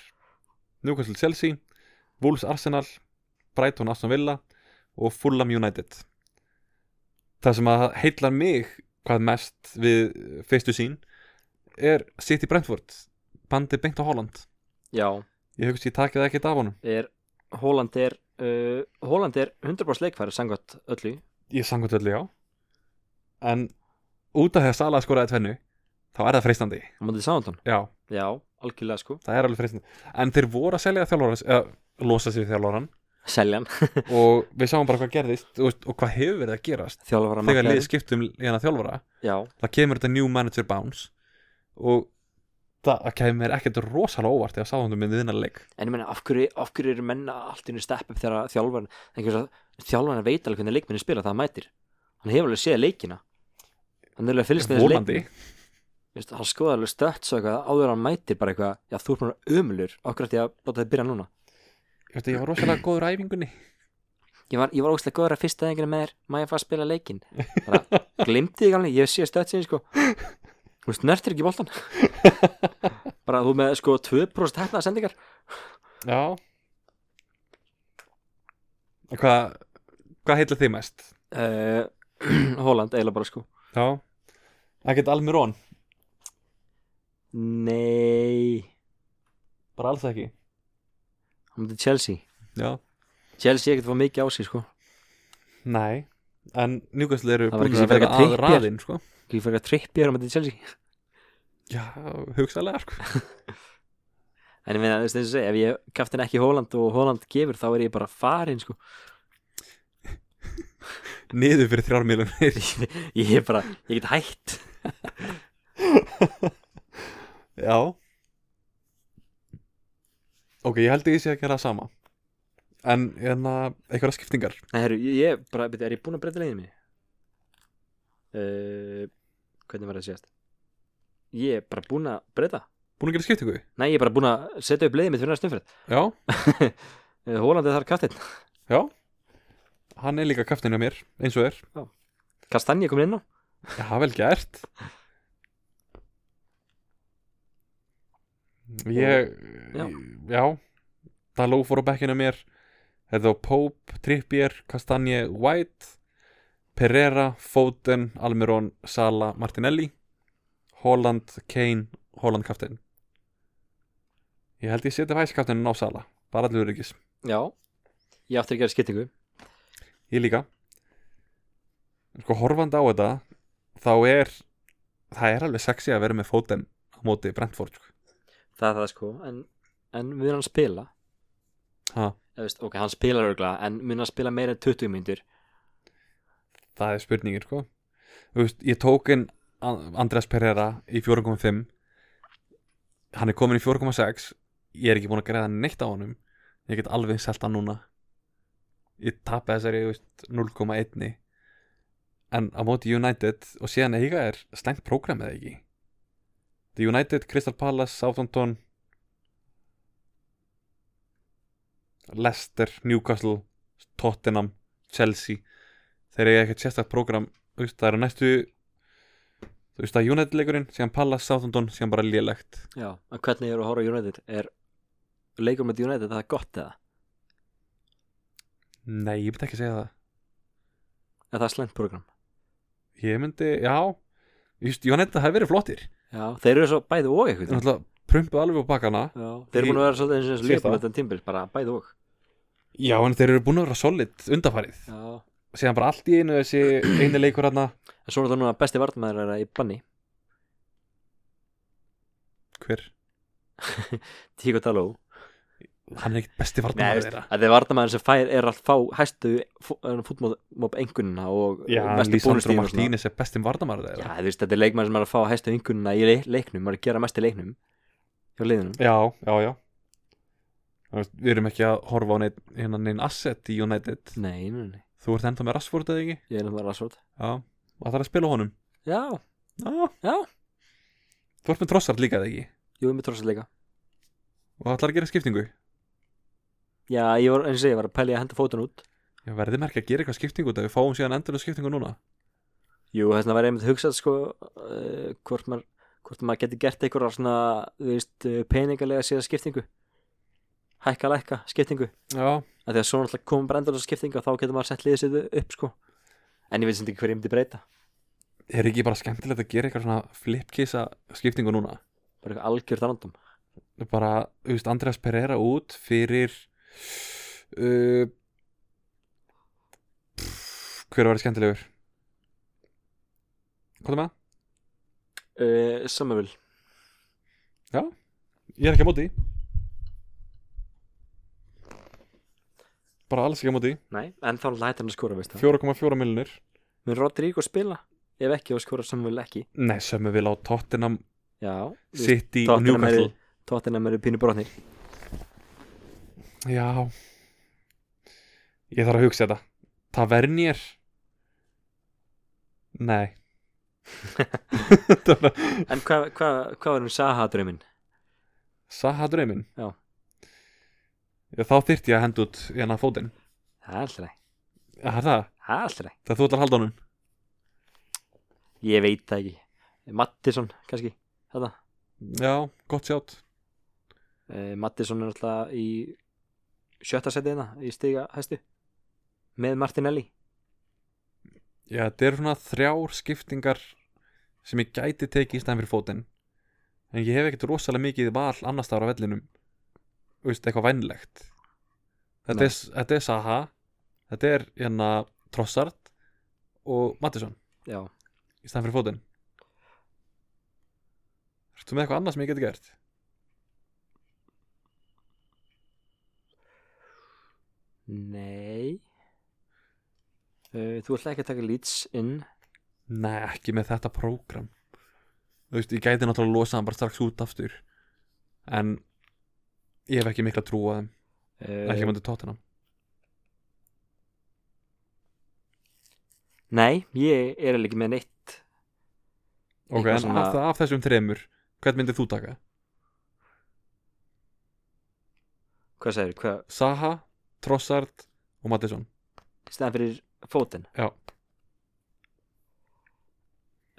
Newcastle Chelsea Wolves Arsenal Brighton Aston Villa og Fulham United Það sem að heillar mig hvað mest við fyrstu sín er City Brentford bandi beint á Holland Já, Ég hugst ég takið ekkert af honum er Hóland er uh, Hóland er 100% leikfæri sangvætt öllu Ég sangut öllu já En út af því að Sala skoraði tvennu Þá er það freistandi á mótið Sándon Já, Já, algjörlega sko það er alveg freistandi En þeir voru að selja þjálfóran eða, Losa sig við þjálfóran Seljan, Og við sáum bara hvað gerðist þú veist, Og hvað hefur verið að gerast þjálfara Þegar markaðurinn. liðið skiptum hérna þjálfóra Já, Það kemur þetta new manager bounce Og það það kemur ekkert rosalega óvart Þegar sáðum þú myndið þinnar leik en ég meina af hverju, af hverju eru menna allt innu stepp upp þegar þjálfaran þjálfaran veit alveg hvernig leikminni spila það hann mætir, hann hefur alveg séð leikina hann er alveg að fylgst með þessu leik- Volandi Veist, hann skoða alveg stötts og eitthvað áður en hann mætir bara eitthvað, já þú ert bara ömulur okkur eftir að láta þið byrja núna Ég veist, ég var rosalega góður á æfingunni ég var, ég var ógstlega góður að fyrsta þengina með þér maður ég fara að spila leikinn bara, glimti þig alveg, ég sé stötsin sko þú snertir ekki boltan bara þú með sko 2% hefnaða sendingar Já En Hvað Hvað heitla þið mest? uh, Holland eiginlega bara sko Já Ekkert Almirón, nei, bara alls ekki hann myndi Chelsea Já Chelsea ekkert fór mikið á sig sko Nei En Newcastle eru Það var ekki búin sem að vera frekar að Trippier. raðinn sko ekki fyrir að trippi hann myndi Chelsea Já, hugsalega sko en ég meina þú veist þess að segja, ef ég kaftin ekki Holland og Holland gefur þá er ég bara farin sko Niður fyrir þrjár miljonir ég er bara, ég get hætt Já Ok, ég held að ég sé að gera það sama En, en að einhverja skiptingar Nei, herru, ég- ég bara, beti, er ég búinn að breyta leiðinni? Uh, hvernig var það síðast? Ég er bara búinn að breyta Búin að gera skiptingu? Nei, ég er bara búinn að setja upp leiðið mitt fyrir næstum fyrir Já, uh, Hólandi þar kattinn já Hann er líka kaftin hjá mér, eins og er Kastanji er komin inn á Já, vel gert Ég, Já. já, Daló fór á bekkinu mér Þetta var Pope, Trippier, Kastanje, White Pereira, Foden, Almiron, Sala, Martinelli Holland, Kane, Holland kaftin Ég held ég setja væskaptinu á sala, bara allur ykkur Já, ég átti að gera skiptingu Ég líka Sko horfandi á þetta Þá er Það er alveg sexy að vera með fóten á móti Brentford sko. Það er það sko, en, en mun hann spila Ha. Eða, veist, Ok, hann spilar örgla, en mun hann spila meira en 20 myndir Það er spurningir sko. Þú veist, Ég tók inn An- Andrés Pereira í 4.5 Hann er komin í 4.6 Ég er ekki búin að greiða neitt á honum Ég get alveg selt hann núna Ég tapi þessari þú veist, 0.1 En á móti United Og síðan eiga er slengt prógram eða ekki The United, Crystal Palace, Southampton Leicester, Newcastle Tottenham, Chelsea Þeir eiga ekkert sérstakt prógram Þú veist, Það eru næstu Þú veist að United leikurinn, síðan Palace, Southampton Síðan bara lélegt Já, en hvernig eru að horfa á United er leikur með United það er gott eða Nei, ég myndi ekki segja það en það er slengt program Ég myndi, já Þú veist, United það hefur verið flottir Já, þeir eru svo bæði og Þeir eitthvað Já, náttúrulega prumpuð alveg á bakana þeir eru búin að vera svolítið eins og Síðasta. lífum þetta tímbil, bara bæði og Já, en þeir eru búin að vera solid undanfarið Já, Síðan bara allt í einu þessi einu leikur hérna en svo er það núna besti vartmaður er í banni Hver? Tíko Taló Hann er ekkert besti Nei, vartamæður veist, þeirra að þeir vartmaður sem fær er að fá hæstu fútmóp engunina og Já, og hann mestu Lísandro bónustíðin og svona. Martínez er besti vartamæður Já, þeirra þú veist, þetta er leikmaður sem er að fá hæstu engunina í leik- leiknum, maður er að gera mest í leiknum hjá liðunum Já, já, já Þú veist, Við erum ekki að horfa á neitt, hérna, neinn asset í United Nei, nei, nei, Þú ert enda með Rashford eða ekki? ég er náttúrulega rasvort Já, og það er að spila á honum Já, Já, já, þú ert með Trossard líka eða ekki jú, ég með trósað leika og það ætlar að gera skiptingu Já, ég var, eins og ég var að pæli að henda fótun út Ég verði merki að gera eitthvað skiptingu þegar við fáum síðan endurlega skiptingu núna Jú, þess vegna var ég einmitt hugsað sko uh, hvort maður hvort maður geti gert einhverja svona þú veist, eh, peningalega síðan skiptingu hækka, lækka, skiptingu Já, að því að svo náttúrulega komum bara endurlega skiptingu og þá getur maður sett liðið sér upp sko en ég veit sem ekki hverju ég myndi breyta er ekki bara skemmtilegt að gera eitthvað svona flipkissa skiptingu núna bara eitthvað algjörð random bara, þú veist, Andreas Pereira út fyrir uh, pff, hver var skemmtilegur hvað er með? það? uh, Samuvel, Ég er ekki á móti því. bara alls ekki á móti því. nei, en þá lætir hann að skora veist það 4,4 miljonir mun Rodrigo spila, ef ekki og skora Samuvel ekki Nei, sömu vil á Tottenham já, City og Tottenham Newcastle eru- tóttina eru pínu brotnir Já Ég þarf að hugsa þetta Tavernir Nei Þetta var- en hvað hva, hva var um Saha drauminn? Saha drauminn Já. Já, Þá þyrfti ég að henda út í hennar fótinn það er alltaf leið, Já, það er það, það er alltaf leið það þú ætlar að halda honum Ég veit það ekki Mattisson kannski þetta. Já, gott sjátt Uh, Mattisson er alltaf í sjötta setiðina í stiga hæstu með Martinelli Já, þetta eru svona þrjár skiptingar sem ég gæti tekið í stæðan fyrir fótinn en ég hef ekkert rosalega mikið val annars þar á vellinum Þú veist, eitthvað vænlegt þetta Nei. er, þetta er Saha þetta er hérna Trossard og Mattisson Já, í stæðan fyrir fótinn Ertu með eitthvað annað sem ég geti gert? nei uh, Þú ætla ekki að taka Leeds inn Nei, ekki með þetta prógram Þú veist, ég gæti náttúrulega að losa hann bara strax út aftur en ég hef ekki mikla trú að þeim uh, ekki myndi tóttina Nei, ég er alveg ekki með neitt Ok, Eitthvað en svona- af, af þessum þremur Hvern myndir þú taka? Hvað segir, hvað, Saha, Trossard og Mattisson stæðan fyrir fótinn Já.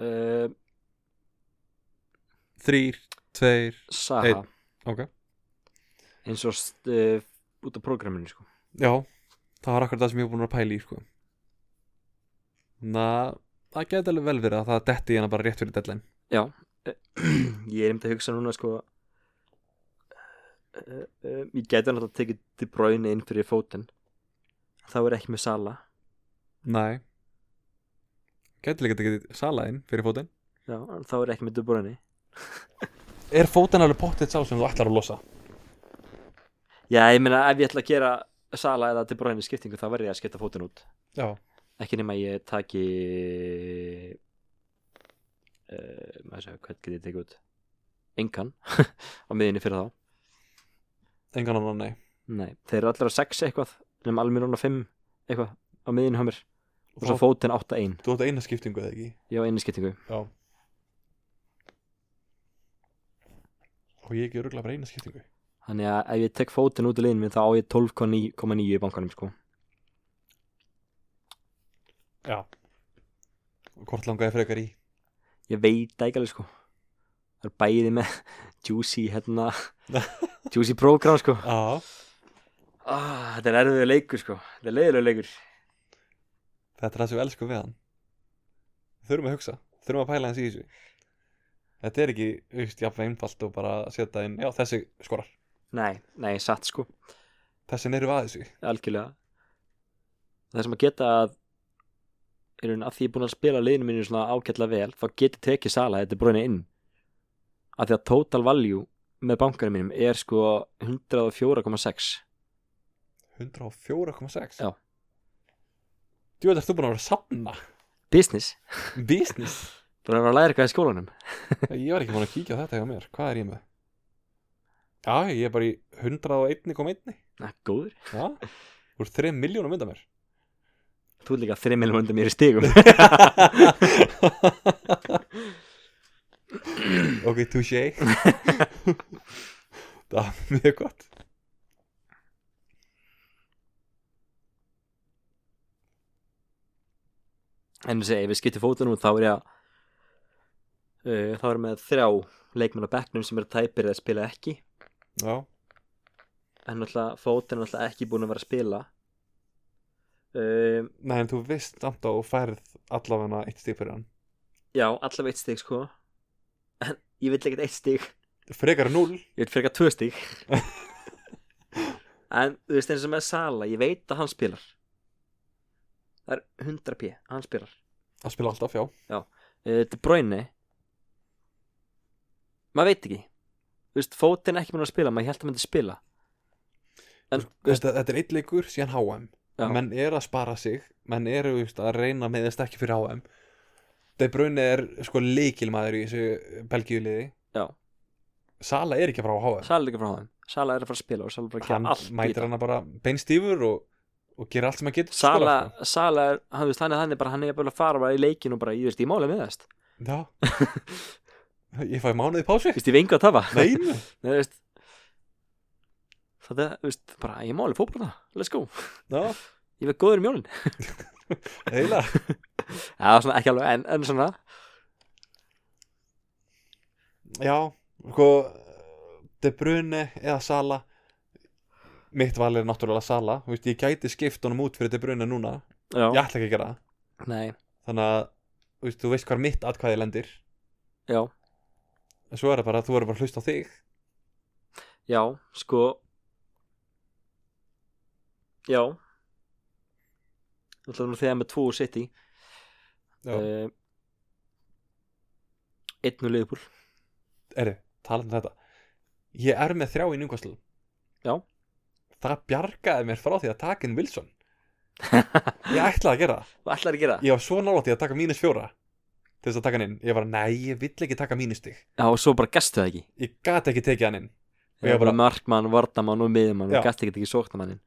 uh, Þrýr, tveir Saha Einn. Ok eins og st- uh, út af prógraminu sko. Já, það var akkur það sem ég var búin að pæla í sko. Na, það geti alveg vel verið að það detti hérna bara rétt fyrir deadline ég er einmitt að hugsa núna sko uh, um, ég geti náttúrulega tekið til bráinu inn fyrir fótinn þá er ekki með sala Nei Gæti líka tekið salaðinn fyrir fótinn Já, en þá er ekki með dubbröðinni Er fótinn alveg pottið sá sem þú ætlar að losa? Já, ég meina ef ég ætla að gera sala eða til bráinu skiptingu þá verð ég að skipta fótinn út Já ekki nema ég taki uh, maður segja, hvað get ég tekið út engan á miðinni fyrir þá Engan annan, nei Nei, þeir eru allir á 6 eitthvað nema Almirón á 5 eitthvað á miðinni hjá mér og svo Þá- fótinn 8-1 Þú átt eina skiptingu eða ekki? ég á einu skiptingu Já Og ég ekki örgulega bara eina skiptingu Þannig að ef ég tek fótinn út í liðinu minn þá á ég 12,9 í bankanum sko. Já Og hvort langaði frekar í? Ég veit það ekki alveg sko. Það er bæði með juicy hérna, juicy program sko. Já Ah, þetta er erfiður leikur sko. Þetta er leiðilegur leikur. Þetta er það sem við elskum við hann Þurfum að hugsa, þurfum að pæla hans í þessu Þetta er ekki, þú veist, jafnveg einfalt og bara setja inn, já þessi skorar Nei, nei, satt sko. Þessi neyru að þessu Algjörlega. Það sem að geta að í raun að því ég er búin að spila liðinu mínu svona ágætlega vel þá get ég tekið sala þetta er bróinu inn. Af því að total value með bankanum mínum er sko 104,6. 104,6 Já. Djú, þetta er þú búin að vera að safna Business. Business Búin að vera að læra eitthvað í skólanum. Ég var ekki búin að kíkja á þetta hjá mér, hvað er ég með? Já, ég er bara í 101,1 Na, góður. Já, úr 3 miljónum mynda mér Þú er líka þreim miljónum undir mér í stigum Ok, touché Það er mjög gott En þessi, ef ég skipti fótinn út þá er ég að uh, þá er ég með þrjá leikmenn á bekknum sem eru tæpir eða spila ekki Já, en náttúrulega fótinn er náttúrulega ekki búin að vera að spila um, nei en þú veist samt að þú færð allavega eitt stíð fyrir hann Já, allavega eitt stig sko en ég vil ekkert eitt stig Frekar en 0 ég vil frekar tvö stig en þú veist eins og með Sala ég veit að hann spilar það er 100 p, hann spilar að spila alltaf, já uh, De Bruyne maður veit ekki þú veist, fótinn er ekki búin að spila maður held að myndi spila en, þú veist, þetta, þetta er eitt leikur síðan HM Já. menn er að spara sig menn eru þú veist, að reyna með þess ekki fyrir HM De Bruyne er sko leikilmaður í þessu belgiðliði já, Sala er ekki að fara á HM Sala er ekki frá hann Sala er að fara að spila og Sala er bara að hann gera allt í mætir þetta. hana bara beinstífur og, og gerir allt sem hann getur til sko. Sala, skóla, Sala er, hann, þú veist, hann er þannig bara hann er bara að fara bara í leikin og bara, ég veist, ég mála með þess þú sko. Já Ég fæ mánuði pási veist, ég vengu að tafa Nei, nei. Nei, þú veist það er, þú veist, bara, ég mála fótbolta let's go, Já, ég verð góður í mjólin eiginlega já, svona, ekki alveg, en, en svona Já, sko De Bruyne eða Sala Mitt val er náttúrulega Sala Þú veist, Ég gæti skipt honum út fyrir De Bruyne núna já, Ég ætla ekki að gera það nei, Þannig að þú veist, þú veist hvar mitt atkvæði lendir já En svo er það bara að þú verður bara að hlusta á þig Já, sko Já Þú ætlar nú þegar með 2 og City Já. uh, Einn og Liverpool Erðu, talað um þetta Ég er með þrjá í njúkvæslu Já. Það bjargaði mér frá því að taka inn Wilson Ég ætlaði að gera það Hvað ætlar að gera? Ég var svo nálægt í að taka mínus fjóra Til þess að taka hann inn Ég var að nei, ég vill ekki taka mínustig Já, og svo bara gastu það ekki Ég gat ekki tekið hann inn Og Já, ég bara bara, markmann, vardamann og miðjumann Já. og gastu ekki ekki sóknamannin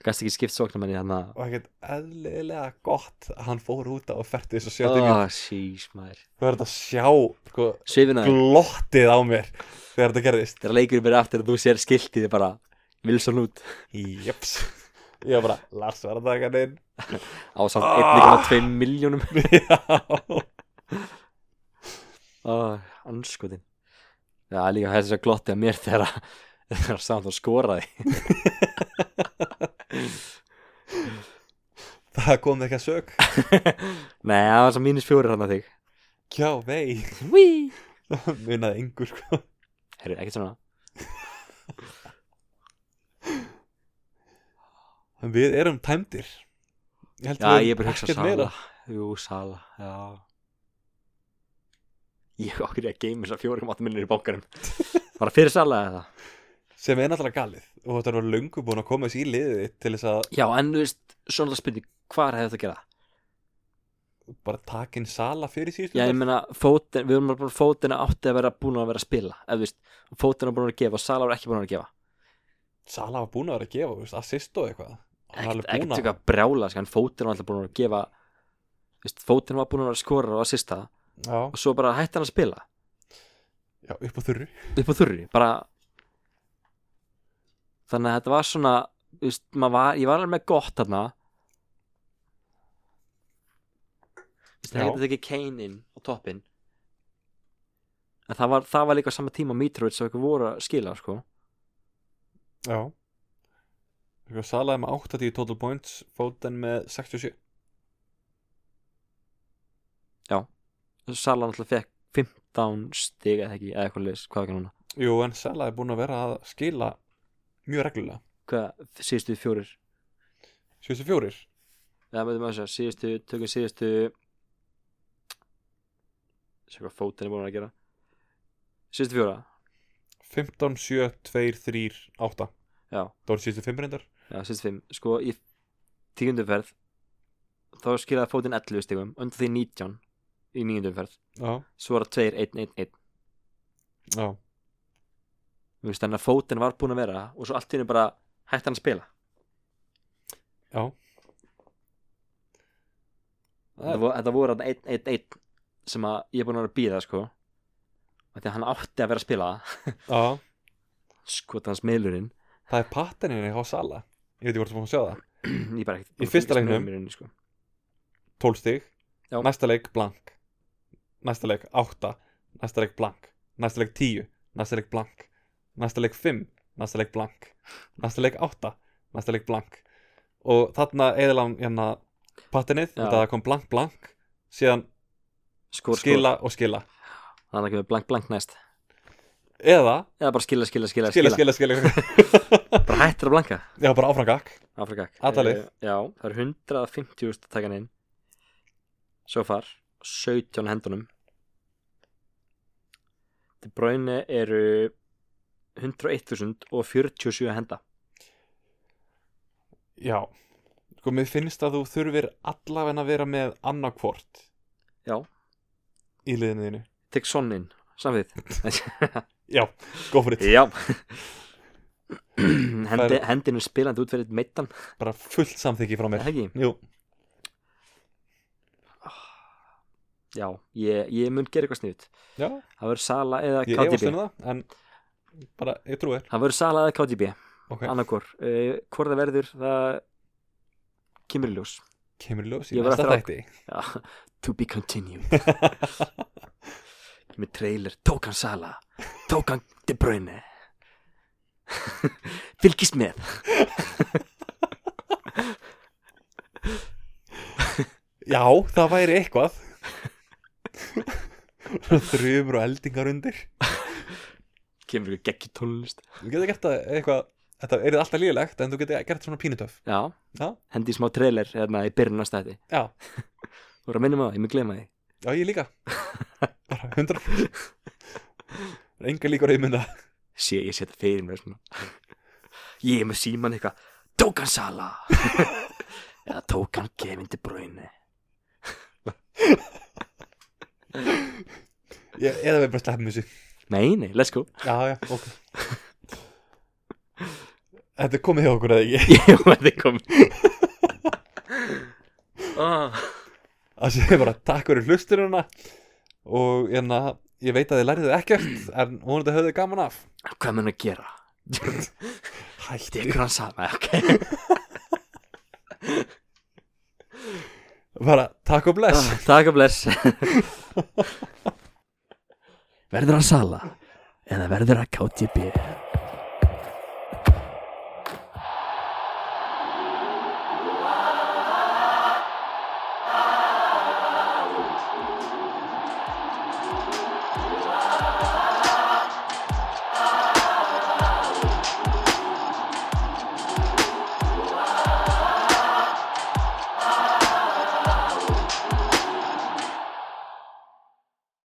gastu ekki skipt sóknamannin hérna og ekkert eðlilega gott að Hann fór út á og ferdi þess að sjötti Oh, sheesh, maður Þú verður að sjá sko, Sveifinaður, Glottið á mér Þegar þetta gerðist þegar leikurinn verið aftur að þú sér skiltið bara Wilson út Jeps Ég var bara, Lars var að taka hann inn á samt Ah. 1,2 miljónum Já Oh, anskotin Já, líka þess að glotti að mér þegar að- þegar samt og skoraði Það kom ekki að sög Nei, það var svo mínus fjórir hann að þig Kjá vei Wee! Munaði yngur sko Herru, ekkert svona En Við erum tæmdir Ég held Já, við ég er höfum bara að hugsa ekkert Sala meira. Jú, Sala, já Ég okkur ég að geima þessar fjórum áttum minnir í bókarum Bara fyrir Sala eða Sem er náttúrulega galið Og þetta var löngu búin að koma þessi í liðið þitt Til þess að Já, en þú veist, svona það spurning Hvar hefði þetta að gera? bara taka inn sala fyrir síðustu Já, ég umferð. meina, fótin, við erum bara fótina átti að vera búin að vera að spila Ef þú veist, fótina búin að vera að gefa og Sala var ekki búin að vera að gefa Sala var búin að vera að gefa þú veist, Assist og eitthvað Hann var ekkert, alveg búinn ekkert að- eitthvað brjála sko, en fótinn var alltaf búin að gefa þú veist, fótinn var búin að vera að skora og að sista Já, og svo bara hætti hann að spila já, upp á þurru upp á þurri bara... þannig að þetta var svona þú veist, maður var, ég var alveg með gott þarna Þú veist, Já. hefði þetta ekki Kane inn á toppinn en það var, það var líka á sama tíma Mitrovic sem eitthvað voru að skila sko. Já Eitthvað, Sala er með 80 total points Foden með 67 Sala náttúrulega fekk 15 stig eða ekki, eða eitthvað leis, hvað ekki núna Jú, en Sala er búin að vera að skila Mjög reglulega hvað, síðustu fjórir Síðustu fjórir Já, með þess að síðustu, tökum síðustu Sjá hvað fótinn er búin að gera Síðustu fjóra 15, 7, 2, 3, 8 Já, Það voru síðustu 5 reyndar já, síðustu fimm Sko, í tíundumferð Þá skilaði fótinn 11 stigum Undir því 19 í níundumferð Já, Svo var það 2, 1, 1, 1 já Þú veist, þannig að fótinn var búin að vera Og svo allt í henni bara hætti hann að spila Já Þetta voru- Þetta voru hann 1, 1, 1 Sem að ég er búin að vera að býða, sko Þegar hann átti að vera að spila sko, Já, Skot hans meðlurinn það er patterninni á Sala Ég veit ekki hvort þú búin að sjá það Ég bara ekkert Í ég- fyrsta ég- leiknum. mér inni, sko. 12 stig, Já. næsta leik blank Næsta leik 8 Næsta leik blank, næsta leik 10 Næsta leik blank, næsta leik 5 Næsta leik blank, næsta leik 8 Næsta leik blank Og þarna eðla hann hérna patternið, Já. þetta að það kom blank blank síðan Skor, skor skila og skila Þannig að Sko, kemur blank blank næst eða Eða bara skila, skila, skila, skila, skila, skila, Bara hættir að blanka Já, bara áframgakk Afrikak Alla leið. Já, það eru 150 úrst að taka hann inn Svo far 17 á hendunum Til bráinu eru 101.047 að henda Já, sko, mér finnst að þú þurfir allavega að vera með annarkvort Já, í liðinu þínu tek sonnin Samfið Já, go for it Já Hendi, Hendinu spilandi út fyrir meittan bara fullt samþykki frá mér Það ekki Jú, Já, ég, ég mun gera eitthvað sniðut já, Það verður Sala eða ég efast KDB um það en bara, ég trú þér Það verður Sala eða KDB okay. annarkor uh, hvort það verður það kemur í ljós Kemur í ljós í Ég var aftur næsta á- þætti Já, to be continued með trailer tók hann Sala tók hann De Bruyne fylgist með Já, það væri eitthvað Þrjumur og eldingar undir kemur ykkur geggi tónlist Þú getur gert það eitthvað Þetta er alltaf líðilegt en þú getur gert svona pínutöf já, Já. hendi í smá trailer hérna í byrjun næsta þetta Já, þú voru að minna maður, ég mun glema því já, ég líka Bara hundra Enga líkur einmynda sé, ég setja fyrir mér svona ég er með síman eitthvað tók hann Sala eða tók hann Kevin De Bruyne Ég- Eða við bara sleppum þessu nei, nei, let's go Já, já, ok Þetta er komið hjá okkur eða ekki Ég verði komið ah. Það sé bara takk fyrir hlustununa Og hérna, ég veit að þið læriðu ekkert En vonandi höfðu þið gaman af Hvað mun að gera? Hætti Tekur hann saman, ok Bara takk Ah. og bless Takk og bless Verður hann sala? Eða verður hann KTB?